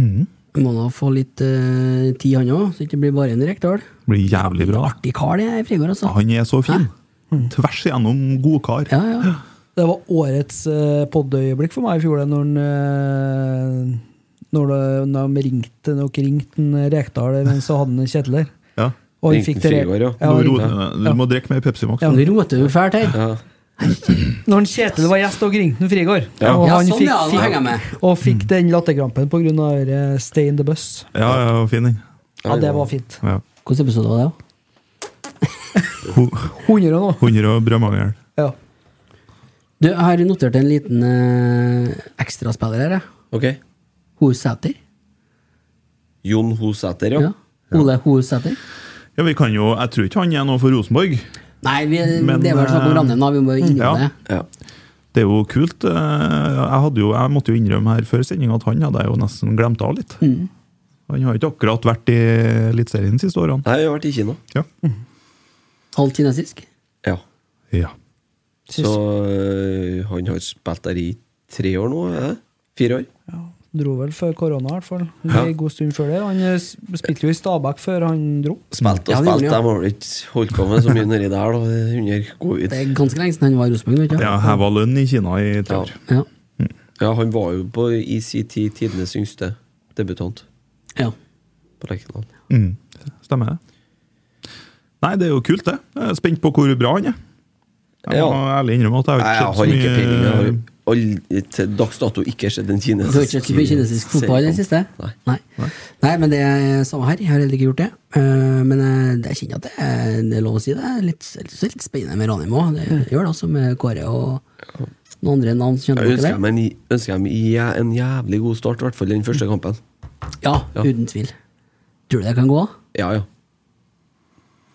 S2: Mm.
S1: Må da få litt eh, tid, han òg, så det ikke blir bare en Rekdal.
S2: Blir jævlig bra.
S1: Artig kar, det er Frigård, altså.
S2: Han er så fin. Tvers igjennom god kar.
S1: Ja, ja.
S4: Det var årets uh, podøyeblikk for meg i fjor, det, når, han, eh, når, det, når de ringte dere ringte en Rekdal mens så hadde han Kjetil der.
S2: Ja.
S4: Og han
S3: Ringte
S4: fikk det re-
S3: Frigård, ja.
S4: Ja,
S2: Nå
S4: han
S2: roer
S4: ringte.
S2: du- du må drikke mer Pepsi Max.
S1: Ja, Nå roter du fælt her.
S3: ja.
S4: Når han Kjetil var gjest, og ringte han Frigård.
S3: Ja.
S4: Og
S1: Ja,
S4: han
S1: sånn,
S4: fikk,
S1: ja, nå henger jeg med.
S4: fikk, og fikk den latterkrampen pga. eh, Stay in the bus.
S2: Ja, ja, fin den.
S4: Ja, det var fint.
S2: Ja.
S1: Hvilken episode var det? da?
S2: Ho-
S4: 100 og noe.
S2: Hunder og brødmangel.
S4: Ja.
S1: Du, jeg har notert en liten eh, ekstraspiller her. jeg.
S3: Ok.
S1: Ho Sæter.
S3: Jon Hosæter, ja.
S1: Ja. Ole Ho Sæter.
S2: Ja, vi kan jo, jeg tror ikke han er noe for Rosenborg.
S1: Nei, vi,
S2: Men,
S1: det er vel snakk om
S2: eh,
S1: Ranheim, da. Vi må jo
S2: ja.
S1: innom det.
S3: ja.
S2: Det er jo kult. eh, Jeg, hadde jo, jeg måtte jo innrømme her før sending at han hadde jeg jo nesten glemt av litt. Han har ikke akkurat vært i Eliteserien de siste årene.
S3: Nei, jeg har vært i Kina.
S2: Ja.
S1: Halvt kinesisk.
S3: Ja.
S2: ja.
S3: Så øh, han har spilt der i tre år nå? Er det? Fire år?
S4: Dro vel før korona, i hvert fall.
S3: Ja.
S4: En god stund før det. Han eh, s- spilte jo i Stabæk før han dro.
S3: Spilt og
S1: Ja, det gjorde
S3: spilt,
S1: han, ja.
S3: de har vel ikke holdt på med så mye nedi der da, under covid.
S1: Det er ganske lenge siden han var i Rosenborg. vet du.
S2: Det har heva lønn i Kina i tre
S3: Ja.
S2: år.
S1: Ja.
S3: ja, han var jo på i sin tid tidenes yngste debutant
S1: ja.
S3: på Lerkendal.
S2: Mm. Stemmer det. Nei, det er jo kult, det. Jeg er spent på hvor bra han er. Jeg må ærlig innrømme at jeg
S3: Nei, jeg har
S2: har
S3: ikke
S2: ikke sett
S3: peiling. Jeg
S2: så
S3: har
S2: mye
S3: aldri- til dags dato ikke sett en
S1: Du har ikke sett
S3: kinesisk
S1: så mye kinesisk fotball i det siste?
S3: Nei.
S1: Nei. Nei, men det er samme her. Jeg har heller ikke gjort det. Eh, Men eh, jeg kjenner at det er, det er lov å si det. Det er Litt, jeg synes det er litt spennende med Ranheim òg. Det gjør det, altså, med Kåre og noen andre navn. som kjenner
S3: Mm. Jeg
S1: dere
S3: ønsker
S1: det.
S3: dem en, ønsker dem jæ- en jævlig god start, i hvert fall den første kampen.
S1: Ja,
S3: Ja.
S1: uten tvil. Tror du det kan gå?
S3: Ja, ja.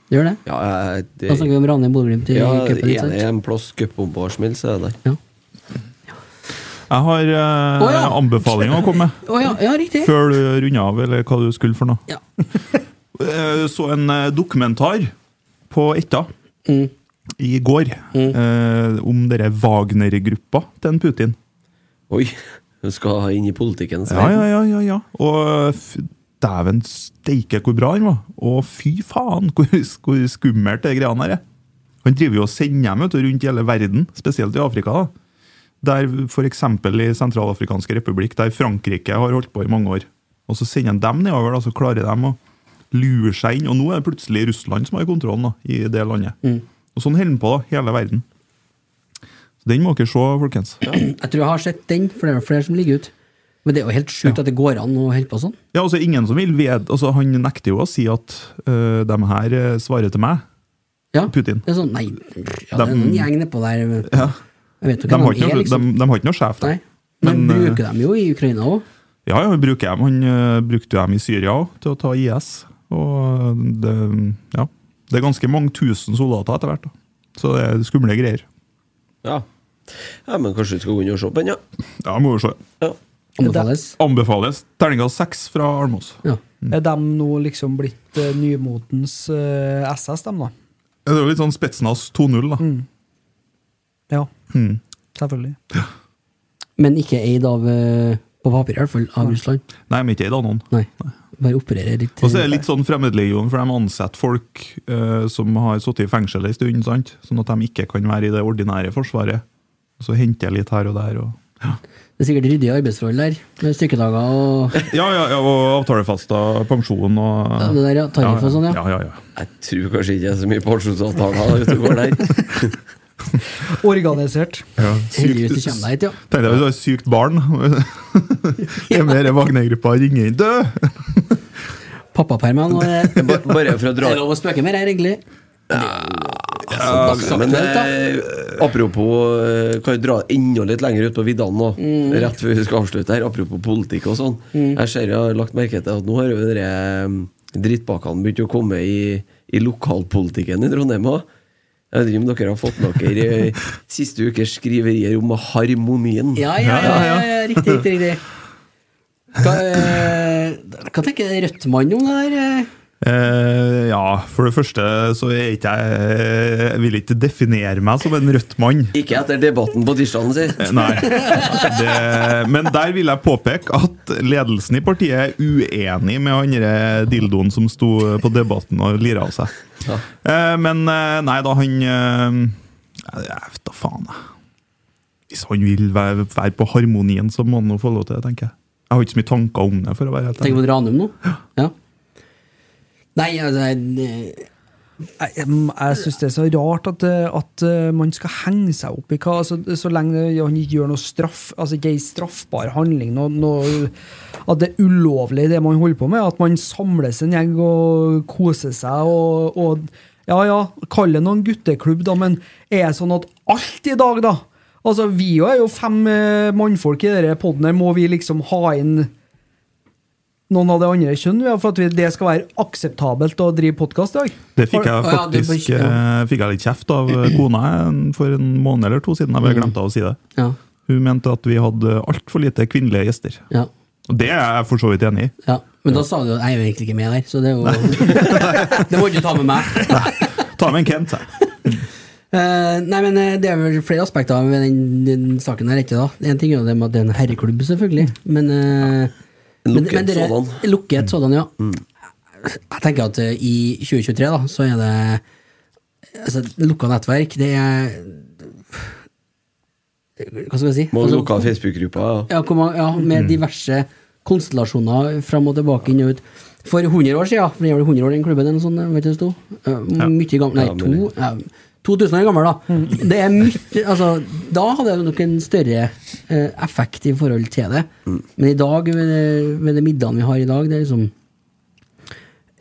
S1: Det gjør det?
S3: ja jeg- det,
S1: Da snakker vi om Ranheim-Bodø-Glimt i
S3: ja,
S1: cupen. ikke
S3: er det
S1: sant?
S3: en plass cupbomba har smelt, så er det der.
S1: Ja.
S2: Jeg har eh,
S1: Å, ja.
S2: anbefalinger å komme med.
S1: Å ja, ja, riktig!
S2: Før du runder av, eller hva du skulle for noe.
S1: Ja.
S2: Jeg så en eh, dokumentar på Etta
S1: Mm.
S2: i går eh, om dere Wagner-gruppa til en Putin.
S3: Oi! Du skal inn i politikken.
S2: Ja, ja, ja, ja, ja. Og eh, f- dæven steike hvor bra han var. Og fy faen, hvor, hvor skummelt det greiene her er. Han driver jo og sender dem vet du, rundt i hele verden, spesielt i Afrika. da. Der F.eks. i Sentralafrikanske republikk, der Frankrike har holdt på i mange år. Og Så sender han dem nedover, da, så klarer de å lure seg inn. Og nå er det plutselig Russland som har kontrollen da, i det landet. Og Sånn holder han på, da, hele verden. Så Den må dere se, folkens.
S1: Jeg tror jeg har sett den, for det er jo flere som ligger ut. Men det er jo helt sjukt at det går an å holde på sånn.
S2: Ja, altså ingen som vil ved, altså Han nekter jo å si at øh, de her øh, svarer til meg,
S1: Ja,
S2: Putin.
S1: Det er sånn, nei, ja, det er noen gjeng nedpå der.
S2: Ja.
S1: Jeg vet jo
S2: De
S1: hvem
S2: har
S1: de
S2: ikke
S1: er,
S2: noe,
S1: liksom.
S2: de, de har ikke noe sjef, da.
S1: Nei. Men,
S2: Men, eh,
S1: bruker dem jo i Ukraina òg.
S2: Ja, ja, vi bruker dem. Han øh, brukte dem i Syria òg, til å ta IS. Og eh, det, ja, det er ganske mange tusen soldater etter hvert. da. Så det er skumle greier.
S3: Ja. ja, men kanskje du skal gå inn og se på den, ja.
S2: Ja, må vi se.
S3: ja.
S1: Anbefales.
S2: Anbefales terningkast seks fra Almås.
S1: Ja.
S4: Er de nå liksom blitt eh, nymotens eh, SS, dem da?
S2: Det er jo litt sånn Spetsnaz 2.0, da.
S1: Mm.
S4: Ja.
S3: Mm.
S4: Selvfølgelig.
S1: Men ikke eid av eh, På papir, i hvert fall, av Russland.
S2: Nei, men ikke i Danon.
S1: Nei. Bare opererer litt eh,
S2: Og så er det litt sånn fremmedlegion, for de ansetter folk eh, som har sittet i fengsel en stund, sant? sånn at de ikke kan være i det ordinære forsvaret. Og så henter jeg litt her og der. Og
S1: Det er sikkert ryddige arbeidsforhold der, med stykkedager og
S2: ja, ja, ja, og avtalefesta pensjon og
S1: Ja, det der, ja, tariff og sånn, ja.
S2: ja, ja, ja.
S3: Jeg tror kanskje ikke det er så mye pensjonsavtaler ute og går der.
S4: Organisert.
S2: ja.
S1: Heldigvis du kommer deg hit, ja.
S2: Tenkte jeg hvis du har et sykt barn Det er mer Wagner-gruppa ringer inn Død!
S1: Pappapermen og det
S3: Ba- Bare for å
S1: Det
S3: dra
S1: er lov å spøke med her, egentlig.
S3: Ja, men eh, apropos eh, Kan jo dra enda litt lenger ut på viddene nå, rett før vi skal avslutte her. Apropos politikk og sånn. Jeg ser jeg har lagt merke til at nå har jo dere eh, drittbakkene begynt å komme i, i lokalpolitikken i Trondheim òg. Jeg vet ikke om dere har fått dere eh, siste ukers skriverier om harmonien.
S1: Ja, ja, ja, ja, ja, riktig, riktig. riktig. Hva, eh, hva tenker Rødt-mannen om det der? eh?
S2: Eh, ja, for det første så er ikke jeg Jeg vil ikke definere meg som en rødt mann
S3: Ikke etter debatten på tirsdagen, si.
S2: Nei. Det, men der vil jeg påpeke at ledelsen i partiet er uenig med andre dildoen som sto på debatten og lira av seg.
S3: Ja.
S2: Eh, Men eh, nei da, han eh, Jeg vet da faen, jeg. Hvis han vil være, være på harmonien, så må han nå få lov til det, tenker jeg. Jeg har ikke så mye tanker om det. for å være helt
S1: Tenker
S2: ærlig.
S1: på Ranum nå? Ja. Nei, altså eh,
S4: Jeg, jeg, jeg syns det er så rart at, eh, at eh, man skal henge seg opp i hva altså, Så lenge det- han ikke gjør noe straff, altså ikke ei straffbar handling, noe, noe, at det er ulovlig, det man holder på med. At man samles en gjeng og koser seg. og, og ja, ja, kall det noen gutteklubb, da, men er det sånn at alt i dag, da? Altså, Vi jo er jo fem eh, mannfolk i denne poden her. Må vi liksom ha inn noen av det andre kjønn? Ja, for at vi, det skal være akseptabelt å drive podkast i dag?
S2: Det fikk jeg
S1: Å, ja, det er på
S2: faktisk
S1: ikke-
S2: eh, fikk jeg litt kjeft av eh, kona en- for en måned eller to siden. Jeg bare glemte å si det.
S1: Mm. Ja.
S2: Hun mente at vi hadde altfor lite kvinnelige gjester.
S1: ja,
S2: Og det er jeg for så vidt enig i.
S1: ja. Men da sa du jo jeg er jo egentlig ikke med der, så det er jo Det må du ikke ta med meg.
S2: Ta med en Kent, jeg.
S1: Eh, nei, men eh, det er vel flere aspekter ved den, den saken her, ikke da? En ting er jo det med at det er en herreklubb, selvfølgelig, men eh, men-
S3: Lukket
S1: men dere-
S3: sådan. Mm.
S1: Lukket sådan, ja. Jeg tenker at eh, i 2023, da, så er det altså, lukka nettverk, det er Hva skal jeg si?
S3: Må
S1: Altså,
S3: lukke av Facebook-gruppa. ja.
S1: ja, hvor mange, ja,
S3: Mm.
S1: med diverse konstellasjoner fram og tilbake inn og ut. For 100 år siden, for det er vel 100 år den klubben eller noe sånt, jeg vet ikke det sto. Eh, Mye gammel, nei,
S3: Ja,
S1: to,
S3: mulig. Mm.
S1: ja, 2000 år gammel, da. Det er mye, altså, da hadde det nok en større eh, effekt i forhold til det.
S3: Mm.
S1: Men i dag, med, det- med de middagene vi har i dag, det er liksom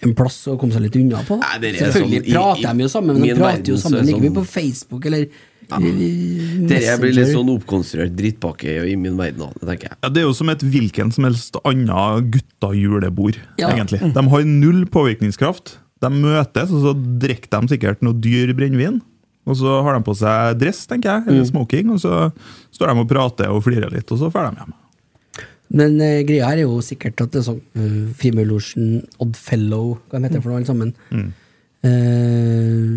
S1: en plass å komme seg litt unna på. Da.
S3: Nei, det er
S1: Selvfølgelig
S3: sånn- i-
S1: prater
S3: i
S1: de jo sammen, men de
S3: min
S1: prater jo
S3: verden så
S1: sammen.
S3: er
S1: Ligger vi
S3: sånn-
S1: på Facebook eller ja.
S3: Dere blir litt sånn oppkonstruert drittpakke i min verden, da, tenker jeg.
S2: Ja, det er jo som et hvilken som helst annet gutta-julebord,
S1: Ja. Mm.
S2: egentlig. De har null påvirkningskraft. De møtes, og så drikker de sikkert noe dyr brennevin. Og så har de på seg dress, tenker jeg,
S1: Mm.
S2: eller smoking, og så står de og prater og flirer litt, og så drar de hjem.
S1: Men eh, greia her er jo sikkert at det er sånn uh, Frimurlosjen, Oddfellow, hva de heter for noe, alle sammen. Eh,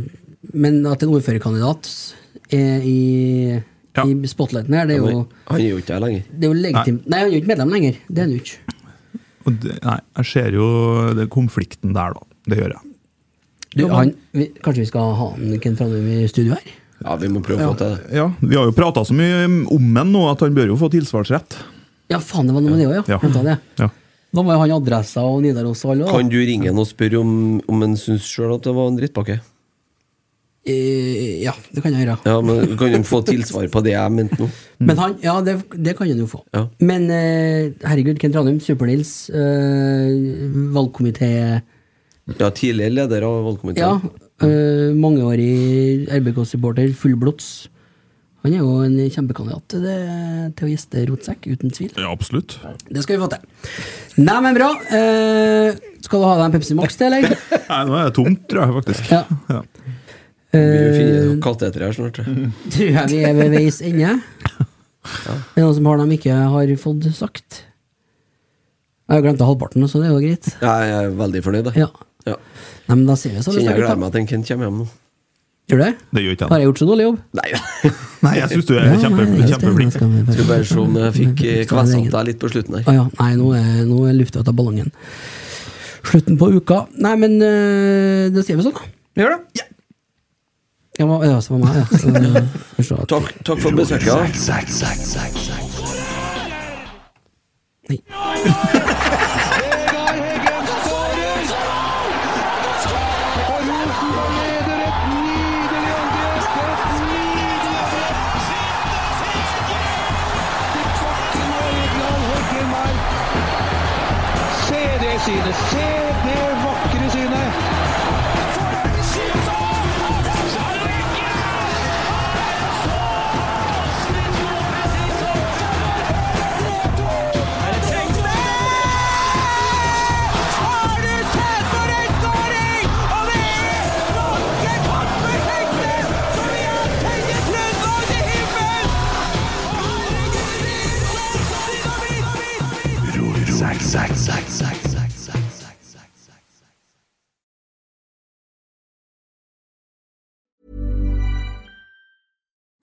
S1: men at en ordførerkandidat er i,
S2: Ja.
S1: i spotlighten her, det er jo,
S3: Han han er jo ikke her lenger.
S1: det er jo legitimt. Nei. han er jo ikke medlem lenger. Det er han jo ikke.
S2: Og det, nei, jeg ser jo det konflikten der, da. Det gjør jeg.
S1: Du, han, vi, kanskje vi skal ha han Ken Franum i studio her?
S3: Ja, vi må prøve å få til det.
S2: Ja, Vi har jo prata så mye om ham nå at han bør jo få tilsvarsrett.
S1: Ja, faen, det var noe med det òg, ja.
S2: Ja.
S1: Vent da, det.
S2: Ja.
S1: Da var jo han adressa og Nidaros og alle. da.
S3: Kan du ringe han og spørre om, om han syns sjøl at det var en drittpakke?
S1: Eh, ja, det kan jeg gjøre.
S3: Ja, men Kan han få tilsvar på det jeg mente nå?
S1: Men han, ja, det, det kan han jo få.
S3: Ja.
S1: Men eh, herregud, Ken Tranum, Super-Nils, eh, valgkomité
S3: Ja, Tidligere leder av
S1: Ja,
S3: valgkomiteen.
S1: eh, mangeårig RBK-supporter, fullblods. Han er jo en kjempekandidat til, det, til å gjeste Rotsekk, uten tvil.
S2: Ja, absolutt.
S1: Det skal vi få til. Nei, men bra. Eh, skal du ha deg en Pepsi Max til, eller?
S2: Nei, nå er det tomt, tror jeg faktisk.
S1: Ja.
S2: Ja.
S3: Vi
S1: Eh,
S3: finner katteter her snart. tror jeg.
S1: tror jeg vi er ved veis ende. Det er noe som har de ikke har fått sagt. Jeg har jo glemt halvparten, så det er jo greit.
S3: Jeg er veldig fornøyd. da.
S1: Ja.
S3: Ja.
S1: Nei, men da sier vi så.
S3: Kjenner jeg
S1: snakkes, da.
S3: gleder meg til en Kent kommer hjem nå.
S1: Gjør du det?
S2: Det gjør ikke
S1: Har
S2: han.
S1: jeg gjort så dårlig jobb?
S3: Nei,
S2: Nei, jeg syns du er Eh, kjempe, kjempeflink.
S3: Skal bare se om jeg fikk eh,
S1: Mm.
S3: kvessa opp deg litt på slutten her.
S1: Å ja. Nei, nå er, nå er lufta ut av ballongen. Slutten på uka. Nei, men eh, det sier vi sånn, da.
S4: Gjør det?
S1: Ja, hva- ja, så var meg, ja. Så, eh, får se at-
S3: Takk, takk for besøket.
S1: Nei.
S7: Se det synet! Se det vakre synet!